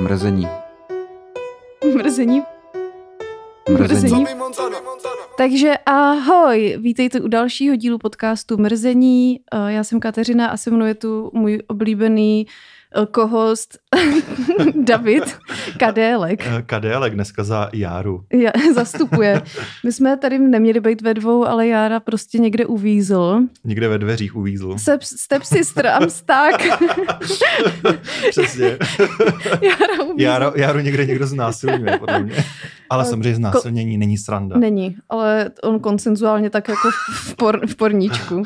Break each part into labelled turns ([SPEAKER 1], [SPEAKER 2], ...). [SPEAKER 1] Mrzení.
[SPEAKER 2] Mrzení.
[SPEAKER 1] Mrzení.
[SPEAKER 2] Mrzení. Takže ahoj, vítejte u dalšího dílu podcastu Mrzení. Eh, Já jsem Kateřina a se mnou je tu můj oblíbený eh, kohost David Kadélek.
[SPEAKER 3] Eh, Kadélek dneska za Járu.
[SPEAKER 2] Já, zastupuje. My jsme tady neměli být ve dvou, ale Jára prostě někde uvízl.
[SPEAKER 3] Někde ve dveřích uvízl.
[SPEAKER 2] Step, step sister, I'm stuck.
[SPEAKER 3] Přesně.
[SPEAKER 2] Jára uvízl.
[SPEAKER 3] Járu, Járu někde někdo znásilňuje, podle mě. Ale
[SPEAKER 2] Eh,
[SPEAKER 3] samozřejmě znásilnění není sranda.
[SPEAKER 2] Není, ale on konsenzuálně tak jako v, por, v porníčku.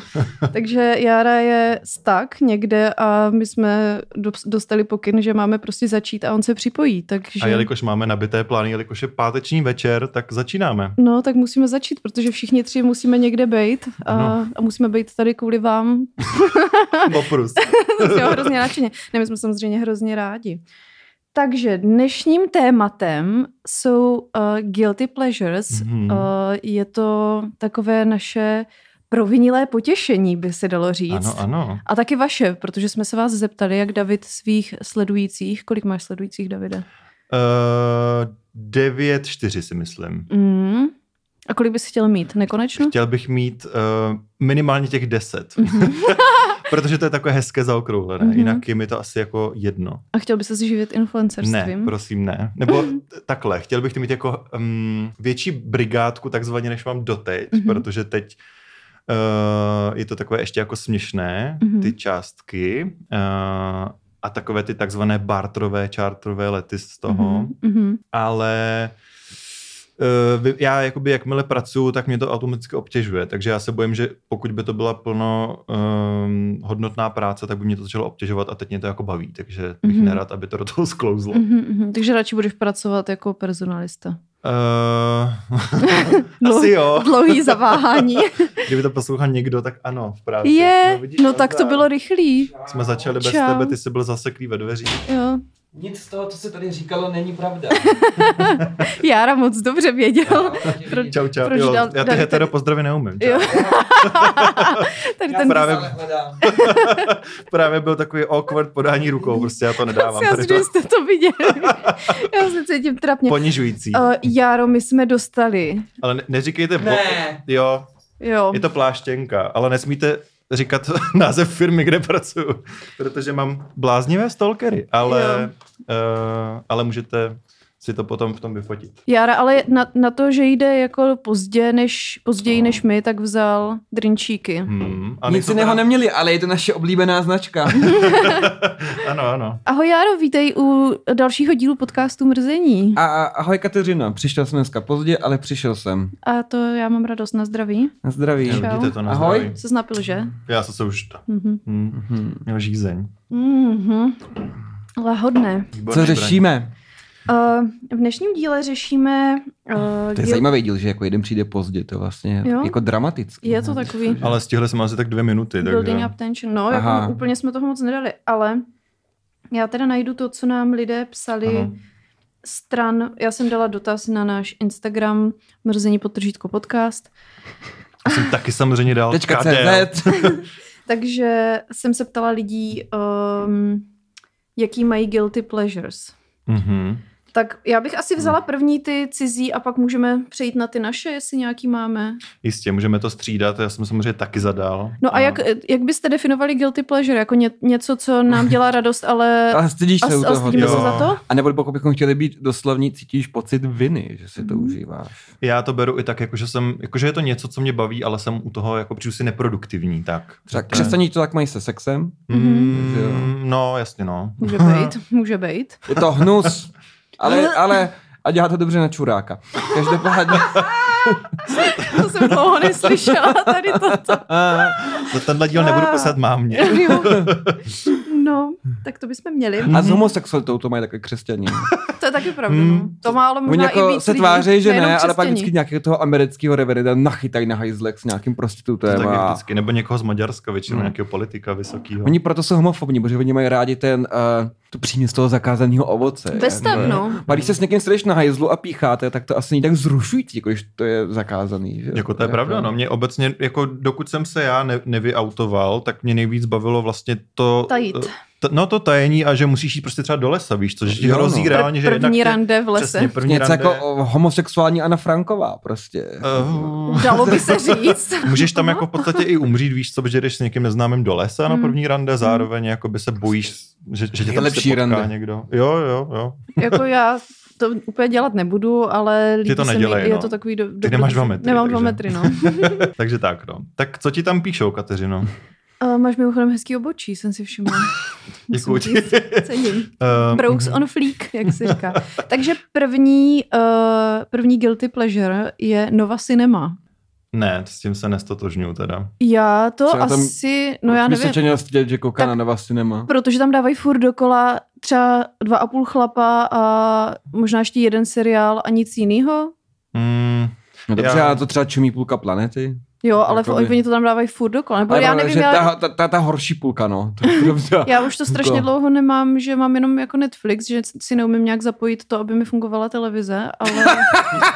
[SPEAKER 2] Takže Jara je stak někde a my jsme do- dostali pokyn, že máme prostě začít a on se připojí, takže...
[SPEAKER 3] A jelikož máme nabité plány, jelikož je páteční večer, tak začínáme.
[SPEAKER 2] No, tak musíme začít, protože všichni tři musíme někde být a,
[SPEAKER 3] Ano.
[SPEAKER 2] a musíme být tady kvůli vám. No.
[SPEAKER 3] Oprus.
[SPEAKER 2] jsme hrozně nadšeně. Ne, my jsme samozřejmě hrozně rádi. Takže dnešním tématem jsou uh, guilty pleasures,
[SPEAKER 3] Mhm.
[SPEAKER 2] Eh, Je to takové naše provinilé potěšení, by se dalo říct.
[SPEAKER 3] Ano, ano.
[SPEAKER 2] A taky vaše, protože jsme se vás zeptali, jak David svých sledujících, kolik máš sledujících, Davide?
[SPEAKER 3] Uh, 9-4 si myslím.
[SPEAKER 2] Mm. A kolik bys chtěl mít? Nekonečno?
[SPEAKER 3] Chtěl bych mít uh, minimálně těch 10. Protože to je takové hezké zaokrouhlené.
[SPEAKER 2] Hm. Mhm.
[SPEAKER 3] Jinak je mi to asi jako jedno.
[SPEAKER 2] A chtěl bys se živit influencerstvím?
[SPEAKER 3] Ne, prosím ne. Nebo t- takhle, chtěl bych ty mít jako um, větší brigádku takzvaně, než mám doteď,
[SPEAKER 2] Mhm.
[SPEAKER 3] mm-hmm. protože teď uh, je to takové ještě jako směšné,
[SPEAKER 2] Mhm.
[SPEAKER 3] mm-hmm. ty částky uh, a takové ty takzvané bartrové, čártrové lety z toho, mm-hmm.
[SPEAKER 2] Mm-hmm.
[SPEAKER 3] ale eh, vy- já jakoby jakmile pracuju, tak mě to automaticky obtěžuje, takže já se bojím, že pokud by to byla plno um, hodnotná práce, tak by mě to začalo obtěžovat a teď mě to jako baví, takže bych
[SPEAKER 2] Mhm.
[SPEAKER 3] mm-hmm. nerad, aby to do toho sklouzlo.
[SPEAKER 2] Mm-hmm. Takže radši budeš pracovat jako personalista.
[SPEAKER 3] Uh,
[SPEAKER 2] Dlou-
[SPEAKER 3] asi jo.
[SPEAKER 2] No, Dlouhý zaváhání.
[SPEAKER 3] Kdyby to poslouchal někdo, tak ano, v práci.
[SPEAKER 2] Je,
[SPEAKER 3] vidíš,
[SPEAKER 2] no tak to
[SPEAKER 3] nazdar.
[SPEAKER 2] bylo rychlý.
[SPEAKER 3] Jsme začali bez
[SPEAKER 2] Čau.
[SPEAKER 3] tebe, ty jsi byl zaseklý ve dveřích.
[SPEAKER 2] Jo.
[SPEAKER 4] Nic z toho, co se tady říkalo, není pravda.
[SPEAKER 2] Jára moc dobře
[SPEAKER 3] No,
[SPEAKER 2] věděl. Proč-
[SPEAKER 3] Čau, čau.
[SPEAKER 2] Proč
[SPEAKER 3] jo,
[SPEAKER 2] dal-
[SPEAKER 3] já ty
[SPEAKER 2] dali
[SPEAKER 3] hetero
[SPEAKER 2] tady-
[SPEAKER 3] pozdravy neumím. Čau.
[SPEAKER 2] Jo. Tady
[SPEAKER 4] Já
[SPEAKER 2] ten
[SPEAKER 3] právě-
[SPEAKER 4] právě hledám.
[SPEAKER 3] Právě byl takový awkward podání rukou, prostě já to nedávám.
[SPEAKER 2] Já
[SPEAKER 3] Tady
[SPEAKER 2] si, že
[SPEAKER 3] to
[SPEAKER 2] jste to viděli. Já se cítím trapně.
[SPEAKER 3] ponižující.
[SPEAKER 2] Uh, Jaro, my jsme dostali.
[SPEAKER 3] Ale ne- neříkejte... bo-
[SPEAKER 4] Ne.
[SPEAKER 3] Jo,
[SPEAKER 2] Jo.
[SPEAKER 3] je to pláštěnka, ale nesmíte říkat název firmy, kde pracuju, protože mám bláznivé stalkery, ale, uh, ale můžete si to potom v tom vyfotit.
[SPEAKER 2] Jara, ale na, na to, že jde jako pozdě než, později než my, tak vzal drinčíky.
[SPEAKER 3] Hmm. A
[SPEAKER 4] Nic
[SPEAKER 3] nejsou
[SPEAKER 4] jiného
[SPEAKER 3] teda-
[SPEAKER 4] neměli, ale je to naše oblíbená značka.
[SPEAKER 3] Ano, ano.
[SPEAKER 2] Ahoj Jaro, vítej u dalšího dílu podcastu Mrzení.
[SPEAKER 4] A a- ahoj Kateřina, přišel jsem dneska pozdě, ale přišel jsem.
[SPEAKER 2] A to já mám radost na zdraví.
[SPEAKER 4] Na zdraví.
[SPEAKER 2] Čau.
[SPEAKER 3] Jo, vidíte to na
[SPEAKER 4] Ahoj.
[SPEAKER 3] zdraví.
[SPEAKER 2] Se napil, že?
[SPEAKER 3] Já jsem se už...
[SPEAKER 2] Mhm.
[SPEAKER 3] Hmm.
[SPEAKER 4] Mhm.
[SPEAKER 3] Měl žízeň.
[SPEAKER 2] Mhm. Lahodné.
[SPEAKER 3] Výborný
[SPEAKER 4] Co
[SPEAKER 3] braň.
[SPEAKER 4] řešíme?
[SPEAKER 2] Uh, v dnešním díle řešíme... Uh,
[SPEAKER 4] To je zajímavý díl, že jako jeden přijde pozdě, to je vlastně
[SPEAKER 2] Jo.
[SPEAKER 4] jako dramatický.
[SPEAKER 2] je to takový...
[SPEAKER 3] Ale stihli jsme asi tak dvě minuty, takže...
[SPEAKER 2] Building up tension. No,
[SPEAKER 4] Aha.
[SPEAKER 2] jako úplně jsme toho moc nedali, ale já teda najdu to, co nám lidé psali
[SPEAKER 3] Ano.
[SPEAKER 2] stran. Já jsem dala dotaz na náš Instagram mrzení potržítko podcast,
[SPEAKER 3] Já jsem taky samozřejmě dal
[SPEAKER 4] Tečka
[SPEAKER 3] KDL.
[SPEAKER 4] CZ.
[SPEAKER 2] takže jsem se ptala lidí, um, jaký mají guilty pleasures.
[SPEAKER 3] Mhm.
[SPEAKER 2] Tak já bych asi vzala první ty cizí a pak můžeme přejít na ty naše, jestli nějaký máme.
[SPEAKER 3] Jistě, můžeme to střídat, já jsem samozřejmě taky zadal.
[SPEAKER 2] No a jak, jak byste definovali guilty pleasure? Jako ně, něco, co nám dělá radost, ale...
[SPEAKER 4] Ale stydíš
[SPEAKER 2] A,
[SPEAKER 4] se u
[SPEAKER 2] a
[SPEAKER 4] toho.
[SPEAKER 2] stydíme se
[SPEAKER 3] jo.
[SPEAKER 2] za to?
[SPEAKER 4] A nebo pokud bychom chtěli být doslovní, cítíš pocit viny, že si to
[SPEAKER 2] Mhm.
[SPEAKER 4] užíváš.
[SPEAKER 3] Já to beru i tak, jako, že jsem, jako, že je to něco, co mě baví, ale jsem u toho jako přijdu si neproduktivní, tak.
[SPEAKER 4] Třeba
[SPEAKER 3] Že to je-
[SPEAKER 4] křesťaní to tak mají se sexem. že jo.
[SPEAKER 3] Mm, no, jasně, no.
[SPEAKER 2] Může být, může být.
[SPEAKER 4] Je to hnus, ale, ale a dělá to dobře na čuráka. Každopádně,
[SPEAKER 2] To jsem dlouho neslyšela tady toto.
[SPEAKER 4] a,
[SPEAKER 3] Za tenhle díl nebudu psát mámě.
[SPEAKER 2] Jo. No, tak to bychom měli.
[SPEAKER 4] a
[SPEAKER 3] Mhm.
[SPEAKER 4] s homosexualitou to mají také křesťaní.
[SPEAKER 2] To je taky pravda. No. To málo
[SPEAKER 4] Hmm. Oni
[SPEAKER 2] možná i
[SPEAKER 4] jako
[SPEAKER 2] víc
[SPEAKER 4] se
[SPEAKER 2] lidí,
[SPEAKER 4] tváří, že
[SPEAKER 2] nejenom
[SPEAKER 4] ne, ale pak
[SPEAKER 2] křesťaní.
[SPEAKER 4] vždycky nějakého toho amerického reverenda nachytají na hajzlek s nějakým
[SPEAKER 3] To
[SPEAKER 4] prostitutem.
[SPEAKER 3] tak je
[SPEAKER 4] A...
[SPEAKER 3] vždycky. Nebo někoho z Maďarska, většinou
[SPEAKER 4] Mm.
[SPEAKER 3] nějakého politika vysokého.
[SPEAKER 4] Oni proto jsou homofobní, protože oni mají rádi ten, uh, tu přímě z toho zakázaného ovoce.
[SPEAKER 2] Ve stavu,
[SPEAKER 4] Jako,
[SPEAKER 2] no.
[SPEAKER 4] A když se s někým sedeš na hajzlu a pícháte, tak to asi není tak zrušující, jako když to je zakázaný. Že?
[SPEAKER 3] Jako to je pravda, no. Mě obecně, jako dokud jsem se já ne, nevyautoval, tak mě nejvíc bavilo vlastně to...
[SPEAKER 2] Tajit.
[SPEAKER 3] eh, T- no to tajení a že musíš jít prostě třeba do lesa, víš, což ti
[SPEAKER 4] Jo, no.
[SPEAKER 3] hrozí
[SPEAKER 4] Pr-
[SPEAKER 3] reálně, že jednak
[SPEAKER 2] první
[SPEAKER 3] tě-
[SPEAKER 2] rande v lese.
[SPEAKER 3] Přesně, první
[SPEAKER 4] Něco
[SPEAKER 3] rande.
[SPEAKER 4] jako o, homosexuální Anna Franková prostě.
[SPEAKER 3] Uh,
[SPEAKER 2] Dalo by se říct.
[SPEAKER 3] můžeš tam jako v podstatě i umřít, víš co, protože jdeš s někým neznámým do lesa na
[SPEAKER 2] Mm.
[SPEAKER 3] první rande, zároveň jako by se bojíš, že, že tě tam
[SPEAKER 4] Nejlepší
[SPEAKER 3] se potká
[SPEAKER 4] rande.
[SPEAKER 3] někdo. Jo, jo, jo.
[SPEAKER 2] jako já to úplně dělat nebudu, ale líbí
[SPEAKER 3] to
[SPEAKER 2] se
[SPEAKER 3] nedělej,
[SPEAKER 2] mi, je
[SPEAKER 3] no.
[SPEAKER 2] to takový... Do, dobrý-
[SPEAKER 3] nemáš dva metry,
[SPEAKER 2] Nemám dva
[SPEAKER 3] takže.
[SPEAKER 2] metry, no.
[SPEAKER 3] Takže tak, no. Tak co ti tam píšou, Kateřino?
[SPEAKER 2] Uh, máš mimochodem hezký obočí, jsem si všimla. Musím
[SPEAKER 3] Děkuji ti.
[SPEAKER 2] říct, Cením.
[SPEAKER 3] Ehm,
[SPEAKER 2] Brooks on fleek, jak se říká. Takže první, uh, první guilty pleasure je Nova Cinema.
[SPEAKER 3] Ne, s tím se nestotožňuju teda.
[SPEAKER 2] Já to
[SPEAKER 4] Co je tam-
[SPEAKER 2] asi, no já nevím,
[SPEAKER 4] Vysvětšeně stět, že kouká
[SPEAKER 2] Tak-
[SPEAKER 4] na Nova Cinema.
[SPEAKER 2] protože tam dávají furt dokola třeba dva a půl chlapa a možná ještě jeden seriál a nic jiného.
[SPEAKER 3] Mm,
[SPEAKER 4] No
[SPEAKER 3] Já-
[SPEAKER 4] dobře, já... to třeba čumí půlka planety.
[SPEAKER 2] Jo, ale v,
[SPEAKER 4] Jakoby-
[SPEAKER 2] oni to tam dávají furt dokola. Nebo já
[SPEAKER 4] pravda,
[SPEAKER 2] nevím,
[SPEAKER 4] že
[SPEAKER 2] já,
[SPEAKER 4] ta, ta, ta, ta, horší půlka, no. To je dobře.
[SPEAKER 2] já už to strašně
[SPEAKER 4] Jako-
[SPEAKER 2] dlouho nemám, že mám jenom jako Netflix, že si neumím nějak zapojit to, aby mi fungovala televize, ale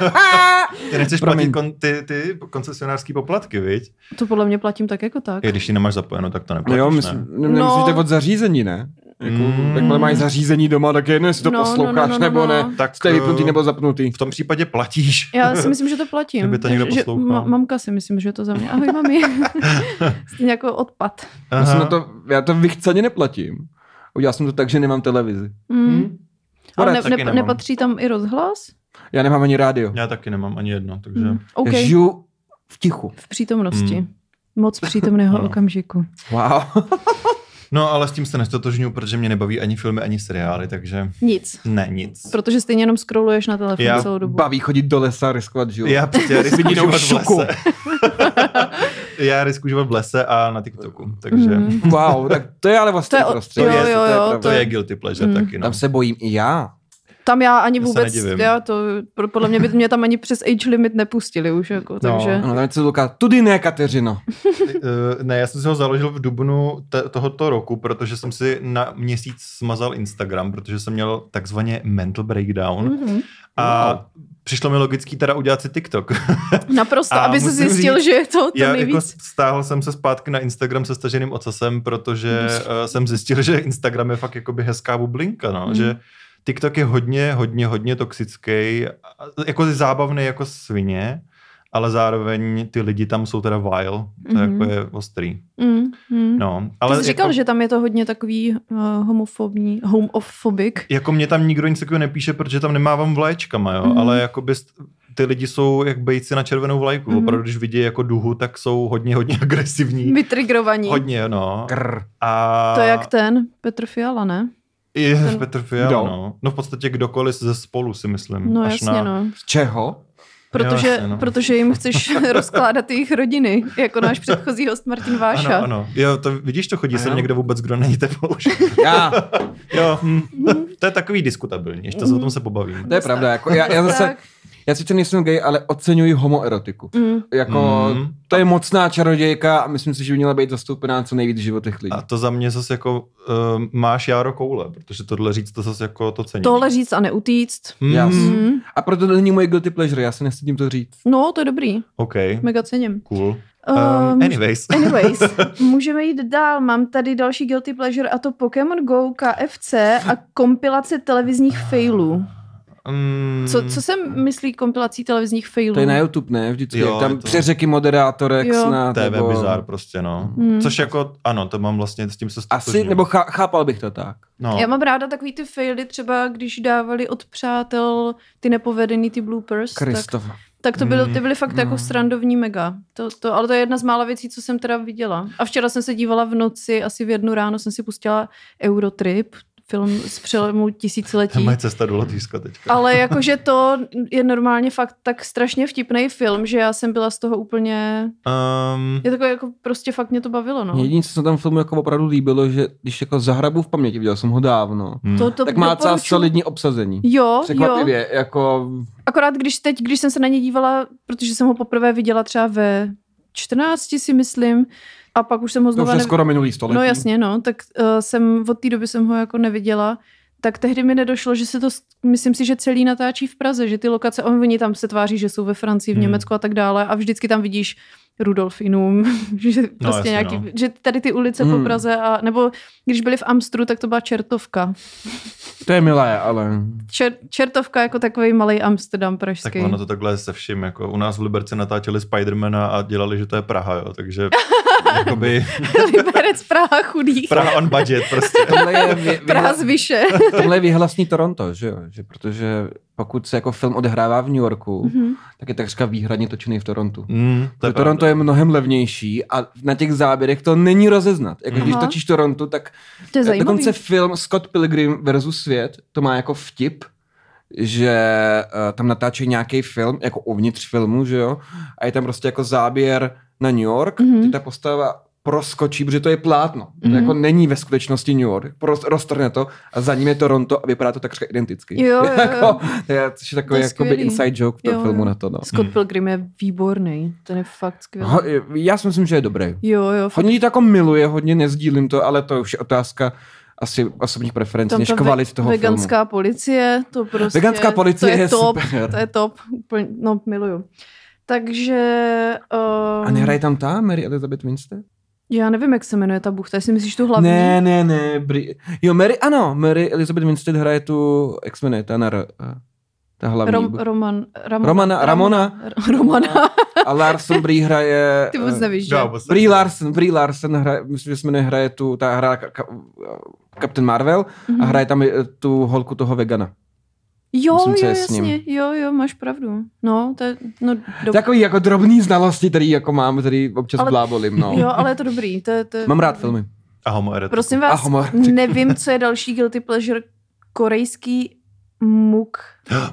[SPEAKER 3] ty nechceš
[SPEAKER 4] Promiň.
[SPEAKER 3] platit kon, ty, ty koncesionářský poplatky, viď?
[SPEAKER 2] to podle mě platím tak jako tak.
[SPEAKER 3] I když ji nemáš zapojeno, tak to
[SPEAKER 4] No
[SPEAKER 3] neplatíš,
[SPEAKER 4] jo,
[SPEAKER 3] ne?
[SPEAKER 4] myslím, ne? nemyslíš
[SPEAKER 2] No.
[SPEAKER 4] tak od zařízení, ne? Jako,
[SPEAKER 3] Mm.
[SPEAKER 4] mm. Jakmile máš zařízení doma, tak je jedno, jestli to
[SPEAKER 2] No, no,
[SPEAKER 4] posloucháš
[SPEAKER 2] no, no,
[SPEAKER 4] nebo
[SPEAKER 2] no,
[SPEAKER 4] ne.
[SPEAKER 2] no.
[SPEAKER 3] Tak,
[SPEAKER 4] Jste vypnutý
[SPEAKER 3] eh,
[SPEAKER 4] nebo zapnutý.
[SPEAKER 3] V tom případě platíš.
[SPEAKER 2] Já si myslím, že to platím.
[SPEAKER 3] Kdyby to někdo
[SPEAKER 2] že, že
[SPEAKER 3] poslouchal.
[SPEAKER 2] ma- mamka si myslím, že je to za mě. Ahoj, mami. Jste jako odpad.
[SPEAKER 4] Já, jsem
[SPEAKER 3] Aha.
[SPEAKER 4] na to, já to vychceně neplatím. Udělal jsem to tak, že nemám televizi.
[SPEAKER 2] Mm.
[SPEAKER 4] Hm?
[SPEAKER 2] Ale
[SPEAKER 4] Poradce
[SPEAKER 2] ne,
[SPEAKER 3] taky
[SPEAKER 2] ne,
[SPEAKER 3] nemám.
[SPEAKER 2] nepatří tam i rozhlas?
[SPEAKER 4] Já nemám ani rádio.
[SPEAKER 3] Já taky nemám ani jedno, takže...
[SPEAKER 2] Mm. OK,
[SPEAKER 4] Já žiju v tichu.
[SPEAKER 2] v přítomnosti.
[SPEAKER 3] Mm.
[SPEAKER 2] Moc přítomného
[SPEAKER 3] Ano.
[SPEAKER 2] okamžiku.
[SPEAKER 4] Wow.
[SPEAKER 3] No ale s tím se nestotožňuju, protože mě nebaví ani filmy, ani seriály, takže
[SPEAKER 2] Nic.
[SPEAKER 3] ne, nic.
[SPEAKER 2] Protože stejně jenom scrolluješ na telefon
[SPEAKER 3] Já
[SPEAKER 2] celou dobu.
[SPEAKER 4] Baví chodit do lesa, riskovat život.
[SPEAKER 3] Já prostě riskuji
[SPEAKER 4] Vidínou
[SPEAKER 3] život v
[SPEAKER 4] šuku.
[SPEAKER 3] lese. Já riskuji život v lese a na TikToku, takže
[SPEAKER 2] Mhm.
[SPEAKER 4] Wow, tak to je ale vlastně
[SPEAKER 2] To je o-
[SPEAKER 4] prostředí.
[SPEAKER 3] jo,
[SPEAKER 2] jo, jo,
[SPEAKER 4] pravda.
[SPEAKER 3] to je guilty pleasure
[SPEAKER 2] Mm.
[SPEAKER 3] taky, no.
[SPEAKER 4] Tam se bojím i já.
[SPEAKER 2] Tam já ani
[SPEAKER 3] Já se
[SPEAKER 2] vůbec,
[SPEAKER 3] nedivím.
[SPEAKER 2] já to, pro- podle mě by mě tam ani přes age limit nepustili už,
[SPEAKER 3] No.
[SPEAKER 2] jako, takže...
[SPEAKER 4] Ano, tam je co luká. Tudy ne, Kateřino.
[SPEAKER 3] Eh, ne, já jsem si ho založil v dubnu te- tohoto roku, protože jsem si na měsíc smazal Instagram, protože jsem měl takzvaně mental breakdown
[SPEAKER 2] Mhm.
[SPEAKER 3] a přišlo mi logický teda udělat si TikTok.
[SPEAKER 2] Naprosto,
[SPEAKER 3] A
[SPEAKER 2] aby se
[SPEAKER 3] musím
[SPEAKER 2] zjistil,
[SPEAKER 3] říct,
[SPEAKER 2] že je No to to
[SPEAKER 3] Já
[SPEAKER 2] nejvíc.
[SPEAKER 3] jako stáhl jsem se zpátky na Instagram se staženým ocasem, protože uh, jsem zjistil, že Instagram je fakt jakoby hezká bublinka, no,
[SPEAKER 2] Mm.
[SPEAKER 3] že TikTok je hodně, hodně, hodně toxický, a- jako zábavný jako svině, ale zároveň ty lidi tam jsou teda vile, to
[SPEAKER 2] Mhm.
[SPEAKER 3] jako je ostrý.
[SPEAKER 2] Mm, mm.
[SPEAKER 3] No,
[SPEAKER 2] Ty
[SPEAKER 3] ale
[SPEAKER 2] jsi říkal,
[SPEAKER 3] jako,
[SPEAKER 2] že tam je to hodně takový uh, homofobní, homofobik.
[SPEAKER 3] jako mě tam nikdo nic takového nepíše, protože tam nemávám vlaječkama, jo,
[SPEAKER 2] Mhm.
[SPEAKER 3] ale jakoby st- ty lidi jsou jak bejci na červenou vlajku,
[SPEAKER 2] Mhm.
[SPEAKER 3] opravdu když vidí jako duhu, tak jsou hodně, hodně agresivní.
[SPEAKER 2] Vytrigrovaní.
[SPEAKER 3] Hodně, no.
[SPEAKER 4] Krr.
[SPEAKER 3] A...
[SPEAKER 2] To je jak ten Petr Fiala, ne?
[SPEAKER 3] I
[SPEAKER 2] Ten-
[SPEAKER 3] Petr Fiala,
[SPEAKER 4] Kdo?
[SPEAKER 3] no. No v podstatě kdokoliv ze spolu si myslím.
[SPEAKER 2] No
[SPEAKER 3] Mm, Až
[SPEAKER 2] jasně,
[SPEAKER 3] na...
[SPEAKER 2] no.
[SPEAKER 4] Z čeho?
[SPEAKER 2] Protože,
[SPEAKER 3] jasně, no.
[SPEAKER 2] protože jim chceš rozkládat jejich rodiny, jako náš předchozí host Martin Váša.
[SPEAKER 3] Ano, ano. Jo, to, vidíš, to chodí
[SPEAKER 4] A
[SPEAKER 3] sem
[SPEAKER 4] jo.
[SPEAKER 3] někdo vůbec, kdo není tebou už.
[SPEAKER 4] Já.
[SPEAKER 3] jo, hm.
[SPEAKER 2] Mhm.
[SPEAKER 3] to je takový diskutabilní, ještě se o tom se pobavíme.
[SPEAKER 4] To je pravda. Jako, já, já, zase,
[SPEAKER 2] Tak.
[SPEAKER 4] já sice nejsem gay, ale oceňuji homoerotiku.
[SPEAKER 2] Mm.
[SPEAKER 4] Jako,
[SPEAKER 3] Mm.
[SPEAKER 4] to je mocná čarodějka a myslím si, že by měla být zastoupená co nejvíc v životech lidí.
[SPEAKER 3] A to za mě zase jako uh, máš járo koule, protože tohle říct to zase jako to cení.
[SPEAKER 2] Tohle říct a neutíct.
[SPEAKER 3] Mm.
[SPEAKER 4] Já jsem-
[SPEAKER 2] Mm.
[SPEAKER 4] A proto to není moje guilty pleasure, já se nestydím to říct.
[SPEAKER 2] No, to je dobrý.
[SPEAKER 3] OK,
[SPEAKER 2] Mega cením.
[SPEAKER 3] cool.
[SPEAKER 2] Um,
[SPEAKER 3] Um, anyways.
[SPEAKER 2] Anyways, můžeme jít dál. Mám tady další guilty pleasure a to Pokémon Go, KFC a kompilace televizních failů.
[SPEAKER 3] Mm,
[SPEAKER 2] Co, co se myslí kompilací televizních failů?
[SPEAKER 4] Hmm. To je na YouTube, ne? Vždycky.
[SPEAKER 3] Jo,
[SPEAKER 4] Jo,
[SPEAKER 3] je
[SPEAKER 4] tam
[SPEAKER 3] to-
[SPEAKER 4] to... přeřeky moderátorek
[SPEAKER 2] Jo.
[SPEAKER 4] snad.
[SPEAKER 3] TV
[SPEAKER 4] nebo...
[SPEAKER 3] bizar prostě, no.
[SPEAKER 2] Mm.
[SPEAKER 3] Což jako, ano, to mám vlastně s tím se
[SPEAKER 4] Asi,
[SPEAKER 3] ztotožňuju.
[SPEAKER 4] nebo chá, chápal bych to tak.
[SPEAKER 3] no.
[SPEAKER 2] Já mám ráda takový ty faily, třeba když dávali od přátel ty nepovedený, ty bloopers, tak,
[SPEAKER 4] Kristof.
[SPEAKER 2] tak to, byly,
[SPEAKER 3] Mm,
[SPEAKER 2] ty byly fakt jako
[SPEAKER 4] no.
[SPEAKER 2] srandovní mega. To, to, ale to je jedna z mála věcí, co jsem teda viděla. A včera jsem se dívala v noci, asi v jednu ráno jsem si pustila Eurotrip, film z přelomu
[SPEAKER 3] To je
[SPEAKER 2] tisíciletí.
[SPEAKER 3] moje cesta do Lotyšska teďka.
[SPEAKER 2] Ale jakože to je normálně fakt tak strašně vtipný film, že já jsem byla z toho úplně...
[SPEAKER 3] Um,
[SPEAKER 2] Je takové jako prostě fakt mě to bavilo, no.
[SPEAKER 4] Jediné, co se tam filmu jako opravdu líbilo, že když jako zahrabu v paměti, viděl jsem ho dávno,
[SPEAKER 3] hm.
[SPEAKER 2] To, to
[SPEAKER 4] tak má celá
[SPEAKER 2] doporučuju.
[SPEAKER 4] solidní obsazení.
[SPEAKER 2] Jo, jo.
[SPEAKER 4] Překvapivě, jako
[SPEAKER 2] Akorát když teď, když jsem se na ně dívala, protože jsem ho poprvé viděla třeba ve 14 si myslím, a pak už jsem ho
[SPEAKER 4] to
[SPEAKER 2] znovu
[SPEAKER 4] už je skoro minulý století.
[SPEAKER 2] eh, No jasně, no, tak uh, jsem od té doby jsem ho jako neviděla, tak tehdy mi nedošlo, že se to, myslím si, že celý natáčí v Praze, že ty lokace, on, oni tam se tváří, že jsou ve Francii, v
[SPEAKER 3] Hmm.
[SPEAKER 2] Německu a tak dále a vždycky tam vidíš Rudolfinum, že, prostě
[SPEAKER 3] jasně,
[SPEAKER 2] nějaký,
[SPEAKER 3] no.
[SPEAKER 2] že tady ty ulice
[SPEAKER 4] Hmm.
[SPEAKER 2] po Praze a, nebo když byli v Amstru, tak to byla Čertovka.
[SPEAKER 4] To je milé, ale...
[SPEAKER 2] Čer, čertovka jako takový malý Amsterdam
[SPEAKER 3] Tak
[SPEAKER 2] pražský.
[SPEAKER 3] ono to takhle je se vším. Jako u nás v Liberci natáčeli Spidermana a dělali, že to je Praha, jo, takže jakoby
[SPEAKER 2] Liberec Praha chudých.
[SPEAKER 3] Praha on budget prostě.
[SPEAKER 4] Tohle je, vy,
[SPEAKER 2] Praha
[SPEAKER 4] vyhla,
[SPEAKER 2] z Vyše.
[SPEAKER 4] tohle je vyhlasný Toronto, že jo? Že protože pokud se jako film odehrává v New Yorku,
[SPEAKER 2] Mhm.
[SPEAKER 4] tak je takřka výhradně točený v Torontu.
[SPEAKER 3] Mm, to je
[SPEAKER 4] To Toronto je mnohem levnější a na těch záběrech to není rozeznat. Jako když
[SPEAKER 2] Aha.
[SPEAKER 4] točíš Toronto, tak
[SPEAKER 2] To je zajímavý.
[SPEAKER 4] Eh, dokonce film Scott Pilgrim versus svět, to má jako vtip, že eh, tam natáčí nějaký film, jako uvnitř filmu, že jo, a je tam prostě jako záběr na New York,
[SPEAKER 2] Mhm.
[SPEAKER 4] mm-hmm. ty ta postava proskočí, protože to je plátno. Mm-hmm.
[SPEAKER 2] Mhm.
[SPEAKER 4] To jako není ve skutečnosti New York. Roz, roztrhne to a za ním je Toronto a vypadá to takřka identicky.
[SPEAKER 2] Jo, jo, jo.
[SPEAKER 4] jako, to je, což je
[SPEAKER 2] To
[SPEAKER 4] takový
[SPEAKER 2] je
[SPEAKER 4] jakoby
[SPEAKER 2] skvělý.
[SPEAKER 4] inside joke v tom
[SPEAKER 2] Jo, jo.
[SPEAKER 4] filmu na to. No.
[SPEAKER 2] Scott
[SPEAKER 3] Mhm.
[SPEAKER 2] Pilgrim je výborný, ten je fakt skvělý.
[SPEAKER 4] Ho, já si myslím, že je dobrý.
[SPEAKER 2] Jo, jo, fakt.
[SPEAKER 4] Hodně lidí to jako miluje, hodně nezdílím to, ale to je už je otázka asi osobních preferencí, než
[SPEAKER 2] ta ve-
[SPEAKER 4] kvalit toho
[SPEAKER 2] veganská policie, to prostě...
[SPEAKER 4] Veganská policie
[SPEAKER 2] to je,
[SPEAKER 4] je
[SPEAKER 2] top,
[SPEAKER 4] super.
[SPEAKER 2] To je top, úplně, no miluju. Takže... Um,
[SPEAKER 4] filmu. A nehraje tam ta Mary Elizabeth Winstead?
[SPEAKER 2] Já nevím, jak se jmenuje ta buchta, jestli myslíš tu hlavní?
[SPEAKER 4] Ne, ne, ne. Bri... Jo, Mary, ano, Mary Elizabeth Winstead hraje tu, jak se jmenuje, ta, na, R, eh, ta hlavní.
[SPEAKER 2] Rom,
[SPEAKER 4] Rom,
[SPEAKER 2] Roman, Ram,
[SPEAKER 4] Romana- Ramona.
[SPEAKER 2] Ro- Romana.
[SPEAKER 4] A Larson Brie hraje...
[SPEAKER 2] Ty moc
[SPEAKER 4] eh,
[SPEAKER 2] nevíš, že?
[SPEAKER 3] Já vůbec
[SPEAKER 4] Brie
[SPEAKER 3] nevím.
[SPEAKER 4] Larson, Brie Larson hraje, myslím, že se jmenuje, hraje tu, ta hra ka, ka, Captain Marvel a
[SPEAKER 2] Mhm.
[SPEAKER 4] hraje tam eh, tu holku toho vegana.
[SPEAKER 2] Jo,
[SPEAKER 4] Myslím, co
[SPEAKER 2] jo,
[SPEAKER 4] je s ním.
[SPEAKER 2] jasně, jo, jo, máš pravdu. No, to je, no, do...
[SPEAKER 4] Takový jako drobný znalosti, který jako mám, který občas
[SPEAKER 2] Ale-
[SPEAKER 4] blábolím, no.
[SPEAKER 2] jo, ale je to dobrý. To, je- to, je-
[SPEAKER 4] Mám rád filmy.
[SPEAKER 3] A homoerotiku.
[SPEAKER 2] Prosím
[SPEAKER 4] A
[SPEAKER 2] vás,
[SPEAKER 4] homoerotiku.
[SPEAKER 2] nevím, co je další guilty pleasure, korejský muk.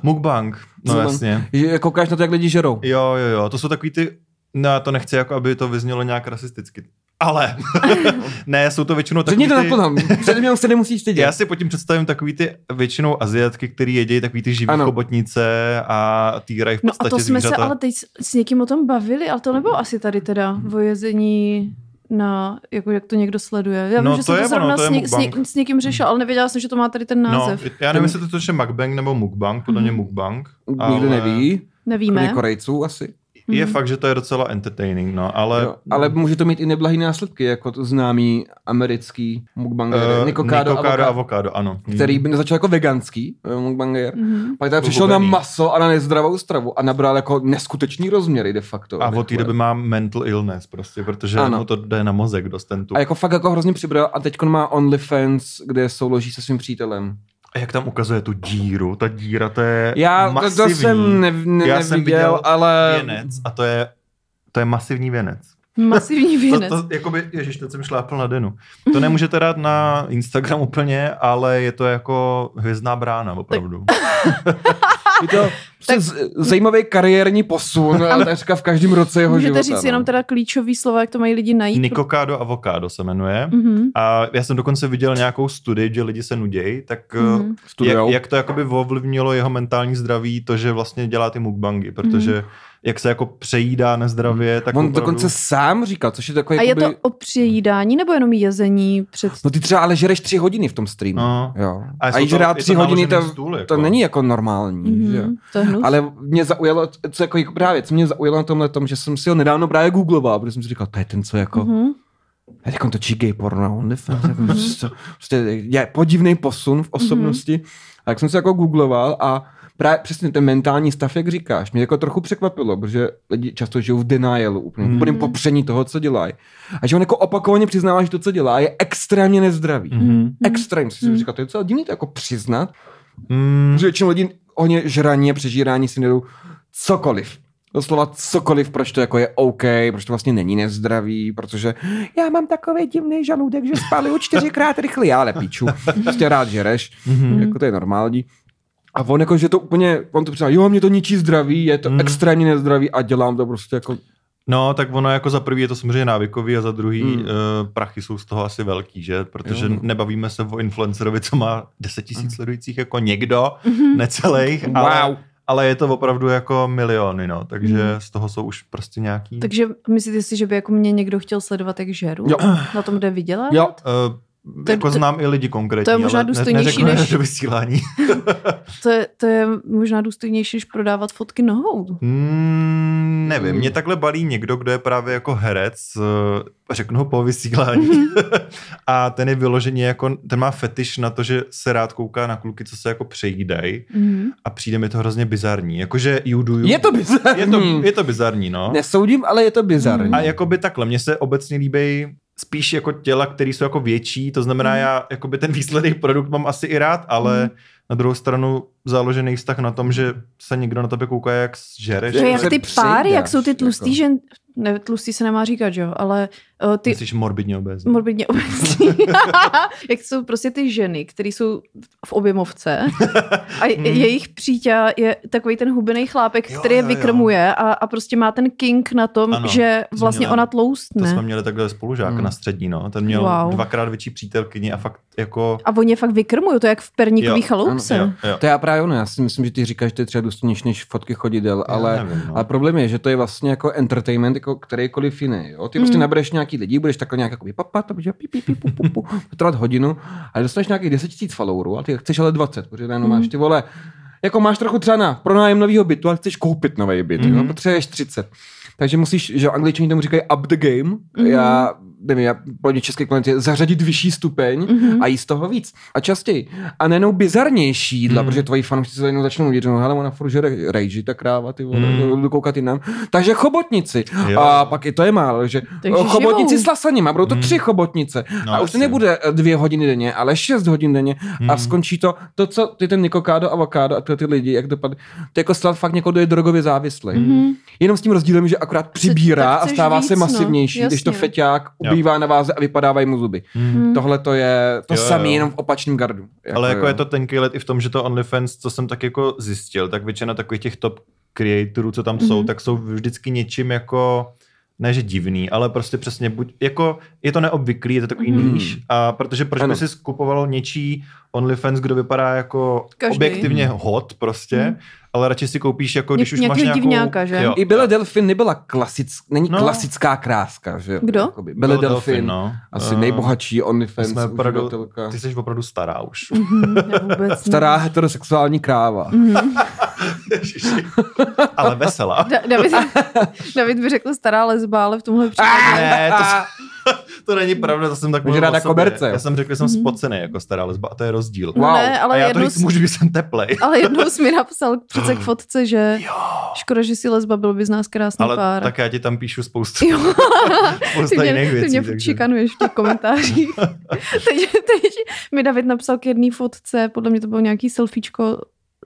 [SPEAKER 3] Mukbang, no
[SPEAKER 4] Zman.
[SPEAKER 3] jasně.
[SPEAKER 4] Že jako Koukáš na to, jak lidi žerou.
[SPEAKER 3] Jo, jo, jo, to jsou takový ty, no já to nechci, jako aby to vyznělo nějak rasisticky. Ale, ne, jsou to většinou
[SPEAKER 4] Řekni
[SPEAKER 3] takový
[SPEAKER 4] to
[SPEAKER 3] ty...
[SPEAKER 4] naplno. Před mě se nemusíš
[SPEAKER 3] Já
[SPEAKER 4] stydět.
[SPEAKER 3] si pod tím představím takový ty většinou aziatky, který jedí takový ty živý
[SPEAKER 4] Ano.
[SPEAKER 3] chobotnice a týrají v
[SPEAKER 2] No a
[SPEAKER 3] podstatě
[SPEAKER 2] to jsme se
[SPEAKER 3] zvířata.
[SPEAKER 2] ale teď s, s někým o tom bavili, ale to nebylo asi tady teda o jezení na, jako jak to někdo sleduje. Já vím,
[SPEAKER 3] No,
[SPEAKER 2] že
[SPEAKER 3] to
[SPEAKER 2] jsem
[SPEAKER 3] je
[SPEAKER 2] to zrovna
[SPEAKER 3] ono, to je
[SPEAKER 2] s, něk, s, něk,
[SPEAKER 3] mukbang.
[SPEAKER 2] s někým řešil, ale nevěděla jsem, že to má tady ten
[SPEAKER 3] No,
[SPEAKER 2] název.
[SPEAKER 3] já nevím, jestli to je mukbang nebo mukbang, podle mě
[SPEAKER 2] Mhm.
[SPEAKER 3] mukbang.
[SPEAKER 4] Nikdo neví. Kromě
[SPEAKER 2] Nevíme.
[SPEAKER 4] Korejců asi.
[SPEAKER 3] Je
[SPEAKER 2] Mhm.
[SPEAKER 3] fakt, že to je docela entertaining, no, ale...
[SPEAKER 4] Ale, ale může to mít i neblahý následky, jako to známý americký mukbanger.
[SPEAKER 3] eh,
[SPEAKER 4] Uh, Nico Cado,
[SPEAKER 3] Nikocado
[SPEAKER 4] avokado,
[SPEAKER 3] avokádo, ano. Mhm.
[SPEAKER 4] který by začal jako veganský eh, mukbanger.
[SPEAKER 2] Mhm.
[SPEAKER 4] Pak tady
[SPEAKER 3] Ohubený.
[SPEAKER 4] přišel na maso a na nezdravou stravu a nabral jako neskutečný rozměry de facto. Jako-
[SPEAKER 3] A od té doby má mental illness prostě, protože
[SPEAKER 4] Ano.
[SPEAKER 3] mu to jde na mozek dost ten tuk.
[SPEAKER 4] a jako fakt jako hrozně přibral a teď má OnlyFans, kde souloží se svým přítelem.
[SPEAKER 3] A jak tam ukazuje tu díru, ta díra to je
[SPEAKER 4] Já to,
[SPEAKER 3] masivní
[SPEAKER 4] to jsem ne, ne,
[SPEAKER 3] Já jsem
[SPEAKER 4] neviděl,
[SPEAKER 3] viděl
[SPEAKER 4] ale...
[SPEAKER 3] věnec a to je, to je masivní věnec.
[SPEAKER 2] Masivní věnec.
[SPEAKER 3] To, to, jakoby, ježiš, teď jsem šlápl na denu. To nemůžete dát na Instagram úplně, ale je to jako hvězdná brána, opravdu.
[SPEAKER 4] Je to tak... zajímavý kariérní posun, ale takřka v každém roce jeho
[SPEAKER 2] Můžete
[SPEAKER 4] života.
[SPEAKER 2] říct
[SPEAKER 4] no.
[SPEAKER 2] jenom teda klíčový slova, jak to mají lidi najít.
[SPEAKER 3] Nikokádo avokádo se jmenuje.
[SPEAKER 2] Mhm.
[SPEAKER 3] A já jsem dokonce viděl nějakou studii, že lidi se nudějí, tak
[SPEAKER 2] Mhm.
[SPEAKER 3] eh, jak,
[SPEAKER 4] Studio.
[SPEAKER 3] jak to jakoby ovlivnilo jeho mentální zdraví, to, že vlastně dělá ty mukbangy, protože
[SPEAKER 2] Mhm.
[SPEAKER 3] jak se jako přejídá nezdravě, tak
[SPEAKER 4] On
[SPEAKER 3] opravdu...
[SPEAKER 4] dokonce sám říkal, což je takové...
[SPEAKER 2] A je to
[SPEAKER 4] jakoby-
[SPEAKER 2] o přejídání nebo jenom jezení před...
[SPEAKER 4] No ty třeba ale žereš tři hodiny v tom streamu.
[SPEAKER 3] No.
[SPEAKER 4] Jo.
[SPEAKER 3] A
[SPEAKER 4] A,
[SPEAKER 3] jsou
[SPEAKER 4] a jíš
[SPEAKER 3] to- je
[SPEAKER 4] rád
[SPEAKER 3] to
[SPEAKER 4] tři hodiny, to,
[SPEAKER 3] naložený stůl, jako.
[SPEAKER 4] to není jako normální.
[SPEAKER 2] Mhm.
[SPEAKER 4] Že? jo.
[SPEAKER 2] To je hnus.
[SPEAKER 4] Ale mě zaujalo, co jako, jako právě, co mě zaujalo na tomhle tom, že jsem si ho nedávno právě googloval, protože jsem si říkal, to je ten, co jako, mm-hmm.
[SPEAKER 3] Hmm.
[SPEAKER 2] Mhm.
[SPEAKER 4] jak on točí gay porno, on
[SPEAKER 3] Mhm.
[SPEAKER 4] prostě, prostě je podivný posun v
[SPEAKER 3] Mhm.
[SPEAKER 4] osobnosti. Mm-hmm. A jak jsem se jako googloval a právě přesně ten mentální stav, jak říkáš, mě jako trochu překvapilo, protože lidi často žijou v denialu, úplně, mm-hmm.
[SPEAKER 3] Mhm.
[SPEAKER 4] úplným popření toho, co dělají. A že on jako opakovaně přiznává, že to, co dělá, je extrémně nezdravý. Mm-hmm.
[SPEAKER 3] Mhm.
[SPEAKER 4] Extrém, si
[SPEAKER 2] Mhm.
[SPEAKER 4] mm-hmm. říkal, to je docela divný to jako přiznat,
[SPEAKER 3] Mm.
[SPEAKER 4] Hmm. Protože většinou lidi ohně žraní a přežírání si nedou cokoliv. Doslova cokoliv, proč to jako je OK, proč to vlastně není nezdravý, protože já mám takový divný žaludek, že spaluju čtyřikrát rychleji, já ale píču. Prostě rád žereš,
[SPEAKER 3] Mhm.
[SPEAKER 4] jako to je normální. A on jako, že to úplně, on to přiznal, jo, mě to ničí zdraví, je to
[SPEAKER 3] Mm.
[SPEAKER 4] extrémně nezdravý a dělám to prostě jako,
[SPEAKER 3] No, tak ono jako za prvý je to samozřejmě návykový a za druhý
[SPEAKER 4] Hmm.
[SPEAKER 3] hmm. prachy jsou z toho asi velký, že? Protože
[SPEAKER 4] Jo,
[SPEAKER 3] jo,
[SPEAKER 4] no.
[SPEAKER 3] nebavíme se o influencerovi, co má 10 tisíc
[SPEAKER 4] Hmm.
[SPEAKER 3] sledujících jako někdo,
[SPEAKER 2] Mhm.
[SPEAKER 3] necelých,
[SPEAKER 4] wow.
[SPEAKER 3] ale, ale je to opravdu jako miliony, no. Takže
[SPEAKER 2] Hmm.
[SPEAKER 3] z toho jsou už prostě nějaký...
[SPEAKER 2] Takže myslíte si, že by jako mě někdo chtěl sledovat, jak žeru?
[SPEAKER 4] Jo.
[SPEAKER 2] Na tom jde vydělat?
[SPEAKER 4] Jo,
[SPEAKER 3] Eh, to, jako to, znám i lidi konkrétní,
[SPEAKER 2] to je možná
[SPEAKER 3] ale ne-
[SPEAKER 2] důstojnější
[SPEAKER 3] neřeknu
[SPEAKER 2] než-
[SPEAKER 3] to vysílání.
[SPEAKER 2] To je, to je možná důstojnější, než prodávat fotky nohou.
[SPEAKER 3] Mm, nevím,
[SPEAKER 2] Hmm.
[SPEAKER 4] Mm.
[SPEAKER 3] mě takhle balí někdo, kdo je právě jako herec, eh, řeknu ho po vysílání, a ten je vyloženě jako, ten má fetiš na to, že se rád kouká na kluky, co se jako přejídají
[SPEAKER 2] Mm.
[SPEAKER 3] a přijde mi to hrozně bizarní. Jakože you do you.
[SPEAKER 4] Je to bizarní.
[SPEAKER 3] je
[SPEAKER 2] Hmm.
[SPEAKER 3] to, je to bizarní, no.
[SPEAKER 4] Nesoudím, ale je to bizarní.
[SPEAKER 3] A jako- jakoby takhle, mně se obecně líbí spíš jako těla, které jsou jako větší, to znamená
[SPEAKER 2] Mm.
[SPEAKER 3] já jakoby ten výsledek produkt mám asi i rád, ale
[SPEAKER 2] Mm.
[SPEAKER 3] na druhou stranu založený vztah na tom, že se někdo na tebe kouká, jak žereš.
[SPEAKER 2] To je jak
[SPEAKER 4] se
[SPEAKER 2] ty páry,
[SPEAKER 4] přejdeš,
[SPEAKER 2] jak jsou ty tlustý
[SPEAKER 4] jako.
[SPEAKER 2] žen... Ne, tlustý se nemá říkat, jo, ale uh, ty
[SPEAKER 3] Jsi morbidně obézní.
[SPEAKER 2] morbidně obecní. jak jsou prostě ty ženy, které jsou v objemovce a
[SPEAKER 3] Hmm.
[SPEAKER 2] je, jejich přítě je takový ten hubený chlápek,
[SPEAKER 3] Jo,
[SPEAKER 2] který je
[SPEAKER 3] jo, jo.
[SPEAKER 2] vykrmuje a, a prostě má ten king na tom,
[SPEAKER 3] Ano,
[SPEAKER 2] že vlastně
[SPEAKER 3] zmíněla.
[SPEAKER 2] ona
[SPEAKER 3] To
[SPEAKER 2] tloustne.
[SPEAKER 3] jsme měli takhle spolužáka
[SPEAKER 4] Hmm.
[SPEAKER 3] na střední, no. Ten měl
[SPEAKER 2] Wow.
[SPEAKER 3] dvakrát větší přítelkyni a fakt jako...
[SPEAKER 2] A oni je fakt vykrmují, to je jak v perníkový
[SPEAKER 3] Jo,
[SPEAKER 2] chaloupce.
[SPEAKER 3] Jo, jo.
[SPEAKER 4] To já právě ono, já si myslím, že ty říkáš, že to je třeba důstojnější než fotky chodidel, ale...
[SPEAKER 3] Já nevím, no.
[SPEAKER 4] Ale problém je, že to je vlastně jako entertainment jako kterýkoliv jiný. Jo? Ty prostě
[SPEAKER 2] Mm.
[SPEAKER 4] nabereš nějaký lidi, budeš takhle nějak jako papa, tam bude pi, pi, pi, pu, pu, pu, trvat hodinu, ale dostaneš nějakých 10 000 followerů a ty chceš ale 20, protože najednou
[SPEAKER 2] Mm.
[SPEAKER 4] máš ty vole, jako máš trochu třeba na pronájem nového bytu, ale chceš koupit nový byt, mm. jo?
[SPEAKER 3] Mhm.
[SPEAKER 4] potřebuješ 30. Takže musíš, že angličani tomu říkají up the game,
[SPEAKER 2] Mhm.
[SPEAKER 4] já nevím, já pro ně český konec je zařadit vyšší stupeň,
[SPEAKER 2] Mhm.
[SPEAKER 3] Mm-hmm.
[SPEAKER 4] a jíst toho víc a častěji. A nejenom bizarnější jídla,
[SPEAKER 3] Mm.
[SPEAKER 4] protože tvoji fanoušci se najednou začnou dělat, že no, hele, ona furt žere rejži, ta kráva, ty vole,
[SPEAKER 3] Mm.
[SPEAKER 4] mm. koukat jinam. Takže chobotnici.
[SPEAKER 3] Jo.
[SPEAKER 4] A pak i to je málo, že
[SPEAKER 2] Takže
[SPEAKER 4] chobotnici
[SPEAKER 2] živou.
[SPEAKER 4] s lasaním, a budou to
[SPEAKER 3] Mm.
[SPEAKER 4] tři chobotnice.
[SPEAKER 3] No,
[SPEAKER 4] a už to
[SPEAKER 3] jasně.
[SPEAKER 4] nebude eh, dvě hodiny denně, ale šest hodin denně. A
[SPEAKER 3] Mm.
[SPEAKER 4] skončí to, to co ty ten nikokádo, avokádo a tyhle ty lidi, jak dopadne, to je jako snad fakt někoho, kdo je drogově závislý.
[SPEAKER 3] Mm-hmm.
[SPEAKER 2] Mhm.
[SPEAKER 4] Jenom s tím rozdílem, že akorát přibírá
[SPEAKER 2] tak
[SPEAKER 4] a
[SPEAKER 2] chceš
[SPEAKER 4] stává
[SPEAKER 2] víc,
[SPEAKER 4] se
[SPEAKER 2] no,
[SPEAKER 4] masivnější, když to
[SPEAKER 2] jasně.
[SPEAKER 4] feťák ubývá na váze a vypadávají mu zuby.
[SPEAKER 3] Mm.
[SPEAKER 2] Mhm.
[SPEAKER 4] Tohle to je to
[SPEAKER 3] Jo, jo.
[SPEAKER 4] samé, jenom v opačném gardu.
[SPEAKER 3] Ale jako
[SPEAKER 4] jo.
[SPEAKER 3] je to tenký let i v tom, že to OnlyFans, co jsem tak jako zjistil, tak většina takových těch top creatorů, co tam
[SPEAKER 2] Mhm.
[SPEAKER 3] jsou, tak jsou vždycky něčím jako ne, že divný, ale prostě přesně buď, jako je to neobvyklý, je to takový
[SPEAKER 2] Mhm.
[SPEAKER 3] níž, a protože proč
[SPEAKER 4] Ano.
[SPEAKER 3] by si skupovalo něčí OnlyFans, kdo vypadá jako
[SPEAKER 2] Každý.
[SPEAKER 3] objektivně hot prostě,
[SPEAKER 2] Mhm.
[SPEAKER 3] ale radši si koupíš
[SPEAKER 2] Ně-
[SPEAKER 3] jako, když už máš
[SPEAKER 2] nějakýho
[SPEAKER 3] nějakou...
[SPEAKER 2] divňáka, že?
[SPEAKER 3] Jo.
[SPEAKER 4] I Bela Delfin nebyla klasick, není
[SPEAKER 3] No.
[SPEAKER 4] no. klasická kráska, že jo?
[SPEAKER 2] Kdo?
[SPEAKER 4] Jakoby. Bela
[SPEAKER 3] Byl
[SPEAKER 4] Delfin, no. asi
[SPEAKER 3] Eh,
[SPEAKER 4] nejbohatší OnlyFans
[SPEAKER 3] jsme opravdu-
[SPEAKER 4] uživatelka.
[SPEAKER 3] Ty jsi opravdu stará už.
[SPEAKER 2] Mhm, ne, vůbec ne.
[SPEAKER 4] Stará heterosexuální kráva.
[SPEAKER 2] Mhm.
[SPEAKER 3] Ježiši. ale veselá.
[SPEAKER 2] Da- David, David by řekl stará lesba, ale v tomhle případě...
[SPEAKER 3] Ne, to, To není pravda, to jsem tak
[SPEAKER 4] Takže
[SPEAKER 3] mluvil
[SPEAKER 4] ráda
[SPEAKER 3] o sobě.
[SPEAKER 4] koberce, jo.
[SPEAKER 3] Já jsem řekl, že jsem
[SPEAKER 2] Mhm.
[SPEAKER 3] spocený jako stará lesba a to je rozdíl.
[SPEAKER 2] No
[SPEAKER 4] Wow.
[SPEAKER 2] ne,
[SPEAKER 3] a
[SPEAKER 2] ale
[SPEAKER 3] já to
[SPEAKER 2] jednou,
[SPEAKER 3] říct můžu, že jsem teplej.
[SPEAKER 2] Ale jednou jsi mi napsal přece k fotce, že škoda, že jsi lesba, byl by z nás krásný
[SPEAKER 3] Ale
[SPEAKER 2] pár.
[SPEAKER 3] tak já ti tam píšu spoustu,
[SPEAKER 2] Jo.
[SPEAKER 3] spoustu
[SPEAKER 2] Ty mě,
[SPEAKER 3] jiných věcí.
[SPEAKER 2] ty mě furt
[SPEAKER 3] takže...
[SPEAKER 2] šikanuješ v těch komentářích. teď, teď mi David napsal k jedné fotce, podle mě to bylo nějaký selfiečko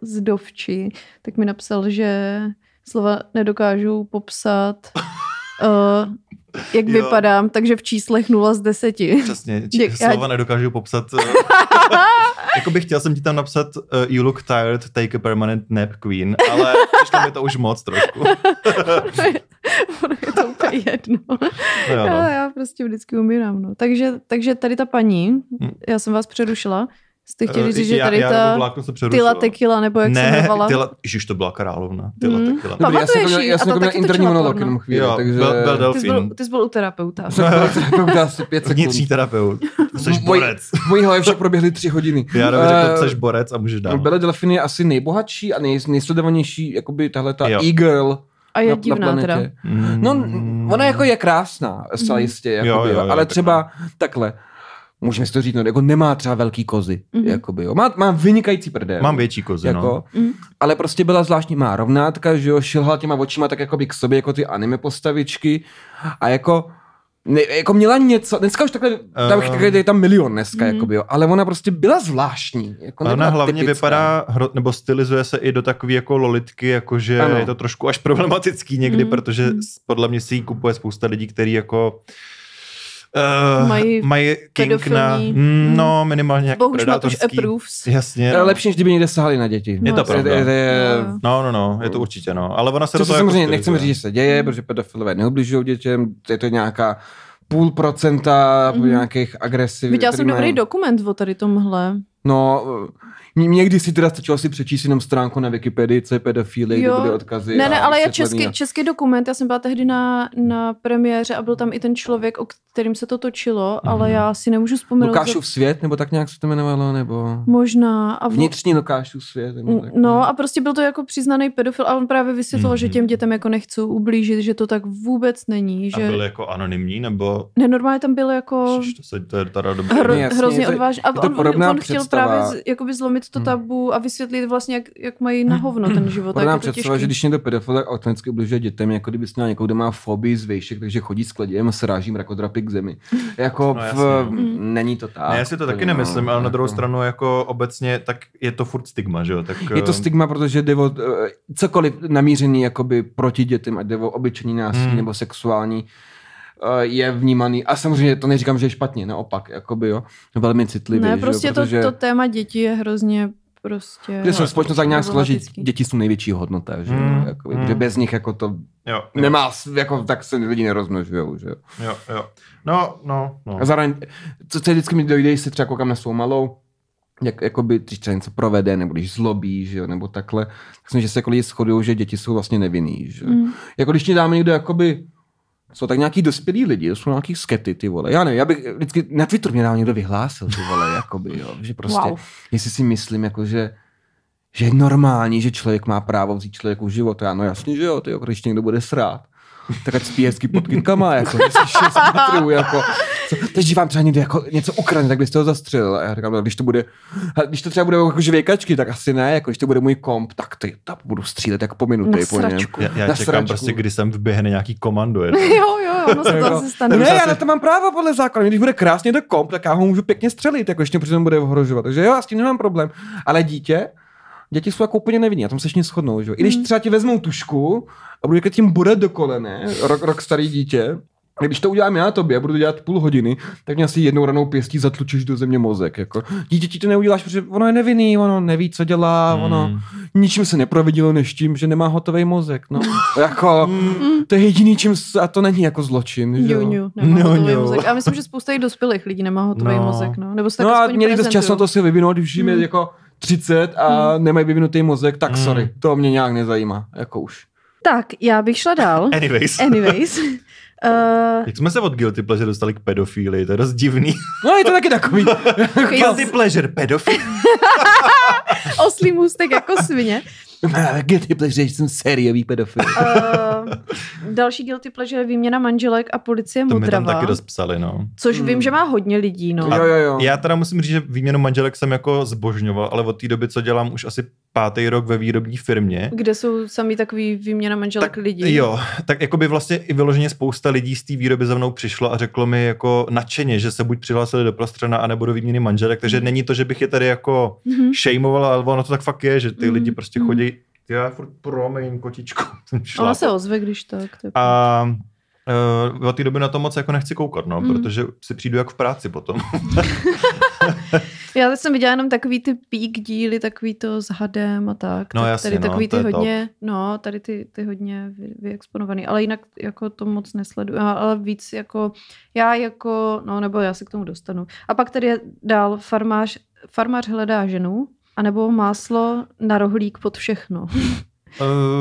[SPEAKER 2] z dovči, tak mi napsal, že slova nedokážu popsat, uh, jak
[SPEAKER 3] Jo.
[SPEAKER 2] jo. vypadám, takže v číslech 0 z 10.
[SPEAKER 3] Přesně, či,
[SPEAKER 2] Děk- já-
[SPEAKER 3] slova nedokážu popsat. eh, Jakoby chtěl jsem ti tam napsat uh, You look tired, take a permanent nap, queen, ale přišlo mi to už moc trošku.
[SPEAKER 2] Ono je- ono je to úplně jedno.
[SPEAKER 3] No, jo,
[SPEAKER 2] Ale
[SPEAKER 3] no.
[SPEAKER 2] já prostě vždycky umírám. No. Takže, takže tady ta paní,
[SPEAKER 3] Hm.
[SPEAKER 2] já jsem vás přerušila, jste chtěli
[SPEAKER 3] Eh,
[SPEAKER 2] říct, že
[SPEAKER 3] já-
[SPEAKER 2] tady
[SPEAKER 3] já nebo
[SPEAKER 2] ta
[SPEAKER 3] vláknu se přerušilo.
[SPEAKER 2] Tyla Tequila, nebo jak se
[SPEAKER 3] ne,
[SPEAKER 2] jmenovala.
[SPEAKER 3] tyla, Ježiš, to byla královna. Tyla
[SPEAKER 2] Mhm.
[SPEAKER 3] tequila.
[SPEAKER 2] No,
[SPEAKER 4] Dobrý, já jsem
[SPEAKER 2] Pamatuješ
[SPEAKER 4] jako měl-
[SPEAKER 2] ji?
[SPEAKER 4] já
[SPEAKER 2] A
[SPEAKER 4] jsem
[SPEAKER 2] to
[SPEAKER 4] jako měl
[SPEAKER 2] taky točila
[SPEAKER 4] interní monolog
[SPEAKER 2] porno.
[SPEAKER 4] jenom chvíli,
[SPEAKER 3] Jo,
[SPEAKER 4] takže...
[SPEAKER 3] byl- byl
[SPEAKER 2] Ty jsi,
[SPEAKER 3] delfín.
[SPEAKER 2] byl, ty jsi byl u terapeuta.
[SPEAKER 4] Jsem byl- byl byl asi pět sekund.
[SPEAKER 3] Vnitřní terapeut. Jseš
[SPEAKER 4] Boj-
[SPEAKER 3] borec.
[SPEAKER 4] V mojí hlavě však proběhly tři hodiny.
[SPEAKER 3] Já bych
[SPEAKER 4] Eh,
[SPEAKER 3] řekl, jsi borec a můžeš dál.
[SPEAKER 4] Bela Delfin je asi nejbohatší a nej, nejsledovanější, jakoby tahle ta
[SPEAKER 3] Jo.
[SPEAKER 4] e-girl
[SPEAKER 2] A
[SPEAKER 4] na,
[SPEAKER 2] je
[SPEAKER 4] na
[SPEAKER 2] divná
[SPEAKER 4] planetě.
[SPEAKER 2] teda.
[SPEAKER 3] Mm.
[SPEAKER 4] No, ona jako je krásná, zcela
[SPEAKER 2] Mhm.
[SPEAKER 4] jistě,
[SPEAKER 3] Jo,
[SPEAKER 4] jakoby,
[SPEAKER 3] jo,
[SPEAKER 4] jo,
[SPEAKER 3] jo,
[SPEAKER 4] ale
[SPEAKER 3] tak
[SPEAKER 4] třeba takhle, můžeme si to říct, no, jako nemá třeba velký kozy,
[SPEAKER 2] Mhm.
[SPEAKER 4] jakoby, jo. Má, má vynikající prdel.
[SPEAKER 3] Mám větší kozy,
[SPEAKER 4] jako,
[SPEAKER 3] no.
[SPEAKER 2] Mhm.
[SPEAKER 4] Ale prostě byla zvláštní, má rovnátka, že jo, šilhala těma očima tak jakoby k sobě, jako ty anime postavičky a jako ne, jako měla něco, dneska už takhle, tam,
[SPEAKER 3] Ehm.
[SPEAKER 4] takhle je tam milion dneska,
[SPEAKER 2] Mhm.
[SPEAKER 4] jakoby, jo, ale ona prostě byla zvláštní. Jako
[SPEAKER 3] Ona
[SPEAKER 4] nebyla
[SPEAKER 3] hlavně
[SPEAKER 4] typická.
[SPEAKER 3] vypadá, hro- nebo stylizuje se i do takové jako lolitky, jakože
[SPEAKER 4] Ano. Hmm.
[SPEAKER 3] je to trošku až problematický někdy,
[SPEAKER 2] Mm,
[SPEAKER 3] protože
[SPEAKER 2] mm.
[SPEAKER 3] s- podle mě si ji kupuje spousta lidí, kteří jako eh,
[SPEAKER 2] Mají
[SPEAKER 3] mají kink na,
[SPEAKER 2] pedofilní.
[SPEAKER 4] Hmm.
[SPEAKER 3] mm, no minimálně nějaký
[SPEAKER 2] Bohužel má tuž
[SPEAKER 3] predátorský.
[SPEAKER 2] approves.
[SPEAKER 3] Jasně.
[SPEAKER 4] To je
[SPEAKER 3] No.
[SPEAKER 4] lepší, než kdyby někde sahali na děti.
[SPEAKER 3] Je to
[SPEAKER 2] No,
[SPEAKER 3] pravda.
[SPEAKER 4] je, je,
[SPEAKER 2] Jo, jo.
[SPEAKER 3] No, no, no, je to určitě, no. Ale ona se
[SPEAKER 4] Co
[SPEAKER 3] do
[SPEAKER 4] se
[SPEAKER 3] toho
[SPEAKER 4] samozřejmě
[SPEAKER 3] jako
[SPEAKER 4] nechceme říct,
[SPEAKER 3] stylizuje.
[SPEAKER 4] že se děje, protože pedofilové neubližují dětem, je to nějaká půl procenta
[SPEAKER 2] Mhm.
[SPEAKER 4] mm-hmm. nějakých agresivních.
[SPEAKER 2] Viděla jsem dobrý dokument o tady tomhle.
[SPEAKER 4] No, ně- někdy si teda stačilo si přečíst jenom stránku na Wikipedii, co je pedofilie, kde
[SPEAKER 2] Jo.
[SPEAKER 4] byly odkazy.
[SPEAKER 2] Ne, ne,
[SPEAKER 4] a
[SPEAKER 2] ale je
[SPEAKER 4] vysvětlení
[SPEAKER 2] český,
[SPEAKER 4] a-
[SPEAKER 2] český dokument, já jsem byla tehdy na, na premiéře a byl tam i ten člověk, o kterým se to točilo, mm-hmm. ale já si nemůžu vzpomenout.
[SPEAKER 4] Lukášův svět, nebo tak nějak se to jmenovalo, nebo...
[SPEAKER 2] Možná. A No, v...
[SPEAKER 4] Vnitřní Lukášův svět. Nebo tak,
[SPEAKER 2] No a prostě byl to jako přiznaný pedofil a on právě vysvětlil, mm-hmm. že
[SPEAKER 3] Mhm.
[SPEAKER 2] těm dětem jako nechcou ublížit, že to tak vůbec není,
[SPEAKER 3] A
[SPEAKER 2] že...
[SPEAKER 3] byl jako anonymní, nebo...
[SPEAKER 2] Ne, normálně tam bylo jako...
[SPEAKER 3] Ježiš, To, se, to je teda dobrý.
[SPEAKER 2] Hro,
[SPEAKER 4] Jasně,
[SPEAKER 2] hrozně
[SPEAKER 4] je to-
[SPEAKER 2] odvážný. A
[SPEAKER 4] je to
[SPEAKER 2] on,
[SPEAKER 4] podobná
[SPEAKER 2] on chtěl
[SPEAKER 4] představa.
[SPEAKER 2] právě z, jakoby zlomit to
[SPEAKER 4] Hmm.
[SPEAKER 2] tabu a vysvětlit vlastně, jak, jak mají na hovno ten život.
[SPEAKER 4] Podle
[SPEAKER 2] No Tak
[SPEAKER 4] nám
[SPEAKER 2] je to
[SPEAKER 4] představa,
[SPEAKER 2] těžký.
[SPEAKER 4] že když někdo pedofil, tak automaticky ubližuje dětem, jako kdyby měl někoho, kdo má fobii z vejšek, takže chodí s kleděm, srážím rakodrapy k zemi. Jako
[SPEAKER 3] No,
[SPEAKER 4] no,
[SPEAKER 3] jasně,
[SPEAKER 4] v,
[SPEAKER 3] no.
[SPEAKER 2] Mm.
[SPEAKER 4] není to tak.
[SPEAKER 3] Ne, já si to taky
[SPEAKER 4] No,
[SPEAKER 3] nemyslím, ale na
[SPEAKER 4] jako-
[SPEAKER 3] druhou stranu jako obecně, tak je to furt stigma, že jo? Tak,
[SPEAKER 4] Je to
[SPEAKER 3] eh,
[SPEAKER 4] stigma, protože jde o eh, cokoliv namířený jakoby proti dětem, a jde o obyčejný násilí
[SPEAKER 3] Hmm.
[SPEAKER 4] nebo sexuální, eh, je vnímaný. A samozřejmě to neříkám, že je špatně, naopak, jakoby jo, velmi citlivě.
[SPEAKER 2] Ne,
[SPEAKER 4] že
[SPEAKER 2] prostě
[SPEAKER 4] jo,
[SPEAKER 2] to,
[SPEAKER 4] protože,
[SPEAKER 2] to téma dětí je hrozně prostě...
[SPEAKER 4] Protože jsme společnost tak nějak složit,
[SPEAKER 2] problematický.
[SPEAKER 4] děti jsou největší hodnota, že,
[SPEAKER 3] Hmm.
[SPEAKER 4] mm. jakoby, protože
[SPEAKER 3] Hmm.
[SPEAKER 4] bez nich jako to
[SPEAKER 3] Jo, jo,
[SPEAKER 4] nemá, s- jako tak se lidi nerozmnožují, že jo.
[SPEAKER 3] jo, jo. No, no, no.
[SPEAKER 4] A zároveň, co, co vždycky mi dojde, když se třeba koukám na svou malou, jak, jakoby, když třeba něco provede, nebo když zlobí, že jo, nebo takhle, tak jsem, že se jako lidi shodují, že děti jsou vlastně nevinný, že mm.
[SPEAKER 2] Mm.
[SPEAKER 4] Jako když ti dáme někdo, jakoby, jsou tak nějaký dospělí lidi, jsou nějaký skety, ty vole. Já nevím, já bych vždycky na Twitteru mě nám někdo vyhlásil, ty vole, jakoby, jo, že prostě, wow.
[SPEAKER 2] Wow.
[SPEAKER 4] jestli si myslím, jako, že že je normální, že člověk má právo vzít člověku život. A Já, no jasně, že jo, ty, když tě někdo bude srát. Tak ať spí hezky pod kytkama, jako, jestli šest metrů, jako. Co, teď když vám třeba někdo jako něco ukradne, tak byste ho zastřelil. A já říkám, no, když to bude, a když to třeba bude jako žvěkačky, tak asi ne, jako když to bude můj komp, tak ty, tak budu střílet jako po minutě.
[SPEAKER 2] Na
[SPEAKER 4] po něm.
[SPEAKER 2] sračku.
[SPEAKER 3] Já, já
[SPEAKER 4] Na
[SPEAKER 3] čekám
[SPEAKER 4] sračku.
[SPEAKER 3] prostě, kdy sem vběhne nějaký komando. Je.
[SPEAKER 2] Jo, jo, ono se to
[SPEAKER 4] Jako,
[SPEAKER 2] asi stane.
[SPEAKER 4] Ne,
[SPEAKER 3] Už
[SPEAKER 4] já
[SPEAKER 3] asi-
[SPEAKER 4] na to mám právo podle zákona. Když bude krásně to komp, tak já ho můžu pěkně střelit, jako ještě přitom bude ohrožovat. Takže jo, já s tím nemám problém. Ale dítě, děti jsou jako úplně nevinní, na tom se všichni shodnou. Že? jo. I když
[SPEAKER 2] Mm.
[SPEAKER 4] třeba ti vezmou tušku a budu tím bude do kolene, rok, rok starý dítě, a když to udělám já tobě, budu to dělat půl hodiny, tak mě asi jednou ranou pěstí zatlučíš do země mozek. Jako. Dítěti to neuděláš, protože ono je nevinný, ono neví, co dělá, hmm. ono ničím se neprovidilo, než tím, že nemá hotový mozek. No. jako, to je jediný, čím, s- a to není jako zločin. Že? jo.
[SPEAKER 2] Ňu, ňu, nemá
[SPEAKER 3] Jo,
[SPEAKER 2] hotový
[SPEAKER 3] jo.
[SPEAKER 2] mozek. A myslím, že spousta i dospělých lidí nemá hotový
[SPEAKER 3] No.
[SPEAKER 2] mozek, no. Nebo se tak
[SPEAKER 4] no a
[SPEAKER 2] aspoň
[SPEAKER 4] měli dost čas na to
[SPEAKER 2] prezentujou.
[SPEAKER 4] si vyvinout, když jim je
[SPEAKER 2] Hmm.
[SPEAKER 4] jako 30 a nemají vyvinutý mozek, tak
[SPEAKER 3] Hmm.
[SPEAKER 4] sorry, to mě nějak nezajímá, jako už.
[SPEAKER 2] Tak, já bych šla dál.
[SPEAKER 3] Anyways.
[SPEAKER 2] Anyways. Uh,
[SPEAKER 3] Jak jsme se od guilty pleasure dostali k pedofílii, to je dost divný.
[SPEAKER 4] No je to taky takový.
[SPEAKER 3] guilty
[SPEAKER 4] Jako-
[SPEAKER 3] pleasure, pedofil.
[SPEAKER 2] oslý můstek jako svině.
[SPEAKER 4] Guilty pleasure, že jsem sériový pedofil.
[SPEAKER 2] Uh, další guilty pleasure je výměna manželek a policie
[SPEAKER 3] To mi tam
[SPEAKER 2] Modrava.
[SPEAKER 3] taky dost psali, no.
[SPEAKER 2] Což
[SPEAKER 4] Mm.
[SPEAKER 2] vím, že má hodně lidí, no.
[SPEAKER 4] Jo, jo, jo.
[SPEAKER 3] Já teda musím říct, že výměnu manželek jsem jako zbožňoval, ale od té doby, co dělám už asi pátý rok ve výrobní firmě,
[SPEAKER 2] Kde jsou sami takový výměna manželek lidí.
[SPEAKER 3] Jo, tak jako by vlastně i vyloženě spousta lidí z té výroby za mnou přišlo a řeklo mi jako nadšeně, že se buď přihlásili do prostřena a nebo do výměny manželek, takže
[SPEAKER 2] Mm.
[SPEAKER 3] není to, že bych je tady jako
[SPEAKER 2] Mhm.
[SPEAKER 3] šejmovala, ale ono to tak fakt je, že ty
[SPEAKER 2] Mm,
[SPEAKER 3] lidi prostě
[SPEAKER 2] mm.
[SPEAKER 3] chodí, já furt promiň kotičku, jsem
[SPEAKER 2] Ona
[SPEAKER 3] šlápl.
[SPEAKER 2] se ozve, když tak. To je
[SPEAKER 3] A uh, od té doby na to moc jako nechci koukat, no,
[SPEAKER 2] Mm.
[SPEAKER 3] protože si přijdu jak v práci potom.
[SPEAKER 2] Já jsem viděla jenom takový ty pík díly, takový to s hadem a tak.
[SPEAKER 3] No
[SPEAKER 2] tak
[SPEAKER 3] jasně,
[SPEAKER 2] tady
[SPEAKER 3] no,
[SPEAKER 2] takový
[SPEAKER 3] to
[SPEAKER 2] ty
[SPEAKER 3] je top.
[SPEAKER 2] hodně, no, tady ty, ty hodně vy, vyexponovaný, ale jinak jako to moc nesleduju, a- ale víc jako, já jako, no nebo já se k tomu dostanu. A pak tady je dál farmář, farmář hledá ženu, anebo máslo na rohlík pod všechno.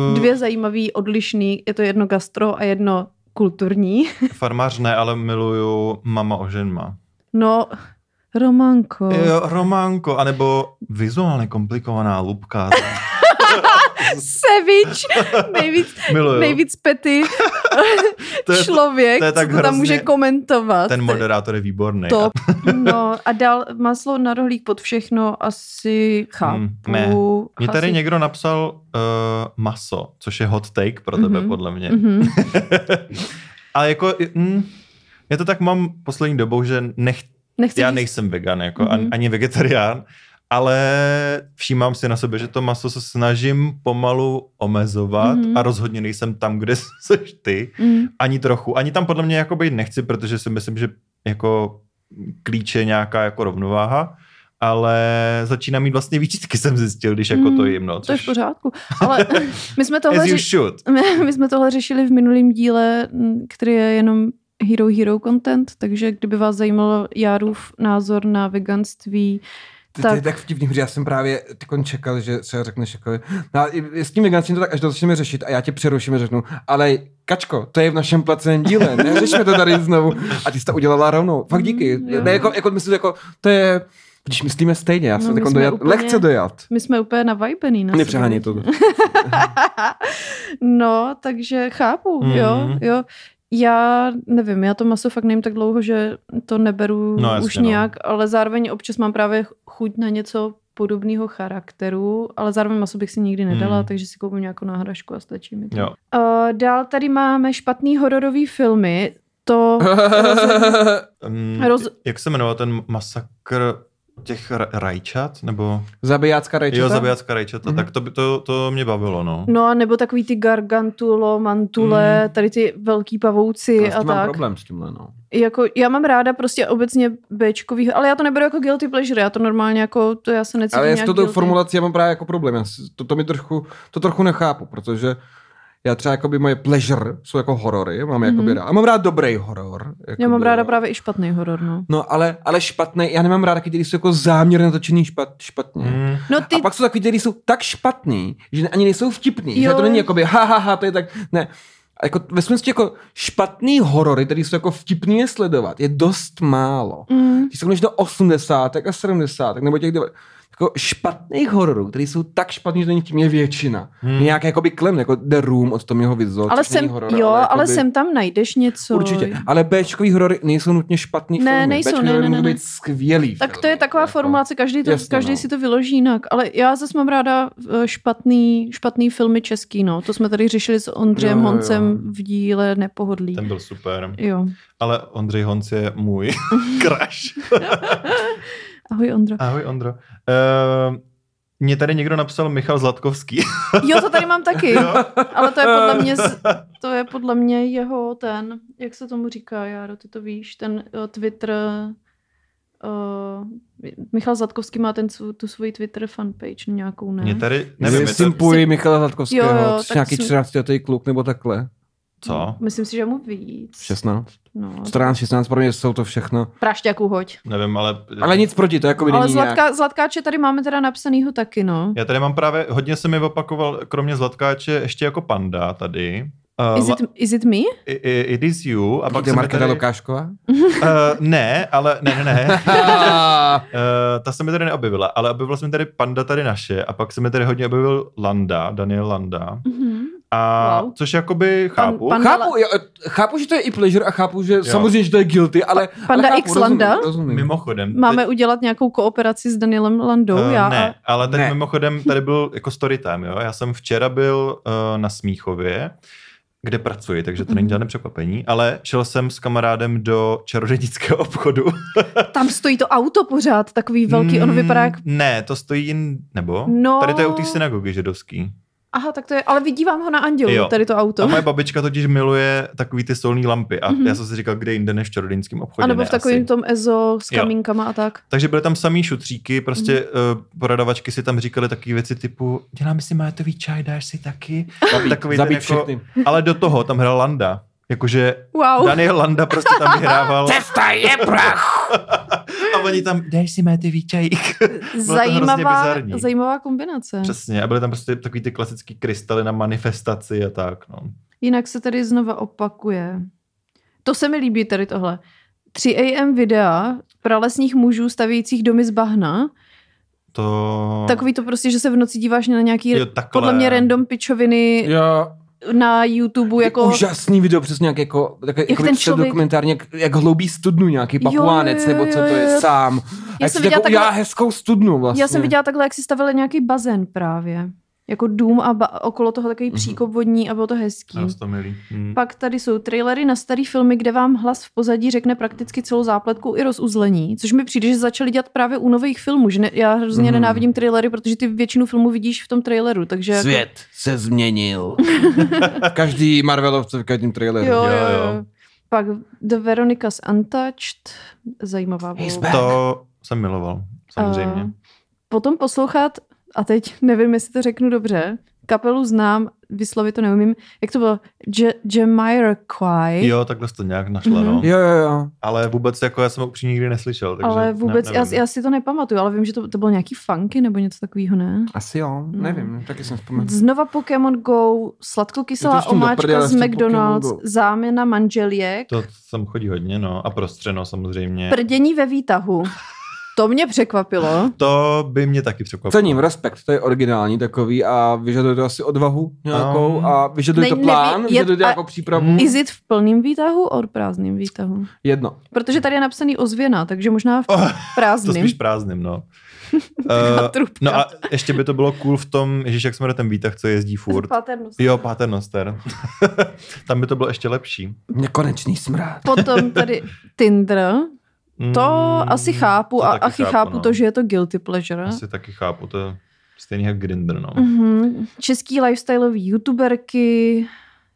[SPEAKER 3] Uh,
[SPEAKER 2] Dvě zajímavý, odlišný, je to jedno gastro a jedno kulturní.
[SPEAKER 3] Farmář ne, ale miluju Mama oženma.
[SPEAKER 2] No, Romanko.
[SPEAKER 3] Jo, Románko, anebo vizuálně komplikovaná lupka.
[SPEAKER 2] Sevič, nejvíc,
[SPEAKER 3] Miluju.
[SPEAKER 2] nejvíc pety.
[SPEAKER 3] to je,
[SPEAKER 2] člověk,
[SPEAKER 3] to je tak
[SPEAKER 2] co to tam
[SPEAKER 3] hrozně-
[SPEAKER 2] může komentovat.
[SPEAKER 3] ten moderátor je výborný.
[SPEAKER 2] To, no a dál maslo na rohlík pod všechno asi chápu.
[SPEAKER 3] Hmm, ne. Mě tady
[SPEAKER 2] asi-
[SPEAKER 3] někdo napsal uh, maso, což je hot take pro tebe,
[SPEAKER 2] Mhm.
[SPEAKER 3] mm-hmm. podle mě. Mm-hmm.
[SPEAKER 2] Mhm.
[SPEAKER 3] Ale jako, mm, já to tak mám poslední dobou, že nech,
[SPEAKER 2] Nechci
[SPEAKER 3] já
[SPEAKER 2] říct-
[SPEAKER 3] nejsem vegan, jako
[SPEAKER 2] Mhm.
[SPEAKER 3] mm-hmm. ani vegetarián, ale všímám si na sebe, že to maso se snažím pomalu omezovat
[SPEAKER 2] Mhm.
[SPEAKER 3] mm-hmm. a rozhodně nejsem tam, kde jsi ty.
[SPEAKER 2] Mm.
[SPEAKER 3] Ani trochu. Ani tam podle mě jako být nechci, protože si myslím, že jako klíč je nějaká jako rovnováha, ale začínám mít vlastně výčitky, jsem zjistil, když jako
[SPEAKER 2] Mm,
[SPEAKER 3] to jim, no.
[SPEAKER 2] To je v
[SPEAKER 3] což-
[SPEAKER 2] pořádku. Ale my jsme tohle,
[SPEAKER 3] As you
[SPEAKER 2] řeš...
[SPEAKER 3] should.
[SPEAKER 2] my jsme tohle řešili v minulém díle, m, který je jenom Hero Hero content, takže kdyby vás zajímalo Járův názor na veganství,
[SPEAKER 4] To, to je tak vtipný, protože já jsem právě tykon čekal, že třeba řekneš jako, no a i- s tím vegancím to tak až to začneme řešit a já tě přeruším a řeknu, ale Kačko, to je v našem placeném díle, neřešme to tady znovu. A ty jsi to udělala rovnou. Fakt díky.
[SPEAKER 2] Mm, jo.
[SPEAKER 4] Ne, jako, jako myslím, jako, to je, když myslíme stejně, já
[SPEAKER 2] No,
[SPEAKER 4] jsem
[SPEAKER 2] my
[SPEAKER 4] no,
[SPEAKER 2] jsme
[SPEAKER 4] dojat,
[SPEAKER 2] úplně-
[SPEAKER 4] lehce dojat.
[SPEAKER 2] My jsme úplně navajbený. Na sebe.
[SPEAKER 4] Nepřeháněj to.
[SPEAKER 2] no, takže chápu,
[SPEAKER 3] Mhm.
[SPEAKER 2] jo, jo. Já nevím, já to maso fakt nejím tak dlouho, že to neberu
[SPEAKER 3] No,
[SPEAKER 2] no,
[SPEAKER 3] jasně,
[SPEAKER 2] už
[SPEAKER 3] no.
[SPEAKER 2] nějak, ale zároveň občas mám právě chuť na něco podobného charakteru, ale zároveň maso bych si nikdy nedala,
[SPEAKER 3] Mhm.
[SPEAKER 2] takže si koupím nějakou náhražku a stačí mi to.
[SPEAKER 3] Jo.
[SPEAKER 2] Uh, dál tady máme špatný hororový filmy, to
[SPEAKER 3] Um,
[SPEAKER 2] Roz-
[SPEAKER 3] Jak se jmenoval ten masakr těch ra- rajčat? Nebo...
[SPEAKER 4] Zabijácká rajčata?
[SPEAKER 3] Jo, zabijácká rajčata.
[SPEAKER 4] Mhm.
[SPEAKER 3] Mm-hmm. Tak to, by- to, to mě bavilo, no.
[SPEAKER 2] No a nebo takový ty gargantulo, mantule,
[SPEAKER 3] Mhm.
[SPEAKER 2] tady ty velký pavouci
[SPEAKER 4] Já s
[SPEAKER 2] a
[SPEAKER 4] tím mám
[SPEAKER 2] tak.
[SPEAKER 4] problém s tímhle, no.
[SPEAKER 2] Jako, já mám ráda prostě obecně Bčkový, ale já to neberu jako guilty pleasure, já to normálně jako, to já se necítím
[SPEAKER 4] Ale já s
[SPEAKER 2] nějak
[SPEAKER 4] touto
[SPEAKER 2] guilty.
[SPEAKER 4] formulací já mám právě jako problém. Já s- to, to, mi trochu, to trochu nechápu, protože já třeba jakoby moje pleasure jsou jako horory, mám mm-hmm. jakoby
[SPEAKER 2] Mhm.
[SPEAKER 4] rád. A mám rád dobrý horor.
[SPEAKER 2] Já mám
[SPEAKER 4] jakoby,
[SPEAKER 2] ráda
[SPEAKER 4] jo.
[SPEAKER 2] právě i špatný horor, no.
[SPEAKER 4] No ale, ale špatný, já nemám rád taky, který jsou jako záměrně natočený špat, špatně. Mm.
[SPEAKER 3] Mm.
[SPEAKER 2] No ty,
[SPEAKER 4] A pak jsou takový, který jsou tak špatný, že ani nejsou vtipný. Že
[SPEAKER 2] Jo.
[SPEAKER 4] to není jakoby ha, ha, ha, to je tak, ne. A jako ve smyslu jako špatný horory, který jsou jako vtipný je sledovat, je dost málo.
[SPEAKER 2] mm,
[SPEAKER 4] Když se koneš do 80. a 70. nebo těch 90. Jako špatných hororů, který jsou tak špatný, že není tím je většina.
[SPEAKER 3] Hmm.
[SPEAKER 4] Hmm. Nějak jakoby klem, jako The Room od Tommyho Wiseau.
[SPEAKER 2] ale
[SPEAKER 4] což není
[SPEAKER 2] sem,
[SPEAKER 4] horor,
[SPEAKER 2] jo, ale
[SPEAKER 4] jakoby-
[SPEAKER 2] sem tam najdeš něco.
[SPEAKER 4] Určitě, ale Bčkový horory nejsou nutně špatný
[SPEAKER 2] Ne,
[SPEAKER 4] filmy.
[SPEAKER 2] nejsou,
[SPEAKER 4] Bčkový
[SPEAKER 2] ne,
[SPEAKER 4] horory
[SPEAKER 2] ne,
[SPEAKER 4] můžou
[SPEAKER 2] ne, ne.
[SPEAKER 4] být skvělý jako-
[SPEAKER 2] Tak
[SPEAKER 4] filmy,
[SPEAKER 2] to je taková formulace, každý, to,
[SPEAKER 4] Jasně,
[SPEAKER 2] každý
[SPEAKER 4] no.
[SPEAKER 2] si to vyloží jinak, ale já zase mám ráda eh, špatný, špatný filmy český, no. To jsme tady řešili s Ondřejem
[SPEAKER 4] Jo, jo, jo.
[SPEAKER 2] Honcem v díle Nepohodlí.
[SPEAKER 3] Ten byl super.
[SPEAKER 2] Jo.
[SPEAKER 3] Ale Ondřej Honc je můj crush.
[SPEAKER 2] Ahoj Ondro.
[SPEAKER 3] Ahoj, Ondro. Uh, mě tady někdo napsal Michal Zlatkovský.
[SPEAKER 2] Jo, to tady mám taky,
[SPEAKER 3] Jo.
[SPEAKER 2] ale to je podle mě, z- to je podle mě jeho ten, jak se tomu říká, Járo, ty to víš, ten uh, Twitter, uh, Michal Zatkovský má ten, svů- tu svoji Twitter fanpage no nějakou, ne?
[SPEAKER 3] Mě tady,
[SPEAKER 4] Nevím,
[SPEAKER 3] nevím,
[SPEAKER 4] Nevím,
[SPEAKER 3] je to,
[SPEAKER 4] Simpuji
[SPEAKER 2] si-
[SPEAKER 4] Michala Zlatkovského,
[SPEAKER 2] Jo, jo,
[SPEAKER 4] což
[SPEAKER 2] tak
[SPEAKER 4] nějaký
[SPEAKER 2] si-
[SPEAKER 4] 13 letý kluk nebo takhle.
[SPEAKER 3] co?
[SPEAKER 2] Myslím si, že mu víc.
[SPEAKER 4] 16.
[SPEAKER 2] No.
[SPEAKER 4] 14, 16, pro mě jsou to všechno.
[SPEAKER 2] Prášťáku hoď.
[SPEAKER 3] Nevím, ale...
[SPEAKER 4] Ale nic proti, to jako by
[SPEAKER 2] Ale
[SPEAKER 4] není nějak.
[SPEAKER 2] zlatka, zlatkáče tady máme teda napsanýho taky, no.
[SPEAKER 3] Já tady mám právě, hodně se mi opakoval, kromě Zlatkáče, ještě jako panda tady. Uh,
[SPEAKER 2] Is it, is it me?
[SPEAKER 3] i, i, it is you. A pak
[SPEAKER 4] Kde
[SPEAKER 3] se mi
[SPEAKER 4] Markéta
[SPEAKER 3] tady,
[SPEAKER 4] Lukášková?
[SPEAKER 3] uh, ne, ale ne, ne, ne.
[SPEAKER 4] Ah,
[SPEAKER 3] Uh, ta se mi tady neobjevila, ale objevila se mi tady panda tady naše a pak se mi tady hodně objevil Landa, Daniel Landa.
[SPEAKER 2] Mhm.
[SPEAKER 3] A wow.
[SPEAKER 2] Wow.
[SPEAKER 3] což jakoby chápu.
[SPEAKER 2] pan-
[SPEAKER 4] chápu, jo, chápu, že to je i pleasure a chápu, že samozřejmě, že to je guilty, ale...
[SPEAKER 2] Panda
[SPEAKER 4] ale chápu,
[SPEAKER 2] X Landa?
[SPEAKER 4] Rozumím, rozumím.
[SPEAKER 3] Mimochodem.
[SPEAKER 2] Máme udělat nějakou kooperaci s Danielem Landou,
[SPEAKER 3] Eh,
[SPEAKER 2] já a
[SPEAKER 3] Ne, ale teď
[SPEAKER 4] Ne.
[SPEAKER 3] mimochodem tady byl jako story time, jo. Já jsem včera byl uh, na Smíchově, kde pracuji, takže to není
[SPEAKER 2] Mhm.
[SPEAKER 3] žádné překvapení, ale šel jsem s kamarádem do čarodějnického obchodu.
[SPEAKER 2] Tam stojí to auto pořád, takový velký, on vypadá jak...
[SPEAKER 3] Mm, Ne, to stojí jin, nebo?
[SPEAKER 2] No.
[SPEAKER 3] Tady to je u té synagogy židovský.
[SPEAKER 2] Aha, tak to je, ale vidívám ho na andělu,
[SPEAKER 3] Jo.
[SPEAKER 2] jo. tady to auto.
[SPEAKER 3] A moje babička totiž miluje takový ty solní lampy a
[SPEAKER 2] Mhm.
[SPEAKER 3] já jsem si říkal, kde jinde než v čarodějnickém obchodě.
[SPEAKER 2] A nebo
[SPEAKER 3] ne,
[SPEAKER 2] v takovém
[SPEAKER 3] asi.
[SPEAKER 2] tom EZO s
[SPEAKER 3] Jo.
[SPEAKER 2] kamínkama a tak.
[SPEAKER 3] Takže byly tam samý šutříky, prostě
[SPEAKER 2] Mhm.
[SPEAKER 3] mm. uh, prodavačky si tam říkaly takové věci typu, děláme si mátový čaj, dáš si taky. Takový ten
[SPEAKER 4] Zabít
[SPEAKER 3] jako,
[SPEAKER 4] všechny.
[SPEAKER 3] Ale do toho tam hrál Landa. Jakože
[SPEAKER 2] Wow.
[SPEAKER 3] Daniel Landa prostě tam vyhrával
[SPEAKER 4] Cesta je prach!
[SPEAKER 3] a oni tam, dáš si méty čajík. to hrozně
[SPEAKER 2] zajímavá,
[SPEAKER 3] bizarní.
[SPEAKER 2] zajímavá kombinace.
[SPEAKER 3] Přesně, a byly tam prostě takový ty klasický krystaly na manifestaci a tak, no.
[SPEAKER 2] Jinak se tady znova opakuje. To se mi líbí tady tohle. 3AM videa pralesních mužů stavějících domy z bahna.
[SPEAKER 3] To...
[SPEAKER 2] Takový to prostě, že se v noci díváš na nějaký,
[SPEAKER 3] No. Jo, takhle.
[SPEAKER 2] podle mě random pičoviny
[SPEAKER 4] Jo,
[SPEAKER 2] Jako- na YouTube,
[SPEAKER 4] jako...
[SPEAKER 2] jako...
[SPEAKER 4] Úžasný video, přesně nějak jako, tak, jak
[SPEAKER 2] ten
[SPEAKER 4] ten člověk...
[SPEAKER 2] člověk-
[SPEAKER 4] dokumentárně, jak, jak hloubí studnu nějaký
[SPEAKER 2] Jo,
[SPEAKER 4] papuánec,
[SPEAKER 2] jo, jo,
[SPEAKER 4] nebo co to
[SPEAKER 2] jo,
[SPEAKER 4] je
[SPEAKER 2] jo.
[SPEAKER 4] sám. A jak
[SPEAKER 2] jsem
[SPEAKER 4] si
[SPEAKER 2] viděla
[SPEAKER 4] jako udělá
[SPEAKER 2] takhle-
[SPEAKER 4] hezkou studnu vlastně.
[SPEAKER 2] Já jsem viděla takhle, jak si stavili nějaký bazén právě. Jako dům a ba- okolo toho takový
[SPEAKER 4] Mhm.
[SPEAKER 2] příkop vodní a bylo to hezký.
[SPEAKER 3] Nás to milí. Hmm.
[SPEAKER 2] Pak tady jsou trailery na starý filmy, kde vám hlas v pozadí řekne prakticky celou zápletku i rozuzlení, což mi přijde, že začali dělat právě u nových filmů, že ne, já hrozně
[SPEAKER 4] Mhm.
[SPEAKER 2] mm. nenávidím trailery, protože ty většinu filmů vidíš v tom traileru, takže... jako-
[SPEAKER 4] Svět se změnil. v každý Marvelovce, v každém traileru.
[SPEAKER 2] Jo, jo,
[SPEAKER 3] Jo, jo.
[SPEAKER 2] jo. Pak The Veronica's Untouched, zajímavá
[SPEAKER 4] He's
[SPEAKER 2] volba.
[SPEAKER 4] back.
[SPEAKER 3] To jsem miloval, samozřejmě.
[SPEAKER 2] A potom poslouchat, a teď nevím, jestli to řeknu dobře, kapelu znám, vyslovit to neumím. Jak to bylo? J- Jamiroquai.
[SPEAKER 3] Jo, takhle jsi to nějak našla,
[SPEAKER 2] Mhm.
[SPEAKER 3] no.
[SPEAKER 4] Jo, jo, jo.
[SPEAKER 3] Ale vůbec, jako já jsem ho upřímně nikdy neslyšel. Takže
[SPEAKER 2] ale vůbec,
[SPEAKER 3] ne,
[SPEAKER 2] já,
[SPEAKER 3] nevím.
[SPEAKER 2] já, si to nepamatuju, ale vím, že to, to bylo nějaký funky nebo něco takového, ne?
[SPEAKER 4] Asi jo, nevím, no, taky jsem
[SPEAKER 3] Hmm.
[SPEAKER 4] vzpomněl.
[SPEAKER 2] Znova Pokémon Go,
[SPEAKER 4] Je
[SPEAKER 2] sladkokyselá
[SPEAKER 4] to s tím do prdele,
[SPEAKER 2] omáčka
[SPEAKER 4] s
[SPEAKER 2] z
[SPEAKER 4] tím
[SPEAKER 2] McDonald's,
[SPEAKER 4] Pokémon Go.
[SPEAKER 2] záměna manželiek,
[SPEAKER 3] To sem chodí hodně, no. A prostřeno samozřejmě.
[SPEAKER 2] prdění ve výtahu. To mě překvapilo.
[SPEAKER 3] To by mě taky překvapilo.
[SPEAKER 4] Cením, respekt, to je originální takový a vyžaduje to asi odvahu nějakou
[SPEAKER 3] Um,
[SPEAKER 4] a vyžaduje to
[SPEAKER 2] Ne- neví-
[SPEAKER 4] plán,
[SPEAKER 2] je-
[SPEAKER 4] vyžaduje to
[SPEAKER 2] a-
[SPEAKER 4] jako přípravu.
[SPEAKER 3] Mm.
[SPEAKER 2] Is it v plným výtahu or prázdným výtahu?
[SPEAKER 4] Jedno.
[SPEAKER 2] Protože tady je napsaný ozvěna, takže možná v
[SPEAKER 3] Oh, to
[SPEAKER 2] prázdným.
[SPEAKER 3] spíš prázdným, no. Eh,
[SPEAKER 2] Trubka.
[SPEAKER 3] no a ještě by to bylo cool v tom, ježiš, jak jsme na ten výtah, co jezdí furt.
[SPEAKER 2] Paternost.
[SPEAKER 3] Jo, Paternoster. Tam by to bylo ještě lepší.
[SPEAKER 4] Nekonečný smrát.
[SPEAKER 2] Potom tady Tinder.
[SPEAKER 3] Mm,
[SPEAKER 2] To asi chápu
[SPEAKER 3] to
[SPEAKER 2] a
[SPEAKER 3] taky
[SPEAKER 2] asi chápu, chápu
[SPEAKER 3] no.
[SPEAKER 2] to, že je to guilty pleasure.
[SPEAKER 3] Asi taky chápu, to je stejný jak Grindr, no.
[SPEAKER 2] Mhm. Český lifestyleový youtuberky,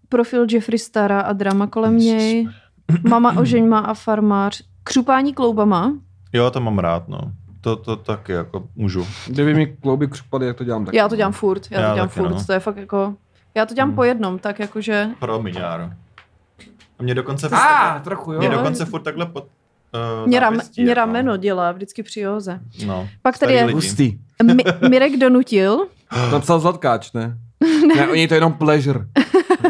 [SPEAKER 2] profil Jeffrey Stara a drama kolem
[SPEAKER 3] Ježiš.
[SPEAKER 2] něj, mama ožeňma a farmář, křupání kloubama.
[SPEAKER 3] Jo, to mám rád, no. To, to taky jako můžu.
[SPEAKER 4] Kdyby mi klouby křupaly, jak to dělám tak.
[SPEAKER 2] Já to dělám furt, já,
[SPEAKER 3] Já
[SPEAKER 2] to dělám
[SPEAKER 3] taky,
[SPEAKER 2] furt,
[SPEAKER 3] no.
[SPEAKER 2] to je fakt jako... Já to dělám
[SPEAKER 3] Mhm.
[SPEAKER 2] po jednom, tak jakože...
[SPEAKER 3] Promiň, Járo. A mě dokonce...
[SPEAKER 4] A, ah, trochu, jo.
[SPEAKER 3] mě
[SPEAKER 2] do-
[SPEAKER 3] dokonce furt takhle pod... Uh,
[SPEAKER 2] Mě, ram, mě rameno dělá vždycky při józe.
[SPEAKER 3] No.
[SPEAKER 2] Pak tady
[SPEAKER 3] Starý
[SPEAKER 2] je
[SPEAKER 3] lidi.
[SPEAKER 4] Hustý.
[SPEAKER 2] Mi, Mirek Donutil,
[SPEAKER 4] To Napsal Zlatkáč, ne? ne, oni to je jenom pleasure.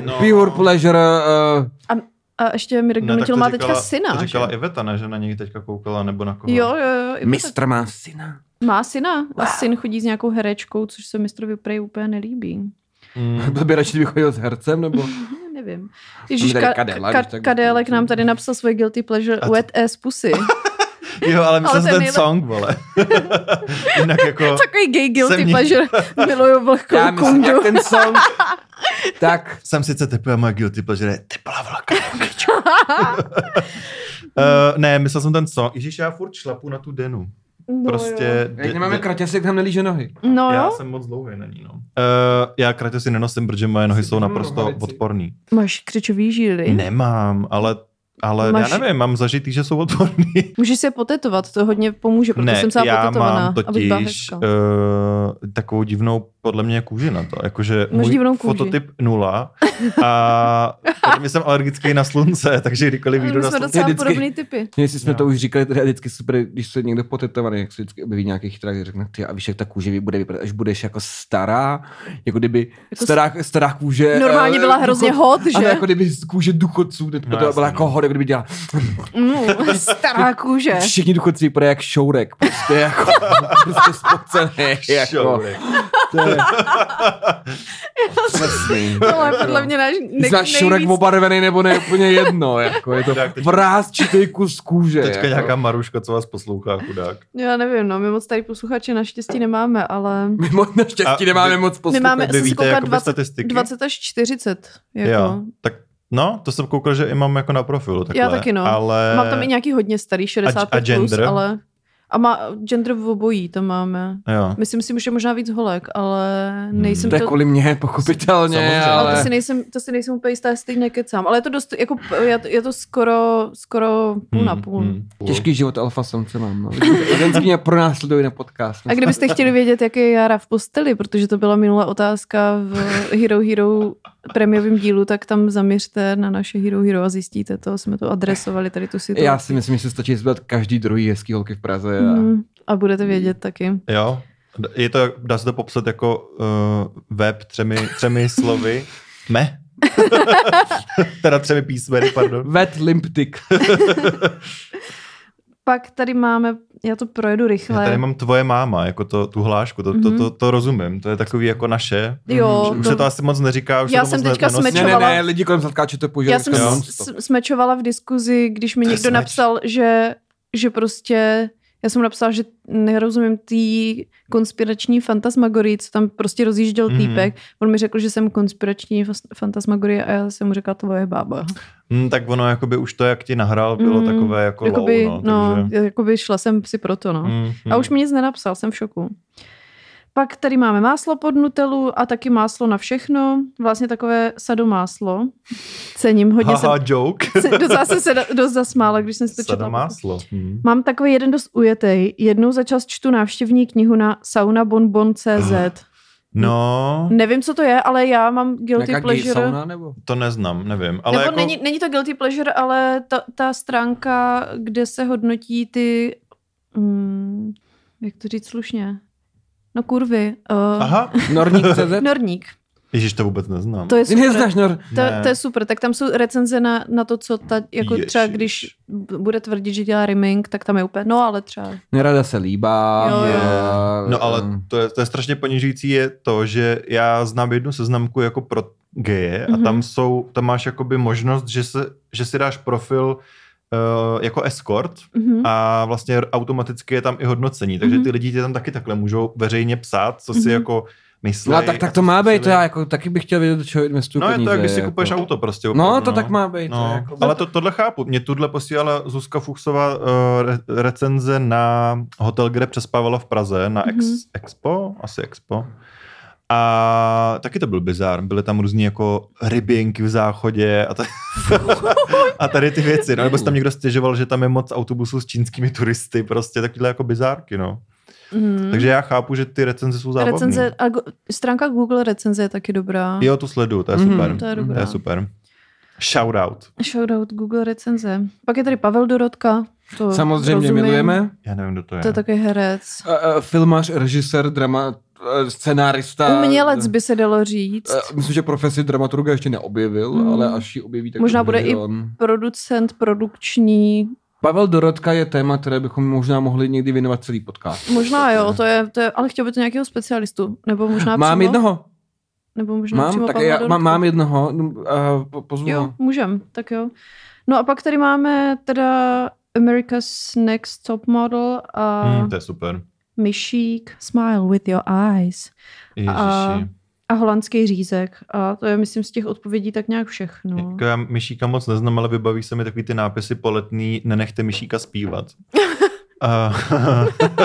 [SPEAKER 3] no.
[SPEAKER 4] Pure pleasure. Uh,
[SPEAKER 2] a ještě Mirek
[SPEAKER 3] Ne, No, tak
[SPEAKER 2] Donutil
[SPEAKER 3] to
[SPEAKER 2] má
[SPEAKER 3] říkala-
[SPEAKER 2] teďka syna.
[SPEAKER 3] To
[SPEAKER 2] že?
[SPEAKER 3] říkala jako- Iveta, ne, že na něj teďka koukala, nebo na koho.
[SPEAKER 2] Jo, jo, jo. i to tak-
[SPEAKER 4] mistr má syna.
[SPEAKER 2] Má syna a syn chodí s nějakou herečkou, což se mistrovi prej úplně nelíbí.
[SPEAKER 3] Mm.
[SPEAKER 4] To by radši kdyby chodil s hercem, nebo?
[SPEAKER 2] Ne, Nevím. Ježíš,
[SPEAKER 4] tady
[SPEAKER 2] ka-
[SPEAKER 4] Kadela,
[SPEAKER 2] ka-
[SPEAKER 4] když tak-
[SPEAKER 2] Kadélek nám tady napsal svoje guilty pleasure
[SPEAKER 3] A co-
[SPEAKER 2] wet ass pussy.
[SPEAKER 3] Jo, ale myslím
[SPEAKER 2] to
[SPEAKER 3] si
[SPEAKER 2] je
[SPEAKER 3] ten
[SPEAKER 2] nejlep-
[SPEAKER 3] song, vole. Jinak jako...
[SPEAKER 2] Takový gay guilty
[SPEAKER 3] Jsem-
[SPEAKER 2] pleasure. Miluju
[SPEAKER 4] Já
[SPEAKER 2] vlhkou
[SPEAKER 4] myslím,
[SPEAKER 2] kundu.
[SPEAKER 4] jak ten song. tak,
[SPEAKER 3] Jsem sice teplý a moje guilty pleasure je teplá vlhká vlhkačka. Eh, ne, myslel jsem ten song. Ježíš, já furt šlapu na tu denu.
[SPEAKER 2] No,
[SPEAKER 3] Prostě...
[SPEAKER 4] jak nemáme kraťasek, tam nelíže nohy.
[SPEAKER 2] jo. No
[SPEAKER 3] já
[SPEAKER 2] jo,
[SPEAKER 3] jsem moc dlouhý na ní, no. Uh, já kratě si nenosím, protože moje nohy
[SPEAKER 4] Jsi
[SPEAKER 3] jsou
[SPEAKER 4] měl
[SPEAKER 3] naprosto
[SPEAKER 4] nohavici?
[SPEAKER 3] odporný.
[SPEAKER 2] máš křečový žíly.
[SPEAKER 3] Nemám, ale, ale
[SPEAKER 2] Máš-
[SPEAKER 3] já nevím, mám zažitý, že jsou odporný.
[SPEAKER 2] Můžeš se potetovat, to hodně pomůže, protože
[SPEAKER 3] ne,
[SPEAKER 2] jsem celá
[SPEAKER 3] já
[SPEAKER 2] potetovaná.
[SPEAKER 3] mám
[SPEAKER 2] aby byla
[SPEAKER 3] totiž Eh,
[SPEAKER 2] hezká.
[SPEAKER 3] uh, takovou divnou, podle mě, kůži na to. Jakože
[SPEAKER 2] Máš
[SPEAKER 3] můj
[SPEAKER 2] divnou kůži.
[SPEAKER 3] fototyp nula a podle mě jsem alergický na slunce, takže kdykoliv
[SPEAKER 2] Ale
[SPEAKER 3] jdu
[SPEAKER 2] My
[SPEAKER 3] na
[SPEAKER 2] jsme
[SPEAKER 3] slunce,
[SPEAKER 2] docela
[SPEAKER 4] vždycky-
[SPEAKER 2] podobný typy.
[SPEAKER 4] Jestli jsme
[SPEAKER 3] Jo.
[SPEAKER 4] to už říkali, teda je vždycky super, když se někdo potetovaný, jak se vždycky objeví nějaký chytrák, řekne, ty a víš, jak ta kůže bude vypadat, až budeš jako stará, jako kdyby
[SPEAKER 2] Jako
[SPEAKER 4] jako stará, stará kůže.
[SPEAKER 2] Normálně
[SPEAKER 4] eh,
[SPEAKER 2] byla hrozně
[SPEAKER 4] důchod-
[SPEAKER 2] hot,
[SPEAKER 4] Ano,
[SPEAKER 2] že?
[SPEAKER 4] jako kdyby z kůže důchodců, teď
[SPEAKER 3] No,
[SPEAKER 4] to
[SPEAKER 3] jasně,
[SPEAKER 4] byla jako
[SPEAKER 3] no.
[SPEAKER 4] hot, jako kdyby dělala,
[SPEAKER 2] Mm, stará kůže.
[SPEAKER 4] všichni důchodci vypadají jak šourek, prostě jako, prostě spocený, jako.
[SPEAKER 3] Šourek.
[SPEAKER 4] To je... Přesný.
[SPEAKER 2] Tohle je No, podle mě náš nej-
[SPEAKER 4] Znáš šourek
[SPEAKER 2] nejvíc
[SPEAKER 4] obarvený nebo ne, úplně jedno, jako je to
[SPEAKER 3] Tak, teď-
[SPEAKER 4] vrázčitej kus kůže.
[SPEAKER 3] Teďka
[SPEAKER 4] jako.
[SPEAKER 3] nějaká Maruška, co vás poslouchá, chudák.
[SPEAKER 2] Já nevím, no, my moc tady posluchače naštěstí nemáme, ale
[SPEAKER 4] My mo- naštěstí
[SPEAKER 3] A
[SPEAKER 4] nemáme
[SPEAKER 3] vy-
[SPEAKER 4] moc
[SPEAKER 2] my
[SPEAKER 4] posluchačů.
[SPEAKER 2] máme,
[SPEAKER 3] Vy
[SPEAKER 2] jsem si
[SPEAKER 3] víte,
[SPEAKER 2] koukala
[SPEAKER 3] jako
[SPEAKER 2] 20,
[SPEAKER 3] statistiky?
[SPEAKER 2] 20 až 40.
[SPEAKER 3] Jo,
[SPEAKER 2] Jako.
[SPEAKER 3] tak no, to jsem koukal, že i mám jako na profilu takhle.
[SPEAKER 2] Já taky, no.
[SPEAKER 3] Ale...
[SPEAKER 2] Mám tam i nějaký hodně starý, 60
[SPEAKER 3] Eh, a
[SPEAKER 2] plus,
[SPEAKER 3] gender?
[SPEAKER 2] ale... A má gender v obojí, to máme.
[SPEAKER 3] Jo.
[SPEAKER 2] Myslím si, že možná víc holek, ale
[SPEAKER 3] Hmm.
[SPEAKER 2] nejsem
[SPEAKER 4] To je
[SPEAKER 2] to...
[SPEAKER 4] kvůli mně, pochopitelně,
[SPEAKER 3] Samozřejmě.
[SPEAKER 4] ale...
[SPEAKER 2] Ale to si, nejsem, to si nejsem úplně jistá, jestli teď nekecám. Ale je to dost, jako, je to, je to skoro, skoro půl
[SPEAKER 3] Hmm,
[SPEAKER 2] na půl.
[SPEAKER 4] Těžký život alfa samce mám. No. Ženský pro nás sledují na podcast.
[SPEAKER 2] A kdybyste chtěli vědět, jaký je Jara v posteli, protože to byla minulá otázka v Hero Hero premiovém dílu, tak tam zaměřte na naše Hero Hero a zjistíte to. Jsme to adresovali, tady tu situaci.
[SPEAKER 4] Já si myslím, že se stačí zbyt každý druhý hezký holky v Praze. A...
[SPEAKER 2] Mm, a budete vědět taky.
[SPEAKER 3] Jo. D- Je to, dá se to popsat jako uh, web třemi, třemi slovy. Me? teda třemi písmeny, pardon.
[SPEAKER 4] Wet limptik.
[SPEAKER 2] Pak tady máme, já to projedu
[SPEAKER 3] Já
[SPEAKER 2] rychle.
[SPEAKER 3] tady mám tvoje máma, jako to, tu hlášku, to, to, to, to rozumím, to je takový jako naše.
[SPEAKER 2] Jo,
[SPEAKER 3] Už
[SPEAKER 2] Mhm. to-
[SPEAKER 3] se to asi moc neříká, už
[SPEAKER 2] Já
[SPEAKER 3] se to
[SPEAKER 2] jsem
[SPEAKER 3] moc ne-
[SPEAKER 2] teďka
[SPEAKER 3] nenosí.
[SPEAKER 4] Ne, ne,
[SPEAKER 2] Čovala.
[SPEAKER 4] ne, lidi kolem zatkáče to používají.
[SPEAKER 2] Já jsem
[SPEAKER 3] Jo.
[SPEAKER 2] s- s- smečovala v diskuzi, když mi
[SPEAKER 3] To je
[SPEAKER 2] někdo
[SPEAKER 3] smeč.
[SPEAKER 2] napsal, že, že prostě, já jsem mu napsala, že nerozumím té konspirační fantasmagorii, co tam prostě rozjížděl
[SPEAKER 3] Mhm.
[SPEAKER 2] mm. týpek. On mi řekl, že jsem konspirační fas- fantasmagorie a já jsem mu řekla, tvoje bába.
[SPEAKER 3] Hm, tak ono, jakoby už to, jak ti nahrál, bylo
[SPEAKER 2] Mm,
[SPEAKER 3] takové jako
[SPEAKER 2] Jakoby,
[SPEAKER 3] low, no,
[SPEAKER 2] no,
[SPEAKER 3] takže...
[SPEAKER 2] jakoby šla jsem si proto, no.
[SPEAKER 3] Mm,
[SPEAKER 4] Hmm.
[SPEAKER 2] A už mi nic nenapsal, jsem v šoku. Pak tady máme máslo pod nutelu a taky máslo na všechno. Vlastně takové sadomáslo. Cením, hodně
[SPEAKER 3] Haha,
[SPEAKER 2] jsem,
[SPEAKER 3] joke.
[SPEAKER 2] se- docela jsem se da- dost zasmála, když jsem si to četla. prostě.
[SPEAKER 3] Sadomáslo. Hm.
[SPEAKER 2] Mám takový jeden dost ujetej. Jednou za čas čtu návštěvní knihu na saunabonbon.cz.
[SPEAKER 3] No,
[SPEAKER 2] Nevím, co to je, ale já mám guilty
[SPEAKER 4] Nějaká gay
[SPEAKER 2] pleasure.
[SPEAKER 4] sauna nebo?
[SPEAKER 3] to neznám, nevím. Ale
[SPEAKER 2] Ale Nebo
[SPEAKER 3] jako...
[SPEAKER 2] jako... není, není to guilty pleasure, ale ta, ta stránka, kde se hodnotí ty, mm, jak to říct slušně, no kurvy, uh,
[SPEAKER 3] Aha,
[SPEAKER 4] Norník CZ?
[SPEAKER 2] Norník,
[SPEAKER 3] Ježíš, to vůbec neznám.
[SPEAKER 2] to je
[SPEAKER 4] Ty
[SPEAKER 2] No, super.
[SPEAKER 4] neznáš Nor...
[SPEAKER 2] To,
[SPEAKER 3] Ne.
[SPEAKER 2] to je super, tak tam jsou recenze na, na to, co ta, jako
[SPEAKER 3] Ježiš.
[SPEAKER 2] třeba když b- bude tvrdit, že dělá rimming, tak tam je úplně, no ale třeba.
[SPEAKER 4] Nerada se Mm. líbá.
[SPEAKER 2] Jo, jo.
[SPEAKER 4] a-
[SPEAKER 3] No ale
[SPEAKER 4] a-
[SPEAKER 3] to je, to je strašně ponižující je to, že já znám jednu seznamku jako pro geje a
[SPEAKER 2] Mhm.
[SPEAKER 3] tam jsou, tam máš jakoby možnost, že, se, že si dáš profil eh, jako escort
[SPEAKER 2] Mhm.
[SPEAKER 3] a vlastně automaticky je tam i hodnocení, takže
[SPEAKER 2] Mhm.
[SPEAKER 3] ty lidi tě tam taky takhle můžou veřejně psát, co si
[SPEAKER 2] Mhm.
[SPEAKER 3] jako myslí.
[SPEAKER 4] No a tak, tak to má být, to já jako taky bych chtěl vědět, do čeho investuju
[SPEAKER 3] No je
[SPEAKER 4] peníze.
[SPEAKER 3] to, jak když si
[SPEAKER 4] jako.
[SPEAKER 3] kupuješ auto prostě.
[SPEAKER 4] No,
[SPEAKER 3] opravdu,
[SPEAKER 4] to tak má být.
[SPEAKER 3] No,
[SPEAKER 4] jako.
[SPEAKER 3] ale to, tohle chápu. Mě tuhle posílala Zuzka Fuchsová uh, re- recenze na hotel, kde přespávala v Praze, na ex,
[SPEAKER 2] Mhm.
[SPEAKER 3] Expo, asi Expo. A taky to byl bizár. Byly tam různý jako rybinky v záchodě a, ta, a tady ty věci. No, nebo se tam někdo stěžoval, že tam je moc autobusů s čínskými turisty. Prostě takovýhle jako bizárky, no.
[SPEAKER 2] Mhm.
[SPEAKER 3] Takže já chápu, že ty recenze jsou zábavné.
[SPEAKER 2] recenze, a go, stránka Google recenze je taky dobrá.
[SPEAKER 3] Jo, to sleduju, to je
[SPEAKER 4] Mhm.
[SPEAKER 3] super.
[SPEAKER 2] To je
[SPEAKER 3] To
[SPEAKER 2] dobrá.
[SPEAKER 3] je super. Shoutout.
[SPEAKER 2] Shoutout Google recenze. Pak je tady Pavel Dorotka. To
[SPEAKER 4] Samozřejmě
[SPEAKER 2] rozumím.
[SPEAKER 4] milujeme.
[SPEAKER 3] Já nevím, kdo to je.
[SPEAKER 2] To je takový herec.
[SPEAKER 4] Eh, eh, Filmař, režisér, drama, eh, scenárista.
[SPEAKER 2] Umělec by se dalo říct.
[SPEAKER 4] Eh, Myslím, že profesi dramaturga ještě neobjevil,
[SPEAKER 2] Mm.
[SPEAKER 4] ale až ji objeví, tak
[SPEAKER 2] Možná
[SPEAKER 4] to
[SPEAKER 2] bude i-
[SPEAKER 4] on.
[SPEAKER 2] Producent, produkční.
[SPEAKER 4] Pavel Dorotka je téma, které bychom možná mohli někdy věnovat celý podcast.
[SPEAKER 2] Možná jo, to je, to je ale chtěl by to nějakého specialistu. Nebo možná
[SPEAKER 4] Mám
[SPEAKER 2] přímo,
[SPEAKER 4] jednoho.
[SPEAKER 2] Nebo možná
[SPEAKER 4] Mám,
[SPEAKER 2] přímo
[SPEAKER 4] tak
[SPEAKER 2] Pavla
[SPEAKER 4] já, mám,
[SPEAKER 2] Dorotku.
[SPEAKER 4] mám jednoho. Uh, pozvu
[SPEAKER 2] Jo,
[SPEAKER 4] ho.
[SPEAKER 2] můžem, tak jo. No a pak tady máme teda America's Next Top Model a
[SPEAKER 3] Hmm,
[SPEAKER 2] hmm,
[SPEAKER 3] to je super.
[SPEAKER 2] Myšík, Smile with your eyes A-
[SPEAKER 3] Ježiši.
[SPEAKER 2] a holandský řízek. A to je, myslím, z těch odpovědí tak nějak všechno.
[SPEAKER 3] Jako já myšíka moc neznám, ale vybaví se mi takový ty nápisy poletný, nenechte myšíka zpívat. A,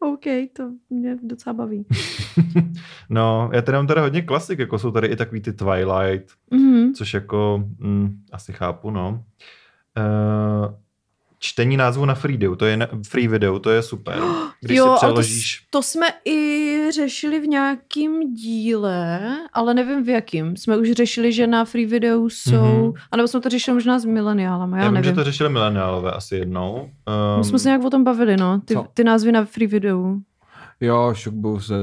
[SPEAKER 2] OK, to mě docela baví.
[SPEAKER 3] no, já tady mám tady hodně klasik, jako jsou tady i takový ty Twilight,
[SPEAKER 2] Mhm.
[SPEAKER 3] což jako mm, asi chápu, no. Uh, čtení názvu na free video, to je na, free video, to je super. Když
[SPEAKER 2] jo,
[SPEAKER 3] si
[SPEAKER 2] ale to,
[SPEAKER 3] přeložíš...
[SPEAKER 2] to jsme i řešili v nějakým díle, ale nevím v jakým. Jsme už řešili, že na free videu jsou,
[SPEAKER 3] Mhm.
[SPEAKER 2] mm-hmm. anebo jsme to řešili možná s mileniálama, já,
[SPEAKER 3] já vím,
[SPEAKER 2] nevím.
[SPEAKER 3] že to řešili mileniálové asi jednou. Ehm,
[SPEAKER 2] My jsme se nějak o tom bavili, no, ty,
[SPEAKER 4] Co?
[SPEAKER 2] ty názvy na free videu.
[SPEAKER 4] Jo, šok byl se.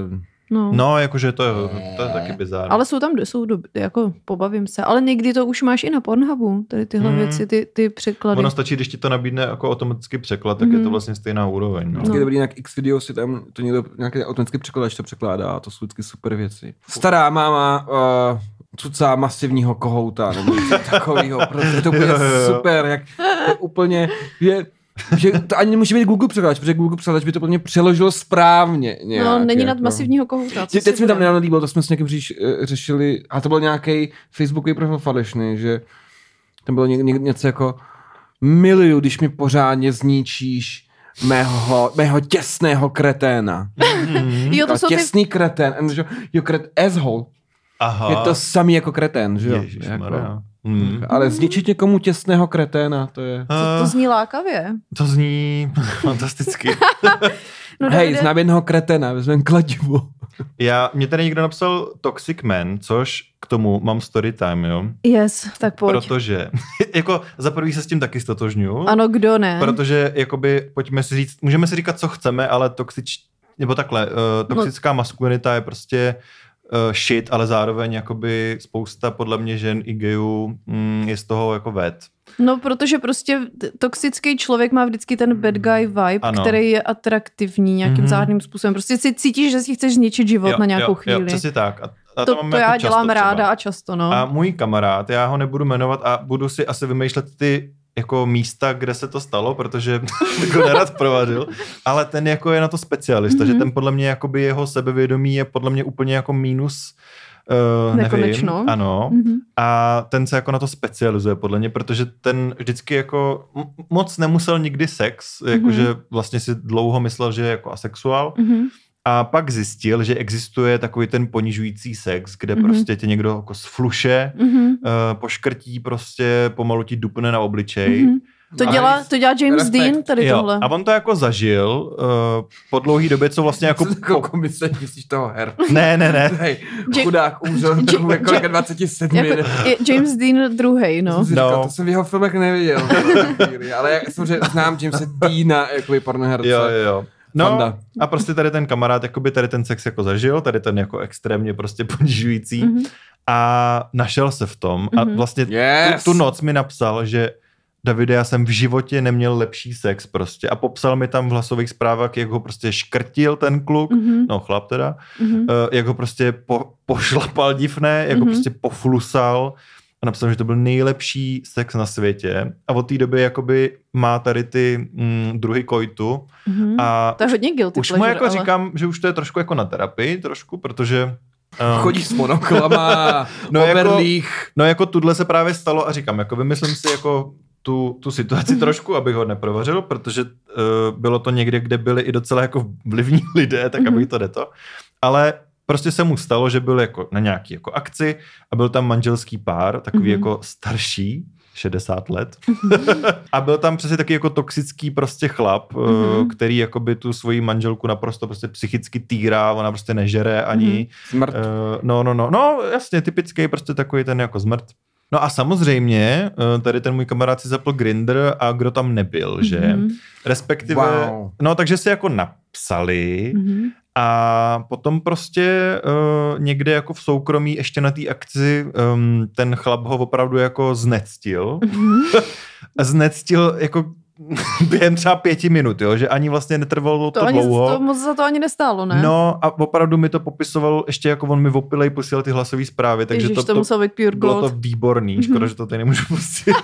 [SPEAKER 2] No.
[SPEAKER 3] No, jakože to, je- to je taky bizár.
[SPEAKER 2] Ale jsou tam, jsou dob, jako pobavím se, ale někdy to už máš i na Pornhubu, tady tyhle
[SPEAKER 3] Mm.
[SPEAKER 2] hmm. věci, ty, ty překlady. No,
[SPEAKER 3] Ono stačí, když ti to nabídne jako automatický překlad, tak je to
[SPEAKER 2] Mhm.
[SPEAKER 3] vlastně stejná úroveň. No.
[SPEAKER 4] No.
[SPEAKER 2] No.
[SPEAKER 4] Je dobrý nějak X video si tam to někdo, nějaký autentický překladač to překládá a to jsou vždycky super věci. Stará máma uh, cucá masivního kohouta nebo něco takového, protože to
[SPEAKER 3] Jo,
[SPEAKER 4] je
[SPEAKER 3] jo, jo.
[SPEAKER 4] super, jak to úplně je, že to ani nemůže být Google překladač, protože Google překladač by to plně přeložil správně. Nějak,
[SPEAKER 2] no, není nad
[SPEAKER 4] jako.
[SPEAKER 2] masivního kohouta. co
[SPEAKER 4] Tě,
[SPEAKER 2] si
[SPEAKER 4] teď mi tam
[SPEAKER 2] budem.
[SPEAKER 4] nedávno líbilo, to jsme s někým říš, eh, řešili, a to byl nějaký Facebookový profil falešný, že tam bylo něk, něk, něco jako miluju, když mi pořádně zničíš mého, mého těsného kreténa.
[SPEAKER 3] Mhm.
[SPEAKER 2] Jo, to
[SPEAKER 4] A
[SPEAKER 2] jsou ty,
[SPEAKER 4] těsný kretén. And, že, jo, kret, asshole.
[SPEAKER 3] Aha.
[SPEAKER 4] Je to samý jako kretén, že jo? Jako,
[SPEAKER 3] Ježišmarja. Hmm.
[SPEAKER 4] ale zničit někomu těsného kreténa, to je...
[SPEAKER 2] to, to
[SPEAKER 3] Eh,
[SPEAKER 2] zní lákavě.
[SPEAKER 3] to zní fantasticky.
[SPEAKER 2] No,
[SPEAKER 4] Hej,
[SPEAKER 2] Davide,
[SPEAKER 4] znám jednoho kreténa, vezmeme kladivo.
[SPEAKER 3] Já, mě tady někdo napsal Toxic Man, což k tomu mám story time, jo?
[SPEAKER 2] Yes, tak pojď.
[SPEAKER 3] Protože, jako za prvý se s tím taky stotožňuju.
[SPEAKER 2] Ano, kdo ne?
[SPEAKER 3] Protože, jakoby, pojďme si říct, můžeme si říkat, co chceme, ale toxič, nebo takhle, uh, toxická maskulinita je prostě uh, shit, ale zároveň, jakoby, spousta podle mě žen i gejů mm, je z toho jako ved.
[SPEAKER 2] No, protože prostě t- toxický člověk má vždycky ten bad guy vibe,
[SPEAKER 3] Hmm. Ano.
[SPEAKER 2] ano. který je atraktivní nějakým
[SPEAKER 3] Mhm.
[SPEAKER 2] mm-hmm. záhadným způsobem. Prostě si cítíš, že si chceš zničit život
[SPEAKER 3] Jo,
[SPEAKER 2] na nějakou
[SPEAKER 3] jo,
[SPEAKER 2] chvíli.
[SPEAKER 3] Jo, přesně tak. A, a
[SPEAKER 2] to,
[SPEAKER 3] mám
[SPEAKER 2] to
[SPEAKER 3] jako
[SPEAKER 2] já
[SPEAKER 3] často
[SPEAKER 2] dělám
[SPEAKER 3] třeba.
[SPEAKER 2] ráda a často, no.
[SPEAKER 3] A můj kamarád, já ho nebudu jmenovat a budu si asi vymýšlet ty jako místa, kde se to stalo, protože bych ho nerad provadil, ale ten jako je na to specialista, mm-hmm. že
[SPEAKER 2] Mhm.
[SPEAKER 3] ten podle mě jakoby jeho sebevědomí je podle mě úplně jako mínus Uh, nevím,
[SPEAKER 2] Nekonečno.
[SPEAKER 3] ano.
[SPEAKER 2] Mhm.
[SPEAKER 3] A ten se jako na to specializuje podle mě, protože ten vždycky jako m- moc nemusel nikdy sex, jakože vlastně si dlouho myslel, že je jako asexuál,
[SPEAKER 2] Mhm.
[SPEAKER 3] a pak zjistil, že existuje takový ten ponižující sex, kde
[SPEAKER 2] Mhm.
[SPEAKER 3] prostě tě někdo jako sfluše,
[SPEAKER 2] Mhm.
[SPEAKER 3] eh, poškrtí prostě, pomalu ti dupne na obličej.
[SPEAKER 2] Mhm. To
[SPEAKER 4] Nice.
[SPEAKER 2] dělá, to dělá James
[SPEAKER 4] Respekt.
[SPEAKER 2] Dean, tady
[SPEAKER 3] jo,
[SPEAKER 2] tohle.
[SPEAKER 3] a on to jako zažil uh, po dlouhé době, co vlastně jako... Eh.
[SPEAKER 4] Jako komise, myslíš toho her.
[SPEAKER 3] Ne, ne, ne.
[SPEAKER 4] Hej,
[SPEAKER 2] Jack-
[SPEAKER 4] chudák umřel
[SPEAKER 2] Jack-
[SPEAKER 4] tomu jako
[SPEAKER 2] Jack-
[SPEAKER 4] 27.
[SPEAKER 2] Jako, je James Dean druhý, no.
[SPEAKER 4] Jsem si říkal,
[SPEAKER 3] No.
[SPEAKER 4] To jsem v jeho filmech neviděl. ale já samozřejmě znám Jamesa Deana jako pornoherce.
[SPEAKER 3] Jo, jo, jo. No
[SPEAKER 4] Fanda.
[SPEAKER 3] a prostě tady ten kamarád, jakoby tady ten sex jako zažil, tady ten jako extrémně prostě ponižující
[SPEAKER 2] Mhm.
[SPEAKER 3] a našel se v tom a
[SPEAKER 2] Mhm.
[SPEAKER 3] vlastně
[SPEAKER 4] Yes.
[SPEAKER 3] tu, tu noc mi napsal, že Davide, já jsem v životě neměl lepší sex prostě a popsal mi tam v hlasových zprávách, jak ho prostě škrtil ten kluk,
[SPEAKER 2] Mhm,
[SPEAKER 3] no chlap teda,
[SPEAKER 2] mhm.
[SPEAKER 3] eh, jak ho prostě po, pošlapal divné, jak ho
[SPEAKER 2] Mhm.
[SPEAKER 3] prostě poflusal a napsal, že to byl nejlepší sex na světě a od té doby jakoby má tady ty mm, druhy koitu
[SPEAKER 2] Mhm.
[SPEAKER 3] a
[SPEAKER 2] To je hodně guilty
[SPEAKER 3] už mu
[SPEAKER 2] pleasure,
[SPEAKER 3] jako
[SPEAKER 2] ale...
[SPEAKER 3] říkám, že už to je trošku jako na terapii, trošku, protože... Um,
[SPEAKER 4] Chodíš s monoklama,
[SPEAKER 3] No
[SPEAKER 4] no,
[SPEAKER 3] jako-
[SPEAKER 4] oberlích.
[SPEAKER 3] No jako tuhle se právě stalo a říkám, jako vymyslím si jako tu, tu
[SPEAKER 2] Mhm.
[SPEAKER 3] situaci trošku, abych ho neprovařil, protože uh, bylo to někde, kde byli i docela jako vlivní lidé, tak
[SPEAKER 2] Mhm.
[SPEAKER 3] abych to to. Ale prostě se mu stalo, že byl jako na nějaký jako akci a byl tam manželský pár, takový
[SPEAKER 2] Mhm.
[SPEAKER 3] jako starší, 60 let. a byl tam přesně taky jako toxický prostě chlap, mm-hmm.
[SPEAKER 2] Mhm.
[SPEAKER 3] který jakoby tu svoji manželku naprosto prostě psychicky týrá, ona prostě nežere ani,
[SPEAKER 2] Mhm.
[SPEAKER 4] Smrt.
[SPEAKER 3] Eh, no, no, no, no, jasně, typický prostě takový ten jako zmrt. No a samozřejmě, eh, tady ten můj kamarád si zapl Grinder a kdo tam nebyl, že?
[SPEAKER 2] Mhm,
[SPEAKER 3] Respektive,
[SPEAKER 4] Wow.
[SPEAKER 3] no takže si jako napsali
[SPEAKER 2] mhm.
[SPEAKER 3] a potom prostě uh, někde jako v soukromí ještě na té akci um, ten chlap ho opravdu jako znectil.
[SPEAKER 2] Mhm.
[SPEAKER 3] znectil jako během třeba pěti minut, jo? že ani vlastně netrvalo to,
[SPEAKER 2] To, ani,
[SPEAKER 3] dlouho.
[SPEAKER 2] to moc za to ani nestálo, ne?
[SPEAKER 3] No a opravdu mi to popisoval, ještě jako on mi opilej posílal ty hlasové zprávy, takže
[SPEAKER 2] Ježíš,
[SPEAKER 3] to,
[SPEAKER 2] to, muselo být Mhm. pure
[SPEAKER 3] bylo
[SPEAKER 2] gold.
[SPEAKER 3] to výborný, škoda, že to tady nemůžu pustit.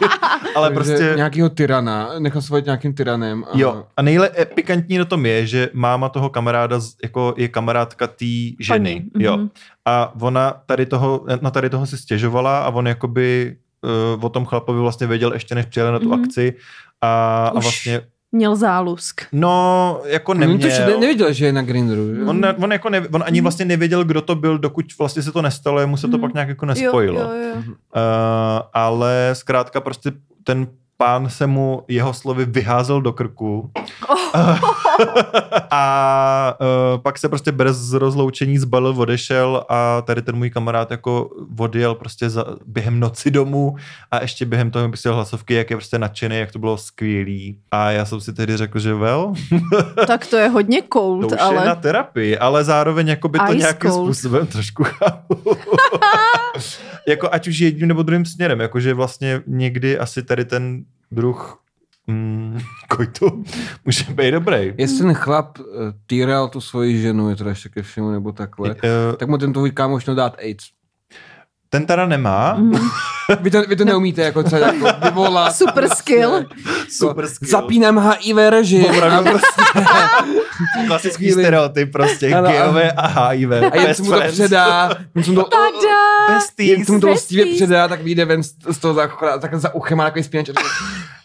[SPEAKER 3] Ale
[SPEAKER 4] Takže
[SPEAKER 3] prostě,
[SPEAKER 4] Nějakýho tyrana, nechal se volit nějakým tyranem. A... No,
[SPEAKER 3] jo. A nejle eh, pikantní na tom je, že máma toho kamaráda z- jako je kamarádka té ženy.
[SPEAKER 2] Paní,
[SPEAKER 3] Jo.
[SPEAKER 2] mhm.
[SPEAKER 3] A ona tady toho, na tady toho si stěžovala a on jakoby uh, o tom chlapovi vlastně věděl ještě než přijeli na tu
[SPEAKER 2] Mhm.
[SPEAKER 3] akci. A, a
[SPEAKER 2] Už
[SPEAKER 3] vlastně,
[SPEAKER 2] Měl zálusk.
[SPEAKER 3] no, jako
[SPEAKER 4] On tož
[SPEAKER 3] neměl.
[SPEAKER 4] ne, neviděl, že je na Grindru. že?
[SPEAKER 3] On, ne, on, jako ne, on ani
[SPEAKER 2] Mhm.
[SPEAKER 3] vlastně nevěděl, kdo to byl, dokud vlastně se to nestalo, jemu se to
[SPEAKER 2] Mhm.
[SPEAKER 3] pak nějak jako nespojilo.
[SPEAKER 2] Jo, jo, jo.
[SPEAKER 3] Uh, ale zkrátka prostě ten pán se mu jeho slovy vyházel do krku. a uh, pak se prostě bez rozloučení zbalil, odešel a tady ten můj kamarád jako odjel prostě za, během noci domů a ještě během toho mi psal hlasovky, jak je prostě nadšený, jak to bylo skvělý. A já jsem si tedy řekl, že well,
[SPEAKER 2] Tak to je hodně
[SPEAKER 3] to
[SPEAKER 2] cold,
[SPEAKER 3] už ale... je na
[SPEAKER 2] ale...
[SPEAKER 3] terapii, ale zároveň jako by to
[SPEAKER 2] Ice
[SPEAKER 3] nějakým
[SPEAKER 2] cold.
[SPEAKER 3] způsobem trošku chápu. jako ať už jedním nebo druhým směrem, jakože vlastně někdy asi tady ten druh mm, kojtu může být dobrý.
[SPEAKER 4] Jestli ten chlap eh, týral tu svoji ženu, je teda ještě ke všemu nebo takhle,
[SPEAKER 3] Eh,
[SPEAKER 4] tak mu ten tvůj kámoš měl dát AIDS.
[SPEAKER 3] Ten teda nemá.
[SPEAKER 2] Mhm.
[SPEAKER 4] Vy to, vy to neumíte jako třeba jako vyvolat. jako
[SPEAKER 2] Super skill.
[SPEAKER 3] Super skill.
[SPEAKER 4] Zapínám HIV režim. A,
[SPEAKER 3] Opravdu.
[SPEAKER 4] prostě,
[SPEAKER 3] Klasický
[SPEAKER 4] Chvíli.
[SPEAKER 3] stereotyp prostě.
[SPEAKER 4] Ano, a-
[SPEAKER 3] Geové a HIV.
[SPEAKER 4] a jen se mu to předá. jen se mu to-
[SPEAKER 2] Tada!
[SPEAKER 3] Besties.
[SPEAKER 4] Jak tomu to
[SPEAKER 2] Besties.
[SPEAKER 4] stivě předá, tak vyjde ven z z toho za, tak za uchem má takový spínač. a řekne,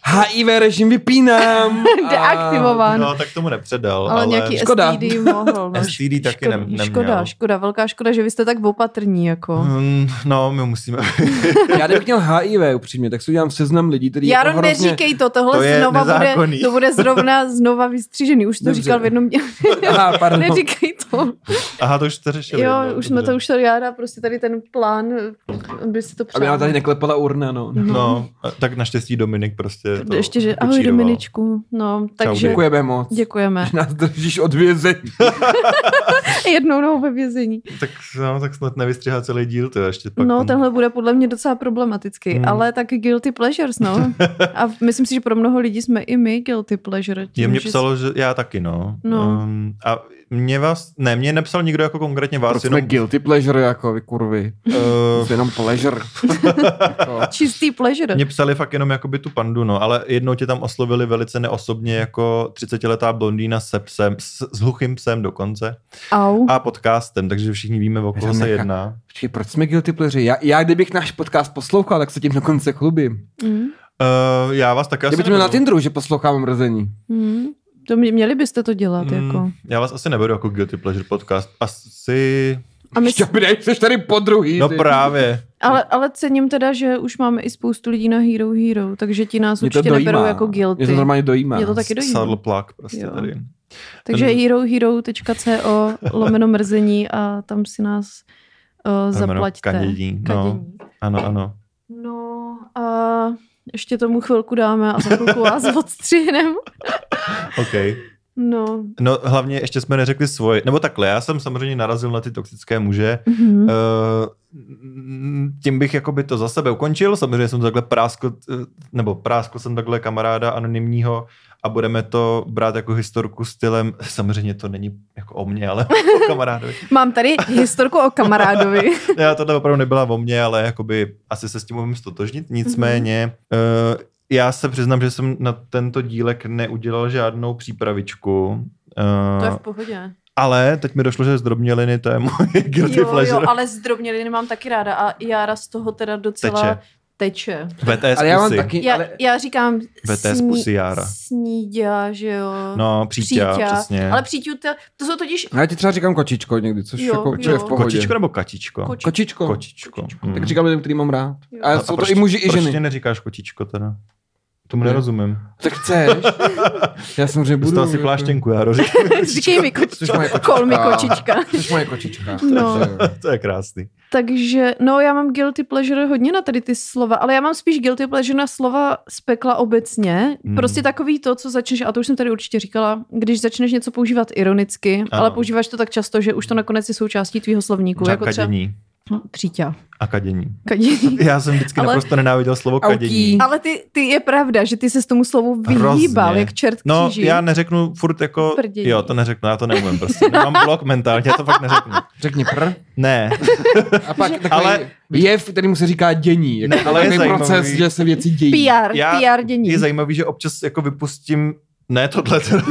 [SPEAKER 4] HIV režim vypínám. a-
[SPEAKER 2] Deaktivován.
[SPEAKER 3] No, tak tomu nepředal.
[SPEAKER 2] Ale, ale nějaký
[SPEAKER 4] škoda.
[SPEAKER 2] STD mohl. No.
[SPEAKER 3] STD taky
[SPEAKER 2] škoda,
[SPEAKER 3] nem- neměl.
[SPEAKER 2] Škoda, škoda, velká škoda, že vy jste tak opatrní, jako.
[SPEAKER 3] Hmm, No, my musíme
[SPEAKER 4] Já kdybych měl HIV upřímně, tak si udělám seznam lidí, který
[SPEAKER 2] Jaro,
[SPEAKER 4] jako hrozně...
[SPEAKER 2] neříkej to, tohle
[SPEAKER 3] To je
[SPEAKER 2] znova bude,
[SPEAKER 3] nezákonný.
[SPEAKER 2] to bude zrovna znova vystřížený, už to
[SPEAKER 4] Dobře.
[SPEAKER 2] říkal v jednom dě-
[SPEAKER 4] Aha, pardon.
[SPEAKER 2] Neříkej to.
[SPEAKER 3] Aha, to už jste řešili.
[SPEAKER 2] Jo,
[SPEAKER 3] no,
[SPEAKER 2] už jsme
[SPEAKER 3] dobře.
[SPEAKER 2] to, už to Jára, prostě tady ten plán, on by si to přál.
[SPEAKER 4] Aby nám tady neklepala urna, no.
[SPEAKER 3] No, a tak naštěstí Dominik prostě to
[SPEAKER 2] Ještě, že ahoj
[SPEAKER 3] vyčíroval.
[SPEAKER 2] Dominičku, no, takže
[SPEAKER 3] Děkuji.
[SPEAKER 4] Děkujeme moc.
[SPEAKER 2] děkujeme.
[SPEAKER 4] Že Nás držíš od vězení.
[SPEAKER 2] Jednou nohou ve vězení.
[SPEAKER 3] Tak, no, tak snad nevystřihá celý díl, to ještě pak.
[SPEAKER 2] No,
[SPEAKER 3] tam-
[SPEAKER 2] tenhle bude podle mě docela problematický,
[SPEAKER 3] Hmm.
[SPEAKER 2] hmm. ale taky guilty pleasures, no. A myslím si, že pro mnoho lidí jsme i my guilty pleasure. tím,
[SPEAKER 3] Je mě
[SPEAKER 2] že-
[SPEAKER 3] psalo, že já taky, no.
[SPEAKER 2] No.
[SPEAKER 3] Um, a mě vás, ne, mě nepsal nikdo jako konkrétně vás,
[SPEAKER 4] Proč jsme
[SPEAKER 3] jenom,
[SPEAKER 4] guilty pleasure, jako vy kurvy.
[SPEAKER 3] uh,
[SPEAKER 4] Jsme jenom pleasure. Jako,
[SPEAKER 2] Čistý pleasure.
[SPEAKER 3] eh, mě psali fakt jenom jakoby tu pandu, no, ale jednou tě tam oslovili velice neosobně jako 30-letá blondýna se psem, s, s hluchým psem dokonce
[SPEAKER 2] Au.
[SPEAKER 3] a podcastem, takže všichni víme, o koho se
[SPEAKER 4] Nechám-
[SPEAKER 3] jedná.
[SPEAKER 4] Počkej, proč jsme guilty pleasure? Já, já kdybych náš podcast poslouchal, tak se tím dokonce chlubím.
[SPEAKER 2] Mm.
[SPEAKER 3] Uh, já vás také asi
[SPEAKER 4] Kdyby to měl na
[SPEAKER 3] neberu.
[SPEAKER 4] Tinderu, že poslouchám mrzení.
[SPEAKER 2] Mm. To mě, měli byste to dělat,
[SPEAKER 3] Hmm.
[SPEAKER 2] mm. jako.
[SPEAKER 3] Já vás asi neberu jako Guilty Pleasure podcast. Asi...
[SPEAKER 2] A my,
[SPEAKER 4] Šťapidej, jsi tady po druhý.
[SPEAKER 3] No
[SPEAKER 4] ty.
[SPEAKER 3] právě.
[SPEAKER 2] Ale, ale cením teda, že už máme i spoustu lidí na Hero Hero, takže ti nás
[SPEAKER 4] Mě to
[SPEAKER 2] určitě neberou
[SPEAKER 4] dojímá.
[SPEAKER 2] jako guilty.
[SPEAKER 4] Mě to normálně dojímá.
[SPEAKER 2] Mě to taky dojímá.
[SPEAKER 3] Saddle plug prostě
[SPEAKER 2] Jo.
[SPEAKER 3] tady.
[SPEAKER 2] Takže herohero.co lomeno mrzení a tam si nás uh,
[SPEAKER 3] Jméno
[SPEAKER 2] zaplaťte.
[SPEAKER 3] Kanědí. No, ano, ano.
[SPEAKER 2] No a ještě tomu chvilku dáme a za chvilku vás odstřihneme.
[SPEAKER 3] OK.
[SPEAKER 2] No.
[SPEAKER 3] No hlavně ještě jsme neřekli svoje. Nebo takhle, já jsem samozřejmě narazil na ty toxické muže.
[SPEAKER 2] Mhm.
[SPEAKER 3] Eh, tím bych jakoby to za sebe ukončil. Samozřejmě jsem takhle práskl, eh, nebo práskl jsem takhle kamaráda anonymního a budeme to brát jako historku stylem, samozřejmě to není jako o mně, ale o kamarádovi.
[SPEAKER 2] Mám tady historku o kamarádovi.
[SPEAKER 3] Já tohle opravdu nebyla o mně, ale jakoby asi se s tím umím stotožnit. Nicméně
[SPEAKER 2] Mhm.
[SPEAKER 3] eh, já se přiznám, že jsem na tento dílek neudělal žádnou přípravičku. eh,
[SPEAKER 2] To je v pohodě.
[SPEAKER 3] ale teď mi došlo, že zdrobněliny, to je můj guilty
[SPEAKER 2] Jo, jo,
[SPEAKER 3] pleasure.
[SPEAKER 2] ale zdrobněliny mám taky ráda a Jara z toho teda docela
[SPEAKER 3] Teče.
[SPEAKER 2] teče. teče.
[SPEAKER 3] VTS
[SPEAKER 4] Ale já mám
[SPEAKER 3] pusy.
[SPEAKER 4] taky,
[SPEAKER 2] Já,
[SPEAKER 4] ale...
[SPEAKER 2] já říkám
[SPEAKER 3] VTS pusy Jára.
[SPEAKER 2] sníďa, že jo.
[SPEAKER 3] No, přítě, přesně.
[SPEAKER 2] Ale příťu, to, to jsou totiž
[SPEAKER 4] Já ti třeba říkám kočičko někdy, což
[SPEAKER 2] Jo,
[SPEAKER 4] jako
[SPEAKER 2] jo.
[SPEAKER 4] je v pohodě.
[SPEAKER 3] Kočičko nebo katičko?
[SPEAKER 2] kočičko.
[SPEAKER 4] Kočičko.
[SPEAKER 3] Kočičko. Hmm.
[SPEAKER 4] Tak říkám lidem, který mám rád.
[SPEAKER 2] Jo.
[SPEAKER 4] A
[SPEAKER 2] No a
[SPEAKER 4] jsou to i muži, i
[SPEAKER 3] Proč
[SPEAKER 4] ženy.
[SPEAKER 3] tě neříkáš kočičko teda? Tomu
[SPEAKER 4] Ne.
[SPEAKER 3] nerozumím.
[SPEAKER 4] Tak chceš. Já samozřejmě budu.
[SPEAKER 3] Dostal si
[SPEAKER 4] jako-
[SPEAKER 3] pláštěnku, já rožím.
[SPEAKER 2] Říkej mi
[SPEAKER 4] Což moje kočička.
[SPEAKER 2] kočička. Kol mi kočička.
[SPEAKER 4] Jsi moje kočička. eh,
[SPEAKER 2] No.
[SPEAKER 3] to je krásný.
[SPEAKER 2] Takže, no já mám guilty pleasure hodně na tady ty slova, ale já mám spíš guilty pleasure na slova z pekla obecně.
[SPEAKER 3] Hmm.
[SPEAKER 2] Hmm. Prostě takový to, co začneš, a to už jsem tady určitě říkala, když začneš něco používat ironicky,
[SPEAKER 3] Ano.
[SPEAKER 2] ano. ale používáš to tak často, že už to nakonec je součástí tvýho slovníku.
[SPEAKER 3] Třeba
[SPEAKER 2] Jako třeba
[SPEAKER 3] kadění.
[SPEAKER 2] přítě.
[SPEAKER 3] A kadění.
[SPEAKER 2] Kadění.
[SPEAKER 3] Já jsem vždycky
[SPEAKER 2] Ale-
[SPEAKER 3] naprosto nenáviděl slovo
[SPEAKER 4] Autí.
[SPEAKER 3] kadění.
[SPEAKER 2] Ale ty, ty je pravda, že ty se s tomu slovu
[SPEAKER 3] Hrozně.
[SPEAKER 2] vyhýbal, jak čert
[SPEAKER 3] No,
[SPEAKER 2] kříži.
[SPEAKER 3] já neřeknu furt jako...
[SPEAKER 2] Prdění.
[SPEAKER 3] Jo, to neřeknu, já to neumím prostě. Nemám blok mentálně, já to fakt neřeknu.
[SPEAKER 4] Řekni pr.
[SPEAKER 3] Ne,
[SPEAKER 4] A pak takový
[SPEAKER 3] Ale-
[SPEAKER 4] ale... jev, kterému se říká dění. Jako
[SPEAKER 3] Ne, ale je
[SPEAKER 4] takový
[SPEAKER 3] zajímavý.
[SPEAKER 4] proces, že se věci dějí.
[SPEAKER 2] PR,
[SPEAKER 3] Já-
[SPEAKER 2] PR dění.
[SPEAKER 3] je zajímavý, že občas jako vypustím ne tohle, teda,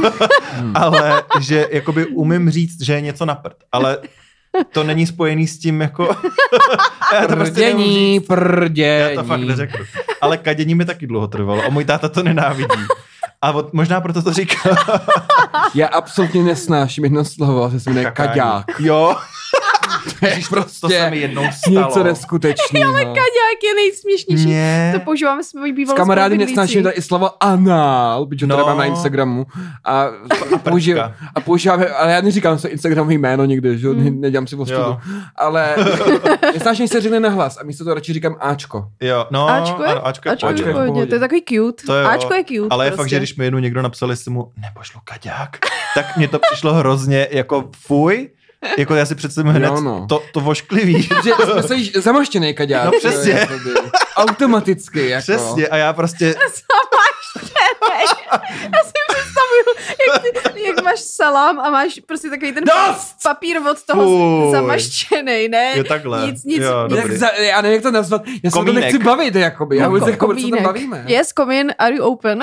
[SPEAKER 4] Hmm.
[SPEAKER 3] ale že jakoby umím říct, že je něco na prd, ale to není spojený s tím jako... já to prostě neumím říct.
[SPEAKER 4] Prdění, prdění.
[SPEAKER 3] Já to fakt neřeknu. Ale kadění mi taky dlouho trvalo a můj táta to nenávidí. A od, možná proto to říká.
[SPEAKER 4] Já absolutně nesnáším jedno slovo, že se jmenuje
[SPEAKER 3] Kakání.
[SPEAKER 4] kaďák.
[SPEAKER 3] Jo,
[SPEAKER 4] To je
[SPEAKER 3] to se mi
[SPEAKER 4] prostě
[SPEAKER 3] jednou stalo.
[SPEAKER 4] něco neskutečného.
[SPEAKER 2] Kaďák je nejsměšnější.
[SPEAKER 3] Mě...
[SPEAKER 2] To používáme s mojí
[SPEAKER 4] S
[SPEAKER 2] bývalou
[SPEAKER 4] kamarády
[SPEAKER 2] spolubydlící.
[SPEAKER 4] nesnáším tady i slovo anál, protože
[SPEAKER 3] No.
[SPEAKER 4] no. to mám na Instagramu. A, a, používám, a používám, ale já neříkám se Instagramové jméno nikdy, že jo,
[SPEAKER 2] Hmm.
[SPEAKER 4] ne, nedělám si
[SPEAKER 3] Jo.
[SPEAKER 4] postupu. Ale nesnáším se řekne na hlas a místo toho radši říkám Ačko.
[SPEAKER 3] Jo, no,
[SPEAKER 2] Ačko je,
[SPEAKER 3] ano, Ačko je,
[SPEAKER 2] Ačko je
[SPEAKER 3] Ačko
[SPEAKER 4] v
[SPEAKER 2] v
[SPEAKER 4] pohodě.
[SPEAKER 2] pohodě, to je takový cute.
[SPEAKER 3] To jo,
[SPEAKER 2] Ačko je cute.
[SPEAKER 3] Ale je
[SPEAKER 2] prostě.
[SPEAKER 3] fakt, že když mi jednou někdo napsal, jestli mu nepošlu kaďák, tak mě to přišlo hrozně jako fuj. Jako já si představím hned
[SPEAKER 4] Jo, no. Jako.
[SPEAKER 3] to, to vošklivý.
[SPEAKER 4] Že jsme se již zamaštěný kaďák.
[SPEAKER 3] No
[SPEAKER 4] že jo,
[SPEAKER 3] přesně.
[SPEAKER 4] jakoby. Automaticky. Jako.
[SPEAKER 3] Přesně, a já prostě,
[SPEAKER 2] Já si představuju, jak, ty, jak máš salám a máš prostě takový ten
[SPEAKER 4] Dost!
[SPEAKER 2] papír od toho
[SPEAKER 3] Fuj.
[SPEAKER 2] zamaštěnej, ne?
[SPEAKER 3] jo takhle.
[SPEAKER 2] Nic, nic,
[SPEAKER 3] jo,
[SPEAKER 2] nic.
[SPEAKER 4] Jak
[SPEAKER 3] dobrý.
[SPEAKER 4] za, já nevím, jak to nazvat. Já se o to
[SPEAKER 3] Komínek.
[SPEAKER 4] nechci bavit, jakoby. Já vůbec jako, co tam
[SPEAKER 2] Komínek.
[SPEAKER 4] bavíme.
[SPEAKER 2] Yes, come in, are you open?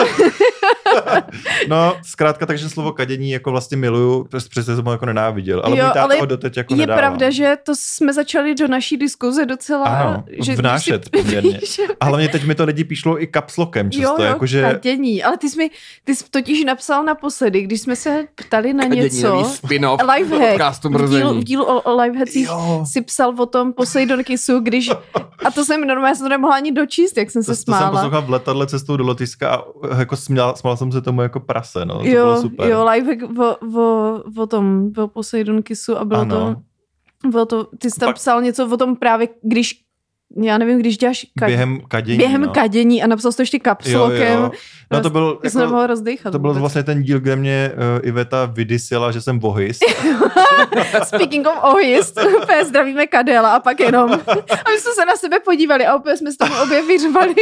[SPEAKER 3] No, zkrátka, takže slovo kadění jako vlastně miluju, přes- přesně jsem ho jako nenáviděl, ale
[SPEAKER 2] Jo,
[SPEAKER 3] můj táta
[SPEAKER 2] ale
[SPEAKER 3] ho doteď jako
[SPEAKER 2] je
[SPEAKER 3] nedává.
[SPEAKER 2] pravda, že to jsme začali do naší diskuze docela...
[SPEAKER 3] Ano,
[SPEAKER 2] že
[SPEAKER 3] vnášet
[SPEAKER 2] když si
[SPEAKER 3] poměrně.
[SPEAKER 2] píšem-
[SPEAKER 3] A hlavně teď mi to lidi píšlo i kapslokem
[SPEAKER 2] Jo,
[SPEAKER 3] často,
[SPEAKER 2] jo,
[SPEAKER 3] jakože...
[SPEAKER 2] kadění. Ale ty jsi mi ty jsi totiž napsal naposledy, když jsme se ptali na
[SPEAKER 4] Kadění, nový
[SPEAKER 2] něco,
[SPEAKER 4] spin-off
[SPEAKER 2] Lifehack.
[SPEAKER 4] podcastu
[SPEAKER 2] V dílu,
[SPEAKER 4] mrzení.
[SPEAKER 2] v dílu o, o lifehackích
[SPEAKER 3] Jo.
[SPEAKER 2] si psal o tom Poseidon Kissu, když... A to jsem normálně jsem to nemohla ani dočíst, jak jsem
[SPEAKER 3] To,
[SPEAKER 2] se
[SPEAKER 3] to jsem
[SPEAKER 2] smála.
[SPEAKER 3] poslouchal v letadle cestou do Lotyšska a eh, jako směl, smál jsem se tomu jako prase, no, to
[SPEAKER 2] jo,
[SPEAKER 3] bylo super.
[SPEAKER 2] jo, lifehack o, o, o tom, o Poseidon Kissu a bylo
[SPEAKER 3] ano,
[SPEAKER 2] to, bylo to... Ty jsi tam
[SPEAKER 3] Pak-
[SPEAKER 2] psal něco o tom právě, když... Já nevím, když děláš ka-
[SPEAKER 3] během kadění.
[SPEAKER 2] během
[SPEAKER 3] no.
[SPEAKER 2] kadění a napsal jsi to ještě kapslokem.
[SPEAKER 3] Jo, jo. No to byl,
[SPEAKER 2] Jako, jsem
[SPEAKER 3] jako,
[SPEAKER 2] nemohla rozdechat.
[SPEAKER 3] to byl
[SPEAKER 2] vůbec.
[SPEAKER 3] vlastně ten díl, kde mě uh, Iveta vydysila, že jsem vohys.
[SPEAKER 2] Speaking of ohist, úplně zdravíme Kadela a pak jenom. A my jsme se na sebe podívali a opět jsme s tomu obě vyřvali.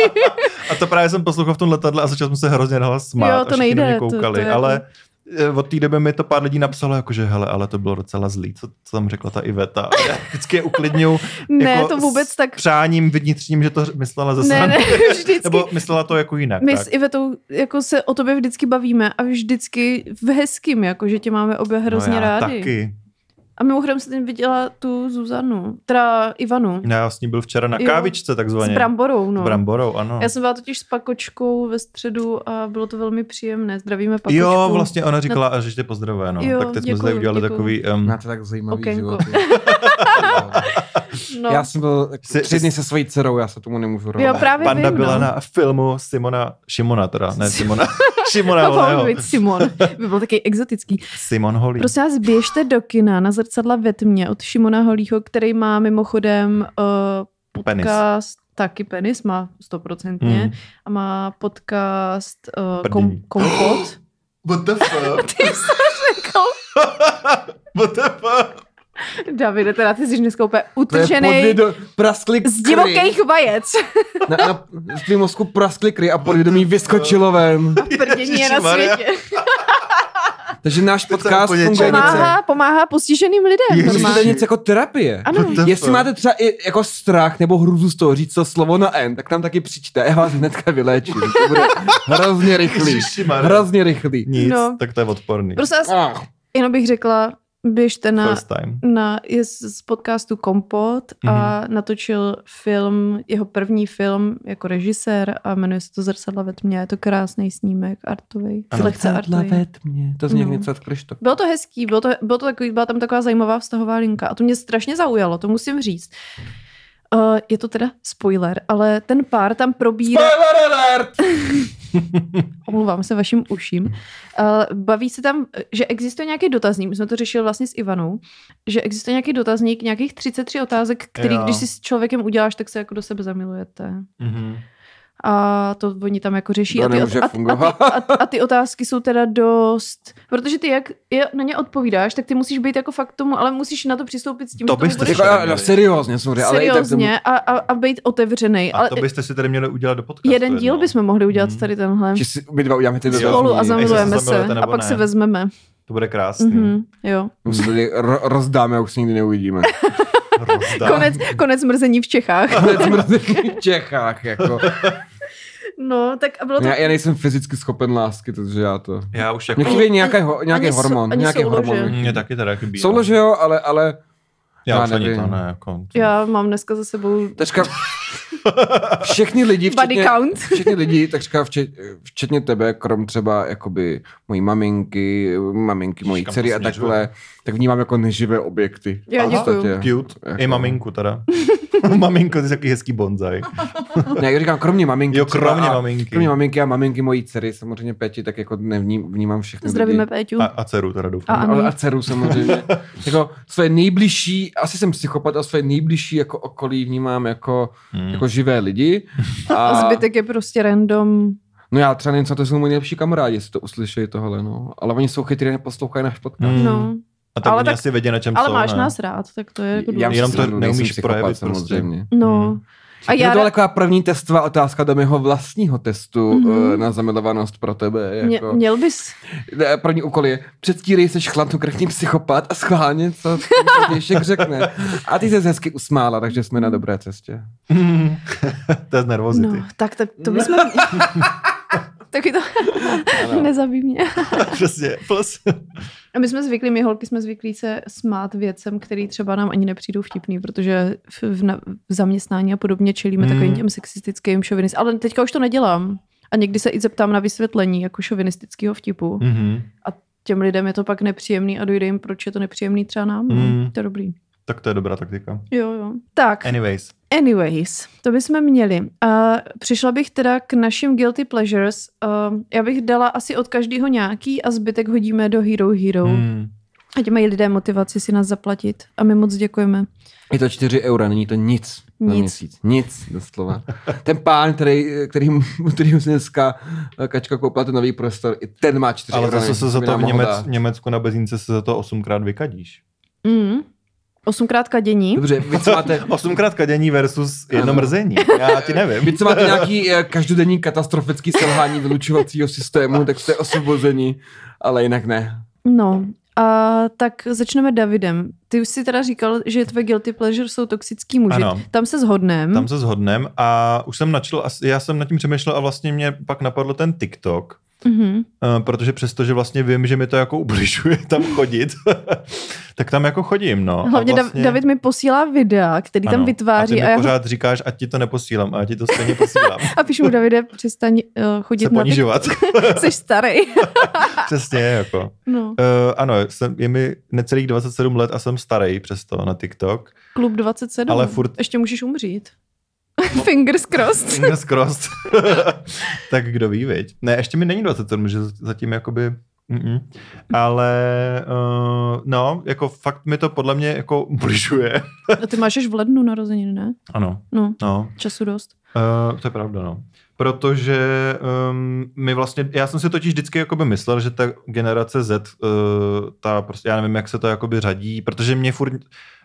[SPEAKER 3] A to právě jsem poslouchal v tom letadle a začal jsem se hrozně nahlas smát.
[SPEAKER 2] Jo, to
[SPEAKER 3] a všichni
[SPEAKER 2] nejde,
[SPEAKER 3] na Mě
[SPEAKER 2] to- to
[SPEAKER 3] koukali, to,
[SPEAKER 2] je- jako-
[SPEAKER 3] to ale eh, od té doby mi to pár lidí napsalo, jakože hele, ale to bylo docela zlý, co, co tam řekla ta Iveta. A já vždycky je uklidňuju.
[SPEAKER 2] ne,
[SPEAKER 3] jako
[SPEAKER 2] to vůbec
[SPEAKER 3] s
[SPEAKER 2] tak...
[SPEAKER 3] přáním vnitřním, že to myslela ze
[SPEAKER 2] Ne,
[SPEAKER 3] srandy.
[SPEAKER 2] ne, vždycky.
[SPEAKER 3] Nebo myslela to jako jinak.
[SPEAKER 2] My
[SPEAKER 3] tak.
[SPEAKER 2] s Ivetou jako se o tobě vždycky bavíme a vždycky v hezkým, jako že tě máme obě hrozně
[SPEAKER 3] no, já
[SPEAKER 2] rádi.
[SPEAKER 3] Taky.
[SPEAKER 2] A mimochodem jsem viděla tu Zuzanu, teda Ivanu.
[SPEAKER 3] Já s ní byl včera na
[SPEAKER 2] Jo.
[SPEAKER 3] kávičce takzvaně.
[SPEAKER 2] S bramborou, no.
[SPEAKER 3] S bramborou, ano.
[SPEAKER 2] Já jsem byla totiž s pakočkou ve středu a bylo to velmi příjemné. Zdravíme pakočku.
[SPEAKER 3] Jo, vlastně ona říkala, a že tě pozdravuje, no.
[SPEAKER 2] Jo,
[SPEAKER 3] tak teď jsme
[SPEAKER 2] děkuju,
[SPEAKER 3] zde udělali
[SPEAKER 2] děkuju.
[SPEAKER 3] takový... Um,
[SPEAKER 4] Máte tak zajímavý
[SPEAKER 2] Okénko.
[SPEAKER 4] život.
[SPEAKER 2] No.
[SPEAKER 4] Já jsem byl tak
[SPEAKER 3] Jsi-
[SPEAKER 4] tři
[SPEAKER 3] jsi-
[SPEAKER 4] dny se svojí dcerou, já se tomu nemůžu
[SPEAKER 2] jo,
[SPEAKER 4] rovnat.
[SPEAKER 2] právě
[SPEAKER 3] Panda
[SPEAKER 2] vím,
[SPEAKER 3] byla
[SPEAKER 2] no.
[SPEAKER 3] na filmu Simona, Šimona teda, ne Simona, Šimona
[SPEAKER 2] To mohl
[SPEAKER 3] Volného.
[SPEAKER 2] být Prostě Simon. By byl taky exotický.
[SPEAKER 3] Simon Holý.
[SPEAKER 2] Prosím vás, běžte do kina na zrcadla ve tmě od Šimona Holího, který má mimochodem uh,
[SPEAKER 3] Penis.
[SPEAKER 2] podcast, penis. taky penis má stoprocentně,
[SPEAKER 3] Mm.
[SPEAKER 2] mm. a má podcast uh,
[SPEAKER 3] Prdí.
[SPEAKER 2] kom, Kompot.
[SPEAKER 3] What the fuck?
[SPEAKER 2] Ty jsi to řekl.
[SPEAKER 3] What the fuck?
[SPEAKER 2] Davide, teda ty jsi dneska úplně
[SPEAKER 4] To je
[SPEAKER 2] utržený
[SPEAKER 4] podvědo- praskly
[SPEAKER 2] z divokých vajec.
[SPEAKER 4] Na, na, v tvým mozku praskly kry a podvědomí vyskočilo ven.
[SPEAKER 2] Prdění je na
[SPEAKER 3] Ježišmarja.
[SPEAKER 2] světě.
[SPEAKER 4] Takže náš
[SPEAKER 3] To je
[SPEAKER 4] podcast
[SPEAKER 3] úplně
[SPEAKER 4] funguje
[SPEAKER 3] černé.
[SPEAKER 4] něco.
[SPEAKER 2] Pomáhá, pomáhá postiženým lidem.
[SPEAKER 3] Ježiši.
[SPEAKER 4] Protože to je
[SPEAKER 2] normálně.
[SPEAKER 4] něco jako terapie.
[SPEAKER 2] Ano.
[SPEAKER 3] What the
[SPEAKER 4] Jestli
[SPEAKER 3] fuck?
[SPEAKER 4] máte třeba i jako strach nebo hruzu z toho říct to slovo na N, tak nám taky přijďte, já vás hnedka vyléčím. To bude hrozně rychlý.
[SPEAKER 3] Ježišmarja.
[SPEAKER 4] Hrozně rychlý.
[SPEAKER 3] Nic,
[SPEAKER 2] No.
[SPEAKER 3] tak to je odporný.
[SPEAKER 2] Prostě vás,
[SPEAKER 4] Ach,
[SPEAKER 2] jenom bych řekla, běžte na
[SPEAKER 3] First time.
[SPEAKER 2] na, je z z podcastu Kompot a natočil film, jeho první film jako režisér a jmenuje se to Zrcadla ve tmě. Je to krásný snímek, artový,
[SPEAKER 3] Ano.
[SPEAKER 2] lehce
[SPEAKER 4] zrcadla
[SPEAKER 2] artový.
[SPEAKER 4] ve tmě. To zní jak
[SPEAKER 2] No.
[SPEAKER 4] něco od Krištof.
[SPEAKER 2] Bylo to hezký, bylo to, bylo to takový, byla tam taková zajímavá vztahová linka a to mě strašně zaujalo, to musím říct. Uh, je to teda spoiler, ale ten pár tam probírá...
[SPEAKER 4] Spoiler alert!
[SPEAKER 2] omlouvám se vašim uším, uh, baví se tam, že existuje nějaký dotazník, my jsme to řešili vlastně s Ivanou, že existuje nějaký dotazník, nějakých 33 otázek, který
[SPEAKER 3] Jo.
[SPEAKER 2] jo. když si s člověkem uděláš, tak se jako do sebe zamilujete.
[SPEAKER 3] Mhm.
[SPEAKER 2] A to oni tam jako řeší.
[SPEAKER 4] To
[SPEAKER 2] a, ty,
[SPEAKER 4] nemůže
[SPEAKER 2] a, a,
[SPEAKER 4] fungovat.
[SPEAKER 2] ty, a, a ty otázky jsou teda dost... Protože ty jak je, na ně odpovídáš, tak ty musíš být jako fakt tomu, ale musíš na to přistoupit s tím,
[SPEAKER 3] To
[SPEAKER 2] že tomu
[SPEAKER 3] byste
[SPEAKER 2] budeš
[SPEAKER 4] Jako, a- no, seriózně, sorry, ale i tak to
[SPEAKER 2] seriózně a, a, a být otevřený.
[SPEAKER 3] A
[SPEAKER 2] Ale
[SPEAKER 3] to byste si tady měli udělat do podcastu.
[SPEAKER 2] jeden díl
[SPEAKER 3] jednou.
[SPEAKER 2] bychom mohli udělat
[SPEAKER 3] Mhm.
[SPEAKER 2] tady tenhle.
[SPEAKER 4] Že si my dva uděláme ty
[SPEAKER 2] Spolu a
[SPEAKER 3] Jestli se
[SPEAKER 2] zamilujeme se
[SPEAKER 3] zamilujete
[SPEAKER 2] a
[SPEAKER 3] nebo
[SPEAKER 2] pak
[SPEAKER 3] ne.
[SPEAKER 2] se vezmeme.
[SPEAKER 3] To bude krásný.
[SPEAKER 2] Mm-hmm, jo.
[SPEAKER 4] My se tady ro- rozdáme a už se nikdy neuvidíme.
[SPEAKER 3] Rozdá.
[SPEAKER 2] Konec, konec mrzení v Čechách.
[SPEAKER 4] To je zmrzení v Čechách, jako.
[SPEAKER 2] No, tak a bylo to...
[SPEAKER 4] Já, já nejsem fyzicky schopen lásky, takže já to...
[SPEAKER 3] Já už jako...
[SPEAKER 4] Mě chybí nějaký, ho, nějaký
[SPEAKER 2] Ani sou-
[SPEAKER 4] hormon,
[SPEAKER 2] ani
[SPEAKER 4] nějaký
[SPEAKER 2] soulože.
[SPEAKER 4] hormon.
[SPEAKER 3] Mě taky teda chybí. no.
[SPEAKER 4] Soulože jo, ale, ale
[SPEAKER 3] Já
[SPEAKER 4] Já
[SPEAKER 3] už ani
[SPEAKER 4] nevím.
[SPEAKER 3] to ne, jako...
[SPEAKER 2] Já mám dneska za sebou
[SPEAKER 4] takřka všechny lidi,
[SPEAKER 2] body
[SPEAKER 4] včetně,
[SPEAKER 2] count.
[SPEAKER 4] všichni lidi, takřka včet, včetně tebe, krom třeba jakoby mojí maminky, maminky mojí
[SPEAKER 3] Kam to
[SPEAKER 4] dcery a
[SPEAKER 3] směřuje?
[SPEAKER 4] takhle, tak vnímám jako neživé objekty.
[SPEAKER 2] Já
[SPEAKER 4] V
[SPEAKER 2] děkuju.
[SPEAKER 4] podstatě.
[SPEAKER 3] Cute.
[SPEAKER 4] Jako-
[SPEAKER 3] I maminku teda. Maminko, ty jsi taky hezký bonzaj.
[SPEAKER 4] Ne, já říkám, kromě maminky.
[SPEAKER 3] Jo,
[SPEAKER 4] třeba
[SPEAKER 3] kromě
[SPEAKER 4] a,
[SPEAKER 3] maminky.
[SPEAKER 4] Kromě maminky a maminky mojí dcery, samozřejmě Peti, tak jako nevním, vnímám všechny
[SPEAKER 2] Zdravíme
[SPEAKER 4] lidi.
[SPEAKER 2] Péťu.
[SPEAKER 3] A, a dceru teda doufám.
[SPEAKER 2] A-
[SPEAKER 4] Ale
[SPEAKER 2] Ani.
[SPEAKER 4] a dceru samozřejmě. jako své nejbližší, asi jsem psychopat, a své nejbližší jako okolí vnímám jako,
[SPEAKER 3] Hmm.
[SPEAKER 4] jako živé lidi.
[SPEAKER 2] A zbytek je prostě random.
[SPEAKER 4] No já třeba nevím, co to jsou moji nejlepší kamarádi, jestli to uslyšeli tohle, no. Ale oni jsou chytrý, neposlouchají náš podcast.
[SPEAKER 3] Hmm.
[SPEAKER 2] No.
[SPEAKER 3] A tak
[SPEAKER 2] Ale
[SPEAKER 3] oni
[SPEAKER 2] tak-
[SPEAKER 3] asi vědí, na čem
[SPEAKER 2] Ale
[SPEAKER 3] jsou,
[SPEAKER 2] máš
[SPEAKER 3] ne?
[SPEAKER 2] nás rád, tak to je jako
[SPEAKER 4] Já
[SPEAKER 2] důležité.
[SPEAKER 3] Jenom to
[SPEAKER 4] přece nejsem
[SPEAKER 3] neumíš
[SPEAKER 4] psychopat,
[SPEAKER 3] projevit prostě.
[SPEAKER 4] samozřejmě.
[SPEAKER 2] No. A
[SPEAKER 4] A já...
[SPEAKER 2] já...
[SPEAKER 4] To byla taková první testová otázka do mého vlastního testu
[SPEAKER 2] Mhm.
[SPEAKER 4] mm-hmm. na zamilovanost pro tebe. Jako...
[SPEAKER 2] Mě, měl bys...
[SPEAKER 4] Ne, první úkol je, předstírej seš chladnokrevný psychopat a schválně, co Děšek řekne. A ty se hezky usmála, takže jsme na dobré cestě.
[SPEAKER 3] Hmm. to je z nervozity.
[SPEAKER 2] No, tak, tak
[SPEAKER 4] Hmm.
[SPEAKER 2] to bychom... Taky to nezabí mě.
[SPEAKER 3] Přesně. Plus.
[SPEAKER 2] A my jsme zvyklí, my holky jsme zvyklí se smát věcem, který třeba nám ani nepřijdou vtipný, protože v, v, na- v zaměstnání a podobně čelíme
[SPEAKER 3] Mm.
[SPEAKER 2] mm. takovým těm sexistickým šovinistům. Ale teďka už to nedělám. A někdy se i zeptám na vysvětlení jako šovinistického vtipu. Mm.
[SPEAKER 3] Mhm.
[SPEAKER 2] Těm lidem je to pak nepříjemný a dojde jim, proč je to nepříjemný třeba nám.
[SPEAKER 3] Mm.
[SPEAKER 2] Mm. To je dobrý.
[SPEAKER 3] Tak to je dobrá taktika.
[SPEAKER 2] Jo, jo. Tak,
[SPEAKER 3] Anyways.
[SPEAKER 2] anyways, to bychom měli. A přišla bych teda k našim guilty pleasures. Uh, já bych dala asi od každého nějaký a zbytek hodíme do Hero Hero. Mm.
[SPEAKER 3] Hmm.
[SPEAKER 2] Ať mají lidé motivaci si nás zaplatit. A my moc děkujeme.
[SPEAKER 4] Je to 4 eura, není to nic. Na
[SPEAKER 2] Nic.
[SPEAKER 4] měsíc. Nic, doslova. Ten pán, který, který, který si dneska eh, Kačka koupila ten nový prostor, i ten má 4
[SPEAKER 3] Ale
[SPEAKER 4] eura.
[SPEAKER 3] zase se
[SPEAKER 4] než
[SPEAKER 3] za
[SPEAKER 4] by
[SPEAKER 3] to
[SPEAKER 4] nám
[SPEAKER 3] v
[SPEAKER 4] mohl
[SPEAKER 3] Němec,
[SPEAKER 4] dát.
[SPEAKER 3] Německu na bezínce se za to osmkrát vykadíš.
[SPEAKER 2] Mm. Osmkrát kadění.
[SPEAKER 4] Dobře, vy co máte...
[SPEAKER 3] Osmkrát kadění versus jedno
[SPEAKER 4] Ano.
[SPEAKER 3] mrzení. Já ti
[SPEAKER 4] Vy
[SPEAKER 3] nevím.
[SPEAKER 4] co máte nějaký eh, každodenní katastrofický selhání vylučovacího systému, tak jste osvobozeni, ale jinak ne.
[SPEAKER 2] No, a tak začneme Davidem. Ty už si teda říkal, že tvoje guilty pleasure jsou toxický muži.
[SPEAKER 3] Ano.
[SPEAKER 2] Tam se shodneme.
[SPEAKER 3] Tam se shodnem a už jsem načil, já jsem nad tím přemýšlel a vlastně mě pak napadl ten TikTok,
[SPEAKER 2] Mm-hmm.
[SPEAKER 3] Eh, protože přesto, že vlastně vím, že mi to jako ubližuje tam chodit, tak tam jako chodím, no. A
[SPEAKER 2] Hlavně
[SPEAKER 3] vlastně,
[SPEAKER 2] vlastně... David mi posílá videa, který ano, tam
[SPEAKER 3] ano,
[SPEAKER 2] vytváří.
[SPEAKER 3] A ty mi
[SPEAKER 2] já ho-
[SPEAKER 3] pořád říkáš, ať ti to neposílám, a já ti to stejně posílám.
[SPEAKER 2] a píšu mu, Davide, přestaň uh, chodit
[SPEAKER 3] se
[SPEAKER 2] na ty...
[SPEAKER 3] ponižovat.
[SPEAKER 2] Jsi starý.
[SPEAKER 3] Přesně, jako.
[SPEAKER 2] no.
[SPEAKER 3] Uh, ano, jsem, je mi necelých 27 let a jsem starý přesto na TikTok.
[SPEAKER 2] Klub 27.
[SPEAKER 3] Ale furt- No.
[SPEAKER 2] Ještě můžeš umřít. Fingers crossed.
[SPEAKER 3] Fingers crossed. tak kdo ví, viď? Ne, ještě mi není 27, že zatím jakoby... Mm-mm. Ale uh, no, jako fakt mi to podle mě jako ubližuje.
[SPEAKER 2] A ty máš až v lednu narozeniny, ne?
[SPEAKER 3] Ano,
[SPEAKER 2] No,
[SPEAKER 3] no.
[SPEAKER 2] času dost.
[SPEAKER 3] Uh, to je pravda, no. Protože um, my vlastně, já jsem si totiž vždycky jakoby myslel, že ta generace Z, uh, ta prostě, já nevím, jak se to jakoby řadí, protože mě furt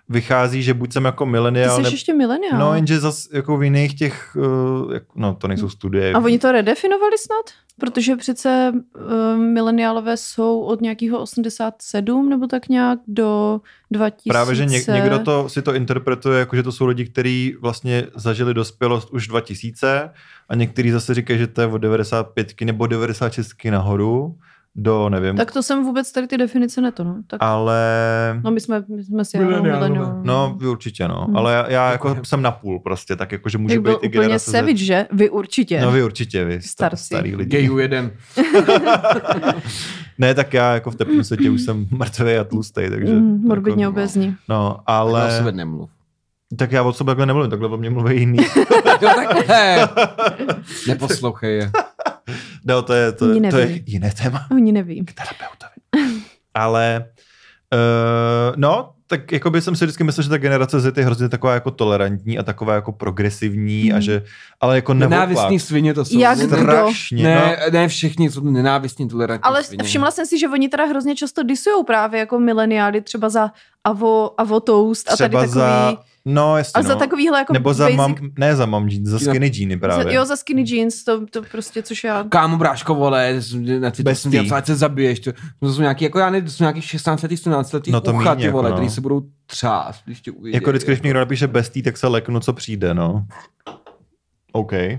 [SPEAKER 3] vychází, že buď jsem jako
[SPEAKER 2] Ty
[SPEAKER 3] mileniál,
[SPEAKER 2] jsi
[SPEAKER 3] ne...
[SPEAKER 2] ještě mileniál.
[SPEAKER 3] no jenže zas jako v jiných těch, uh, jak, no to nejsou studie.
[SPEAKER 2] A oni to redefinovali snad? Protože přece uh, mileniálové jsou od nějakého 87 nebo tak nějak do 2000.
[SPEAKER 3] Právě, že něk, někdo to, si to interpretuje jako, že to jsou lidi, kteří vlastně zažili dospělost už 2000 a někteří zase říkají, že to je od 95 nebo 96 nahoru do, nevím,
[SPEAKER 2] Tak to jsem vůbec tady ty definice neto, no. Tak,
[SPEAKER 3] ale...
[SPEAKER 2] no my jsme, my jsme si ano,
[SPEAKER 4] Mileniálové.
[SPEAKER 2] mileniálové.
[SPEAKER 3] No, vy určitě, no.
[SPEAKER 2] Hmm.
[SPEAKER 3] Ale já, já jako
[SPEAKER 4] Jako-
[SPEAKER 3] jsem na půl prostě, tak jako, že může
[SPEAKER 2] Jak byl
[SPEAKER 3] být i
[SPEAKER 2] úplně
[SPEAKER 3] generace Z.
[SPEAKER 2] savage, že? Vy určitě.
[SPEAKER 3] No vy určitě, vy star,
[SPEAKER 2] Starci.
[SPEAKER 3] starý lidi.
[SPEAKER 4] Gejů jeden.
[SPEAKER 3] ne, tak já jako v teplém světě už jsem mrtvý a tlustý, takže...
[SPEAKER 2] Mm,
[SPEAKER 3] jako,
[SPEAKER 2] morbidně
[SPEAKER 3] no.
[SPEAKER 2] obezní.
[SPEAKER 3] No,
[SPEAKER 4] Ale...
[SPEAKER 3] ale...
[SPEAKER 4] Já nemluv.
[SPEAKER 3] Tak já od sebe takhle nemluvím, takhle o mě mluví jiný.
[SPEAKER 4] Jo, takhle. Neposlouchej je.
[SPEAKER 3] No, to je, to,
[SPEAKER 2] Jiný
[SPEAKER 3] to je
[SPEAKER 2] neví.
[SPEAKER 3] jiné téma.
[SPEAKER 2] Oni neví.
[SPEAKER 3] Terapeutovi. Ale, uh, no, tak jako by jsem si vždycky myslel, že ta generace Z je hrozně taková jako tolerantní a taková jako progresivní a
[SPEAKER 2] Mhm.
[SPEAKER 3] že, ale jako neopak.
[SPEAKER 4] Nenávistní svině to jsou.
[SPEAKER 2] Jak
[SPEAKER 4] Ne-
[SPEAKER 2] kdo?
[SPEAKER 3] Strašně. No,
[SPEAKER 4] Ne, ne všichni jsou nenávistní tolerantní
[SPEAKER 2] Ale
[SPEAKER 4] svině.
[SPEAKER 2] všimla jsem si, že oni teda hrozně často disujou právě jako mileniály, třeba za avo, avo toast a tady
[SPEAKER 3] třeba
[SPEAKER 2] takový...
[SPEAKER 3] za, no jasně,
[SPEAKER 2] a
[SPEAKER 3] no.
[SPEAKER 2] za takovýhle jako
[SPEAKER 3] nebo za
[SPEAKER 2] basic,
[SPEAKER 3] mam, ne za mam jeans, za
[SPEAKER 4] Jo.
[SPEAKER 3] skinny jeany
[SPEAKER 2] Za,
[SPEAKER 3] právě. Hmm.
[SPEAKER 2] jo, za skinny jeans, to, to prostě, což já...
[SPEAKER 4] Kámo, bráško, vole, z- na ty
[SPEAKER 3] Bez
[SPEAKER 4] jsem
[SPEAKER 3] tý.
[SPEAKER 4] dělal, ať se zabiješ. To, to jsou nějaký, jako já ne, to jsou nějaký 16 letý, 17 letý
[SPEAKER 3] No to
[SPEAKER 4] ucha,
[SPEAKER 3] míň,
[SPEAKER 4] ty
[SPEAKER 3] jako
[SPEAKER 4] vole,
[SPEAKER 3] no.
[SPEAKER 4] který se budou třást, když tě uvidí.
[SPEAKER 3] jako vždycky, když někdo napíše bestý, tak se leknu, co přijde, no. OK.
[SPEAKER 2] Hm.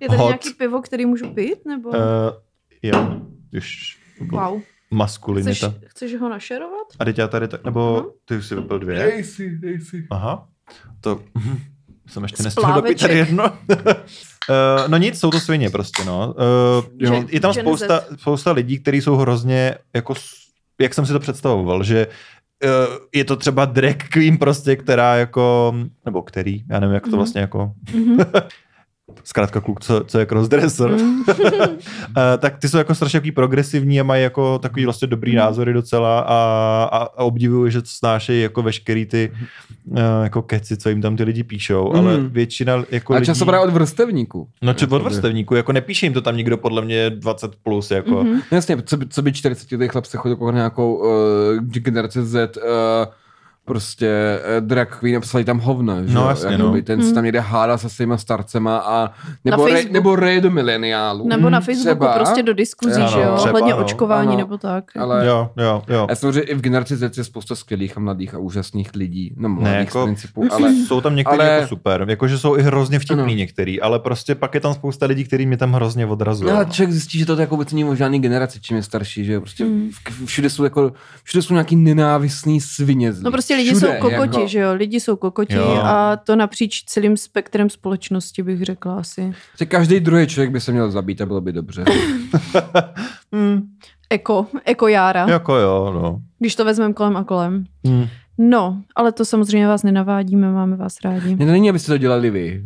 [SPEAKER 2] Je tady
[SPEAKER 3] Hot.
[SPEAKER 2] nějaký pivo, který můžu pít, nebo...
[SPEAKER 3] Uh, jo, už
[SPEAKER 2] wow. Chceš,
[SPEAKER 3] maskulinita.
[SPEAKER 2] chceš ho našerovat?
[SPEAKER 3] A teď já tady tak,
[SPEAKER 2] Mhm.
[SPEAKER 3] nebo ty už si vypil dvě.
[SPEAKER 4] Dej si, dej si.
[SPEAKER 3] Aha. To jsem ještě nestihl dopít
[SPEAKER 2] Spláveček.
[SPEAKER 3] tady jedno. Eh, no nic, jsou to svině prostě, no. Eh,
[SPEAKER 2] Jo.
[SPEAKER 3] že- je tam
[SPEAKER 2] Gen
[SPEAKER 3] spousta, spousta lidí, kteří jsou hrozně, jako, s- jak jsem si to představoval, že eh, je to třeba drag queen prostě, která jako, nebo který, já nevím, jak to
[SPEAKER 2] Mhm.
[SPEAKER 3] vlastně jako,
[SPEAKER 2] Mhm.
[SPEAKER 3] zkrátka kluk, co, co je crossdresser,
[SPEAKER 2] Mm.
[SPEAKER 3] Eh, tak ty jsou jako strašně takový progresivní a mají jako takový vlastně dobrý
[SPEAKER 2] Mhm.
[SPEAKER 3] názory docela a, a, a obdivuju, že to snášejí jako veškerý ty eh, jako keci, co jim tam ty lidi píšou,
[SPEAKER 2] Mm.
[SPEAKER 3] ale
[SPEAKER 4] Mhm.
[SPEAKER 3] většina jako
[SPEAKER 4] A
[SPEAKER 3] lidí...
[SPEAKER 4] často právě od vrstevníků.
[SPEAKER 3] No či od vrstevníků, jako nepíše jim to tam nikdo podle mě 20 plus, jako...
[SPEAKER 2] Mhm.
[SPEAKER 4] No Jasně, co by, co by 40 letý chlap se chodil koukat na nějakou uh, generaci Z uh, prostě uh, drag queen a psali tam hovna, že?
[SPEAKER 3] No,
[SPEAKER 4] jo?
[SPEAKER 3] jasně,
[SPEAKER 4] Jakoby
[SPEAKER 3] no.
[SPEAKER 4] Ten se
[SPEAKER 2] Hmm.
[SPEAKER 4] tam někde hádá se svýma starcema a nebo, re,
[SPEAKER 2] Facebooku.
[SPEAKER 4] nebo rej do mileniálů.
[SPEAKER 2] Nebo na
[SPEAKER 3] Mm,
[SPEAKER 2] Facebooku
[SPEAKER 4] třeba.
[SPEAKER 2] prostě do diskuzí,
[SPEAKER 3] Ano,
[SPEAKER 2] že jo?
[SPEAKER 3] třeba,
[SPEAKER 2] Hledně
[SPEAKER 3] no.
[SPEAKER 2] očkování
[SPEAKER 4] Ano.
[SPEAKER 2] nebo tak.
[SPEAKER 4] Hmm. Ale-
[SPEAKER 3] Jo, jo, jo.
[SPEAKER 4] Já jsem že i v generaci Z je spousta skvělých a mladých a úžasných lidí. No, mladých ne, jako...
[SPEAKER 3] jako-
[SPEAKER 4] z principu, ale...
[SPEAKER 2] Hmm.
[SPEAKER 3] Jsou tam někteří
[SPEAKER 4] ale-
[SPEAKER 3] jako super, jakože jsou i hrozně vtipný
[SPEAKER 4] Ano.
[SPEAKER 3] některý, ale prostě pak je tam spousta lidí, který mě tam hrozně odrazují.
[SPEAKER 4] No, ale člověk zjistí, že to jako vůbec není o žádný generaci, čím je starší, že jo, prostě
[SPEAKER 2] Mm.
[SPEAKER 4] v- všude jsou jako, všude jsou nějaký nenávistný svině. zlí.
[SPEAKER 2] No prostě lidi
[SPEAKER 4] všude,
[SPEAKER 2] jsou kokoti,
[SPEAKER 4] jako.
[SPEAKER 2] že jo? Lidi jsou kokoti
[SPEAKER 3] Jo.
[SPEAKER 2] a to napříč celým spektrem společnosti bych řekla asi.
[SPEAKER 4] Že každý druhý člověk by se měl zabít a bylo by dobře.
[SPEAKER 3] Hmm,
[SPEAKER 2] Eko, eko jára,
[SPEAKER 3] jako jo, no.
[SPEAKER 2] když to vezmeme kolem a kolem.
[SPEAKER 3] Hmm.
[SPEAKER 2] No, ale to samozřejmě vás nenavádíme, máme vás rádi.
[SPEAKER 4] Ne, není, abyste to dělali vy.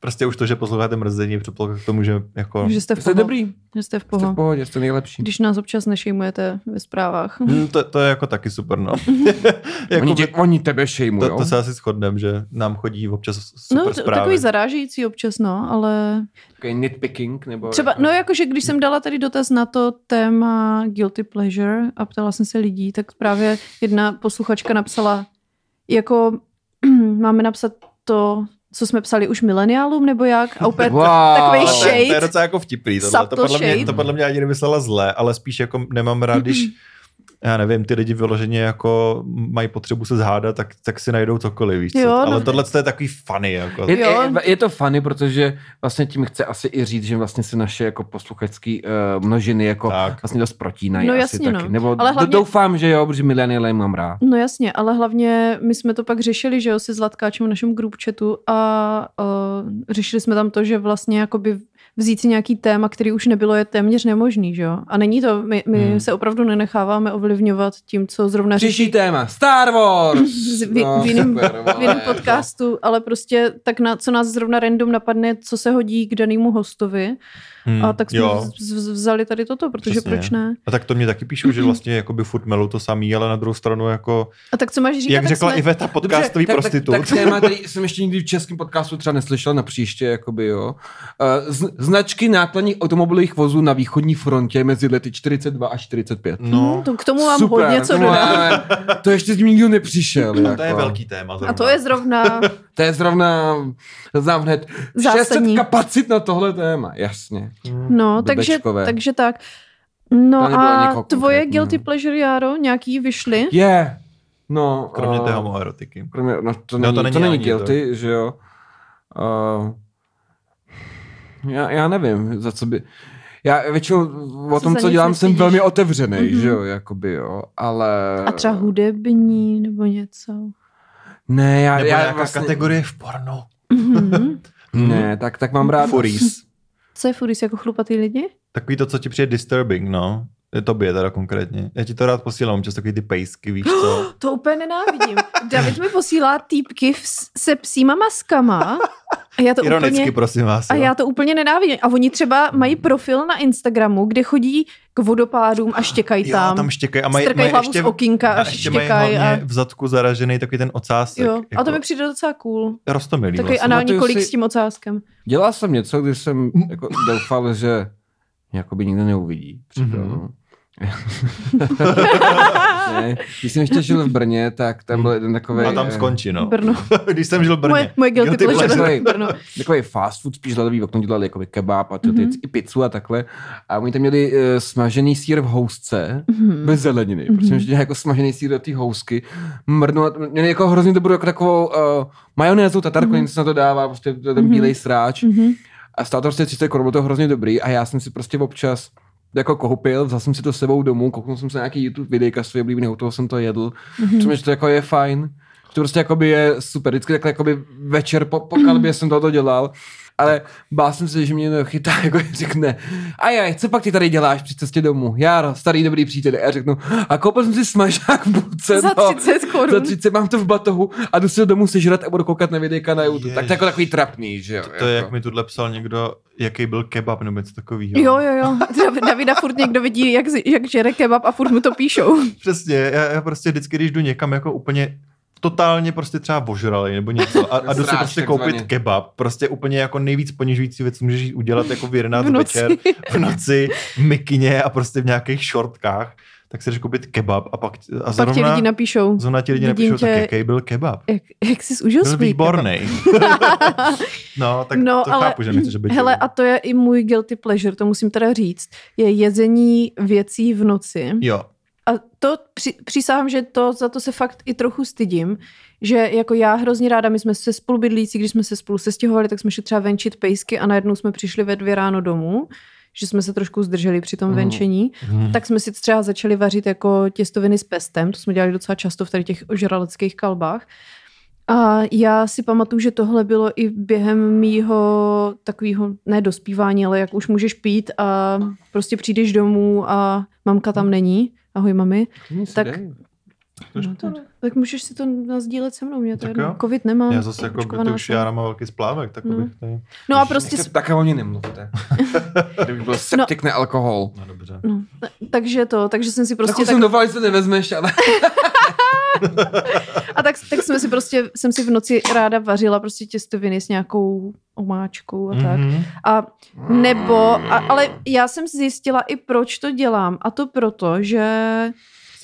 [SPEAKER 3] Prostě už to, že posloucháte mrzení, je předpoklad k tomu, že jako...
[SPEAKER 2] Že jste v
[SPEAKER 4] jste
[SPEAKER 2] pohodě.
[SPEAKER 4] dobrý,
[SPEAKER 2] Že jste v
[SPEAKER 4] jste v
[SPEAKER 2] pohodě.
[SPEAKER 4] pohodě, jste nejlepší.
[SPEAKER 2] Když nás občas nešejmujete ve zprávách.
[SPEAKER 3] Hmm, to, to je jako taky super, no.
[SPEAKER 4] Oni,
[SPEAKER 3] jako
[SPEAKER 4] tě, oni tebe šejmujou.
[SPEAKER 3] to, to se asi shodneme, že nám chodí občas super
[SPEAKER 2] No, to,
[SPEAKER 3] zprávy.
[SPEAKER 2] takový zarážející občas, no, ale
[SPEAKER 4] Takový nitpicking, nebo... jako-
[SPEAKER 2] třeba, no jakože když jsem dala tady dotaz na to téma guilty pleasure a ptala jsem se lidí, tak právě jedna posluchačka napsala, jako máme napsat to, co jsme psali už mileniálům, nebo jak, a úplně
[SPEAKER 4] Wow.
[SPEAKER 2] takovej
[SPEAKER 3] Ale to je- To je
[SPEAKER 2] shade.
[SPEAKER 3] docela jako vtipný. Tohle. To,
[SPEAKER 2] Subtle
[SPEAKER 3] podle mě,
[SPEAKER 2] shade.
[SPEAKER 3] to podle mě ani nemyslela zle, ale spíš jako nemám rád, když já nevím, ty lidi vyloženě jako mají potřebu se zhádat, tak, tak si najdou cokoliv, víš co?
[SPEAKER 2] Jo, no.
[SPEAKER 3] Ale tohle je takový funny, jako.
[SPEAKER 4] Je, je,
[SPEAKER 2] Jo.
[SPEAKER 4] je to funny, protože vlastně tím chce asi i říct, že vlastně se naše jako posluchačský uh, množiny jako
[SPEAKER 3] Tak.
[SPEAKER 4] vlastně dost protínají
[SPEAKER 2] No
[SPEAKER 4] asi
[SPEAKER 2] jasně,
[SPEAKER 4] taky.
[SPEAKER 2] no.
[SPEAKER 4] Nebo
[SPEAKER 2] Ale
[SPEAKER 4] do-
[SPEAKER 2] hlavně-
[SPEAKER 4] doufám, že jo, protože milenialem mám rád.
[SPEAKER 2] No jasně, ale hlavně my jsme to pak řešili, že jo, se Zlatkáčem v našem group chatu a uh, řešili jsme tam to, že vlastně jakoby vzít si nějaký téma, který už nebylo, je téměř nemožný, že jo. A není to, my, my
[SPEAKER 4] Hmm.
[SPEAKER 2] hmm. se opravdu nenecháváme ovlivňovat tím, co zrovna řeší
[SPEAKER 4] Příští téma, Star Wars! No,
[SPEAKER 2] Z- v- v jiným-
[SPEAKER 4] super,
[SPEAKER 2] v jiném
[SPEAKER 4] vole.
[SPEAKER 2] podcastu, ale prostě tak na, co nás zrovna random napadne, co se hodí k danému hostovi.
[SPEAKER 3] Hmm,
[SPEAKER 2] A tak jsme
[SPEAKER 3] jo.
[SPEAKER 2] vz- vz- vzali tady toto, protože
[SPEAKER 3] Přesně.
[SPEAKER 2] Přesně. proč ne?
[SPEAKER 3] A tak to mě taky píšou, že vlastně jakoby furt melou to samý, ale na druhou stranu jako,
[SPEAKER 2] A tak co máš říkat?
[SPEAKER 3] jak
[SPEAKER 2] tak
[SPEAKER 3] řekla
[SPEAKER 2] jsme...
[SPEAKER 3] Iveta, podcastový
[SPEAKER 4] tak,
[SPEAKER 3] prostitut.
[SPEAKER 4] Tak, tak téma, který jsem ještě nikdy v českém podcastu třeba neslyšel na příště, jakoby, jo. Eh, Z, značky nákladních automobilových vozů na východní frontě mezi lety 42 a 45.
[SPEAKER 2] no,
[SPEAKER 3] no,
[SPEAKER 2] to, k tomu mám
[SPEAKER 4] Super,
[SPEAKER 2] hodně co
[SPEAKER 4] tomu
[SPEAKER 2] dodat.
[SPEAKER 4] máme- To ještě s tím nikdo nepřišel. jako.
[SPEAKER 3] no, to je velký téma.
[SPEAKER 2] A
[SPEAKER 3] zrovna.
[SPEAKER 2] to je zrovna...
[SPEAKER 4] To je zrovna, znám hned, 600
[SPEAKER 2] Zásadní.
[SPEAKER 4] kapacit na tohle téma, jasně.
[SPEAKER 2] No, takže,
[SPEAKER 4] Blbečkové.
[SPEAKER 2] takže tak.
[SPEAKER 4] To
[SPEAKER 2] No
[SPEAKER 4] nebylo
[SPEAKER 2] a
[SPEAKER 4] někoho
[SPEAKER 2] tvoje
[SPEAKER 4] konkrétního.
[SPEAKER 2] guilty pleasure, Jaro, nějaký vyšly?
[SPEAKER 4] Je, yeah. no.
[SPEAKER 3] Kromě
[SPEAKER 4] eh,
[SPEAKER 3] té homoerotiky.
[SPEAKER 4] Kromě, no, to, není, no, to není, to není
[SPEAKER 3] ani
[SPEAKER 4] guilty, to. že jo. Uh, já, já nevím, za co by... Já většinou o
[SPEAKER 2] Co
[SPEAKER 4] tom,
[SPEAKER 2] za
[SPEAKER 4] co
[SPEAKER 2] nic
[SPEAKER 4] dělám, jsem
[SPEAKER 2] nestydíš?
[SPEAKER 4] velmi otevřený,
[SPEAKER 2] Mhm.
[SPEAKER 4] mm-hmm. že jo, jakoby, jo, ale...
[SPEAKER 2] A třeba hudební nebo něco.
[SPEAKER 4] Ne, já,
[SPEAKER 3] Nebo
[SPEAKER 4] já
[SPEAKER 3] nějaká
[SPEAKER 4] vlastně...
[SPEAKER 3] kategorie v porno.
[SPEAKER 2] Mhm.
[SPEAKER 4] Ne, tak, tak mám rád...
[SPEAKER 3] Furies.
[SPEAKER 2] Co je furis jako chlupatý lidi?
[SPEAKER 3] Takový to, co ti přijde disturbing, no. Je tobě teda konkrétně. Já ti to rád posílám, často takový ty pejsky, víš co.
[SPEAKER 2] To úplně nenávidím. David mi posílá týpky v, se psíma maskama. A já to
[SPEAKER 3] Ironicky,
[SPEAKER 2] úplně...
[SPEAKER 3] prosím vás.
[SPEAKER 2] A
[SPEAKER 3] jo.
[SPEAKER 2] já to úplně nenávidím. A oni třeba mají profil na Instagramu, kde chodí k vodopádům a štěkají
[SPEAKER 3] jo,
[SPEAKER 2] tam.
[SPEAKER 3] tam štěkají a
[SPEAKER 2] mají,
[SPEAKER 3] mají,
[SPEAKER 2] strkají
[SPEAKER 3] mají
[SPEAKER 2] hlavu
[SPEAKER 3] ještě,
[SPEAKER 2] z okýnka a,
[SPEAKER 3] a ještě mají hlavně
[SPEAKER 2] štěkají.
[SPEAKER 3] a...
[SPEAKER 2] A,
[SPEAKER 3] v zadku zaražený takový ten ocásek.
[SPEAKER 2] jo. a to mi
[SPEAKER 3] jako
[SPEAKER 2] přijde docela cool.
[SPEAKER 3] Rostomilý
[SPEAKER 2] Takový
[SPEAKER 3] vlastně.
[SPEAKER 2] anální
[SPEAKER 4] Pamatuju
[SPEAKER 2] kolik
[SPEAKER 4] si-
[SPEAKER 2] s tím ocáskem.
[SPEAKER 4] Dělal jsem něco, když jsem jako doufal, že jakoby nikdo neuvidí.
[SPEAKER 3] Mhm.
[SPEAKER 4] Přitom. ne, když jsem ještě žil v Brně, tak tam byl jeden takový,
[SPEAKER 3] Mhm. A tam skončí, no.
[SPEAKER 2] Brno.
[SPEAKER 3] Když jsem žil v Brně.
[SPEAKER 2] Moje, moje guilty,
[SPEAKER 3] Guilty
[SPEAKER 2] pleasure.
[SPEAKER 4] pleasure.
[SPEAKER 2] Brno.
[SPEAKER 4] takový fast food, spíš ledový okno, dělali jakoby kebab a ty,
[SPEAKER 2] Mhm.
[SPEAKER 4] mm-hmm. i pizzu a takhle. A oni tam měli uh, smažený sír v housce, bez zeleniny. Mm-hmm. Protože
[SPEAKER 2] Mhm.
[SPEAKER 4] měli jako smažený sír do té housky, mrnul, měli jako hrozně dobrou jako takovou uh, majonézu, tatarku, mm-hmm.
[SPEAKER 2] Mhm.
[SPEAKER 4] něco na to dává, prostě ten
[SPEAKER 2] Mhm.
[SPEAKER 4] mm-hmm. bílej sráč.
[SPEAKER 2] Mhm.
[SPEAKER 4] A stálo to prostě 30 korun, bylo to hrozně dobrý a já jsem si prostě občas jako koupil, vzal jsem si to s sebou domů, kouknul jsem se na nějaký YouTube videjka své oblíbené, u toho jsem to jedl.
[SPEAKER 2] Mhm.
[SPEAKER 4] Přitom, že to jako je fajn. že To prostě jakoby je super. Vždycky takhle jakoby večer po, po kalbě jsem toto dělal. Ale bál jsem se, že mě někdo chytá, jako řekne, ajaj, co pak ty tady děláš při cestě domů? Jaro, starý dobrý přítel. A já řeknu, a koupil jsem si smažák v bulce.
[SPEAKER 2] Za
[SPEAKER 4] no.
[SPEAKER 2] 30 korun.
[SPEAKER 4] Za 30 mám to v batohu a jdu si to domů sežrat a budu koukat na videjka na YouTube. Tak to je jako
[SPEAKER 3] Ježiš.
[SPEAKER 4] takový trapný, že jo? jako.
[SPEAKER 3] To je, jak mi tuhle psal někdo, jaký byl kebab nebo něco takového.
[SPEAKER 2] Jo, jo, jo. Dav- Davida furt někdo vidí, jak, z- jak žere kebab a furt mu to píšou.
[SPEAKER 3] Přesně, já, já prostě vždycky, když jdu někam jako úplně totálně prostě třeba ožralej nebo něco a, a jdu si
[SPEAKER 4] Sráč
[SPEAKER 3] prostě
[SPEAKER 4] takzvaně.
[SPEAKER 3] koupit kebab, prostě úplně jako nejvíc ponižující věc, co můžeš jít udělat jako v 11
[SPEAKER 2] V noci.
[SPEAKER 3] večer, v noci, v mikině a prostě v nějakých šortkách, tak si jdeš koupit kebab a pak a
[SPEAKER 2] Pak ti
[SPEAKER 3] zrovna,
[SPEAKER 2] lidi napíšou.
[SPEAKER 3] zrovna ti lidi
[SPEAKER 2] vidím
[SPEAKER 3] napíšou, tě... tak
[SPEAKER 2] tě-
[SPEAKER 3] jaký byl kebab.
[SPEAKER 2] Jak, jak jsi užil
[SPEAKER 3] Byl
[SPEAKER 2] svůj
[SPEAKER 3] výborný. no, tak
[SPEAKER 2] no,
[SPEAKER 3] to
[SPEAKER 2] ale,
[SPEAKER 3] chápu, že nechceš, aby
[SPEAKER 2] Hele, a to je i můj guilty pleasure, to musím teda říct, je jezení věcí v noci.
[SPEAKER 3] Jo,
[SPEAKER 2] A to při, přísahám, že to za to se fakt i trochu stydím, že jako já hrozně ráda, my jsme se spolu bydlící, když jsme se spolu sestěhovali, tak jsme šli třeba venčit pejsky a najednou jsme přišli ve dvě ráno domů, že jsme se trošku zdrželi při tom
[SPEAKER 4] Mhm.
[SPEAKER 2] venčení,
[SPEAKER 3] Mhm.
[SPEAKER 2] tak jsme si třeba začali vařit jako těstoviny s pestem, to jsme dělali docela často v tady těch ožraleckých kalbách. A já si pamatuju, že tohle bylo i během mýho takového, ne dospívání, ale jak už můžeš pít a prostě přijdeš domů a mamka tam není. Ahoj mami. tak- No, tak, tak můžeš si to nazdílet se mnou, mě to
[SPEAKER 3] Tak
[SPEAKER 2] jedno.
[SPEAKER 3] jo.
[SPEAKER 2] Covid nemám.
[SPEAKER 3] já zase jako, to
[SPEAKER 2] očkovaná
[SPEAKER 3] už
[SPEAKER 2] jsem.
[SPEAKER 3] já mám velký splávek, tak
[SPEAKER 2] No.
[SPEAKER 3] no. bych tady...
[SPEAKER 2] No a prostě, s-
[SPEAKER 4] Jako Tak o ní nemluvte. Kdyby byl septik, ne alkohol.
[SPEAKER 3] No dobře.
[SPEAKER 2] no, takže to, takže jsem si
[SPEAKER 4] Prostě
[SPEAKER 2] prostě
[SPEAKER 4] tak
[SPEAKER 3] Jako
[SPEAKER 2] tak,
[SPEAKER 4] jsem doufal, že se nevezmeš, ale...
[SPEAKER 2] a tak, tak jsme si prostě, jsem si v noci ráda vařila prostě těstoviny s nějakou omáčkou a No, tak.
[SPEAKER 3] Mhm.
[SPEAKER 2] A nebo, a, ale já jsem zjistila i proč to dělám. A to proto, že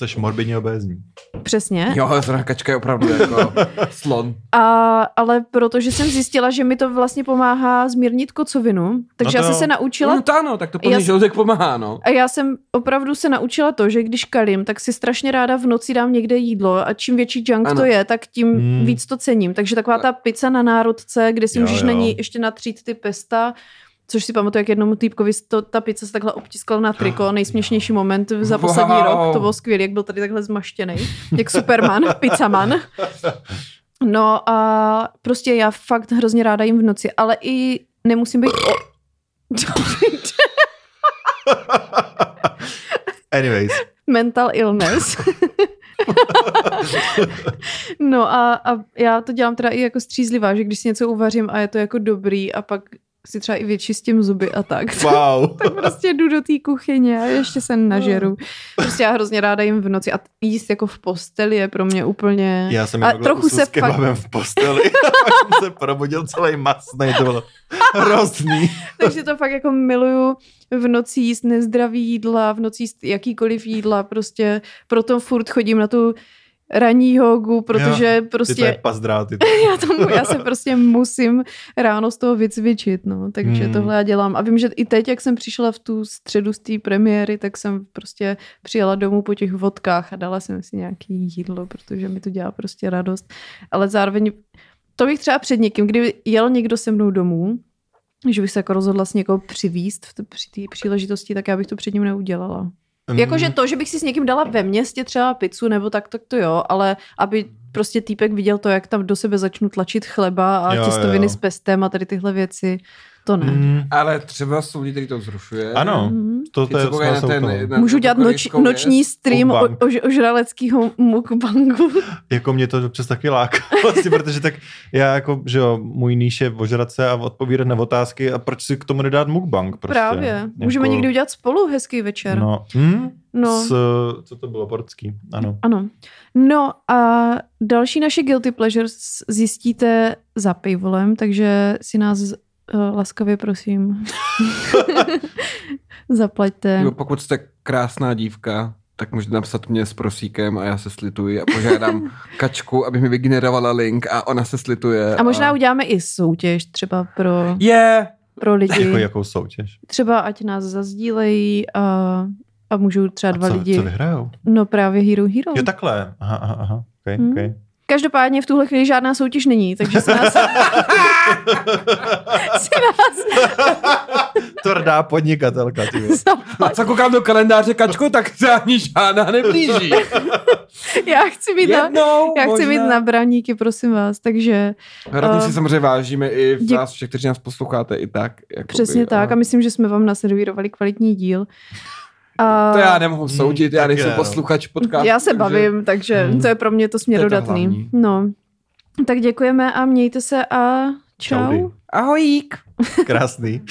[SPEAKER 3] Jsi morbidně obézní.
[SPEAKER 2] Přesně.
[SPEAKER 4] Jo, zrovna kačka je opravdu jako slon.
[SPEAKER 2] A, ale protože jsem zjistila, že mi to vlastně pomáhá zmírnit kocovinu, takže no
[SPEAKER 3] No
[SPEAKER 2] já
[SPEAKER 3] to
[SPEAKER 2] jsem
[SPEAKER 3] jo.
[SPEAKER 2] se naučila
[SPEAKER 4] No to ano, tak to
[SPEAKER 2] Já
[SPEAKER 4] plně
[SPEAKER 2] si-
[SPEAKER 4] žaludek pomáhá, no.
[SPEAKER 2] A já jsem opravdu se naučila to, že když kalím, tak si strašně ráda v noci dám někde jídlo a čím větší junk
[SPEAKER 4] Ano.
[SPEAKER 2] to je, tak tím
[SPEAKER 3] Hmm.
[SPEAKER 2] víc to cením. Takže taková ta pizza na národce, kde si
[SPEAKER 3] Jo,
[SPEAKER 2] můžeš
[SPEAKER 3] jo.
[SPEAKER 2] na ní ještě natřít ty pesta, což si pamatuju, jak jednomu týpkovi to, ta pizza se takhle obtiskla na triko, nejsměšnější moment za poslední
[SPEAKER 4] Wow.
[SPEAKER 2] rok, to bylo skvělé, jak byl tady takhle zmaštěný, jak Superman, pizzaman. No a prostě já fakt hrozně ráda jim v noci, ale i nemusím být... O...
[SPEAKER 3] Anyways,
[SPEAKER 2] mental illness. no a, a já to dělám teda i jako střízlivá, že když si něco uvařím a je to jako dobrý a pak si třeba i vyčistím zuby a tak.
[SPEAKER 3] wow.
[SPEAKER 2] Tak prostě jdu do té kuchyně a ještě se nažeru. Prostě já hrozně ráda jim v noci a jíst jako v posteli je pro mě úplně...
[SPEAKER 3] Já jsem
[SPEAKER 2] A
[SPEAKER 3] jen
[SPEAKER 2] trochu
[SPEAKER 3] trochu
[SPEAKER 2] se
[SPEAKER 3] se
[SPEAKER 2] fakt-
[SPEAKER 3] kebabem v posteli. Pak jsem se probudil celý masný, to bylo hrozný.
[SPEAKER 2] Takže to fakt jako miluju v noci jíst nezdravý jídla, v noci jíst jakýkoliv jídla, prostě proto furt chodím na tu ranní jogu, protože
[SPEAKER 3] Ty
[SPEAKER 2] prostě...
[SPEAKER 3] to je pazdráty.
[SPEAKER 2] já, tomu, já se prostě musím ráno z toho vycvičit, no, takže
[SPEAKER 3] Hmm.
[SPEAKER 2] hmm. tohle já dělám. A vím, že i teď, jak jsem přišla v tu středu z té premiéry, tak jsem prostě přijela domů po těch vodkách a dala jsem si nějaký jídlo, protože mi to dělá prostě radost. Ale zároveň, to bych třeba před někým, kdyby jel někdo se mnou domů, že bych se jako rozhodla s někoho přivíst v t- při té příležitosti, tak já bych to před ním neudělala.
[SPEAKER 3] Mm,
[SPEAKER 2] Jakože to, že bych si s někým dala ve městě třeba pizzu nebo tak, tak to jo, ale aby prostě týpek viděl to, jak tam do sebe začnu tlačit chleba a
[SPEAKER 3] Jo,
[SPEAKER 2] jo,
[SPEAKER 3] jo,
[SPEAKER 2] těstoviny jo.
[SPEAKER 3] jo.
[SPEAKER 2] s pestem a tady tyhle věci, to ne. Mm.
[SPEAKER 3] Mm, no.
[SPEAKER 4] Ale třeba jsou lidi, kteří to zrušuje.
[SPEAKER 3] ano, to, to je
[SPEAKER 4] Ty, co na
[SPEAKER 3] to
[SPEAKER 4] ten,
[SPEAKER 3] ten,
[SPEAKER 4] na,
[SPEAKER 2] Můžu
[SPEAKER 4] na tu
[SPEAKER 2] dělat noč,
[SPEAKER 4] korejskou
[SPEAKER 2] noční
[SPEAKER 4] věc?
[SPEAKER 2] stream o,
[SPEAKER 3] Mukbang.
[SPEAKER 2] o, žraleckého mukbangu.
[SPEAKER 3] Jako mě to občas taky láká, vlastně, protože tak já jako, že jo, můj níž je ožrat se a odpovídat na otázky a proč si k tomu nedát mukbang prostě.
[SPEAKER 2] Právě. Můžeme
[SPEAKER 3] Jako-
[SPEAKER 2] někdy udělat spolu hezký večer. No.
[SPEAKER 3] No. Hm?
[SPEAKER 2] no.
[SPEAKER 3] S, co to bylo, portský, ano.
[SPEAKER 2] Ano. No a další naše guilty pleasures zjistíte za pivolem, takže si nás uh, laskavě prosím zaplaťte.
[SPEAKER 4] Jo, pokud jste krásná dívka, tak můžete napsat mě s prosíkem a já se slituji a požádám kačku, aby mi vygenerovala link a ona se slituje.
[SPEAKER 2] A možná uděláme i soutěž třeba pro,
[SPEAKER 4] Je!
[SPEAKER 2] pro
[SPEAKER 3] Jako
[SPEAKER 2] lidi.
[SPEAKER 3] jakou soutěž.
[SPEAKER 2] Třeba ať nás zazdílejí a, a můžou třeba dva
[SPEAKER 3] a co,
[SPEAKER 2] lidi.
[SPEAKER 3] co vyhrajou?
[SPEAKER 2] No právě Hero Hero.
[SPEAKER 3] Jo, takhle. Aha, aha, aha. Okay,
[SPEAKER 2] Hm.
[SPEAKER 3] okay.
[SPEAKER 2] Každopádně v tuhle chvíli žádná soutěž není, takže se nás... si nás
[SPEAKER 3] Tvrdá podnikatelka, ty vole.
[SPEAKER 4] A
[SPEAKER 2] zaplať.
[SPEAKER 4] co koukám do kalendáře kačku, tak se ani žádná neblíží.
[SPEAKER 2] Já chci mít na...
[SPEAKER 4] Jednou,
[SPEAKER 2] no. Já chci
[SPEAKER 4] možná.
[SPEAKER 2] mít na braníky, prosím vás, takže
[SPEAKER 4] Hrozně
[SPEAKER 2] Eh,
[SPEAKER 4] si samozřejmě vážíme i v
[SPEAKER 2] dě-
[SPEAKER 4] vás všech, kteří nás posloucháte i tak. Jakoby,
[SPEAKER 2] přesně tak a myslím, že jsme vám naservírovali kvalitní díl. A
[SPEAKER 4] To já nemohu soudit, já
[SPEAKER 3] Mm, tak
[SPEAKER 4] nejsem
[SPEAKER 3] je, no.
[SPEAKER 4] posluchač podcastu.
[SPEAKER 2] Já se
[SPEAKER 4] takže-
[SPEAKER 2] bavím, takže
[SPEAKER 4] Hmm.
[SPEAKER 3] Mm.
[SPEAKER 2] to je pro mě to
[SPEAKER 4] hlavní.
[SPEAKER 2] směrodatný. no. Tak děkujeme a mějte se a čau.
[SPEAKER 3] Čaudy.
[SPEAKER 4] Ahojík.
[SPEAKER 3] Krásný.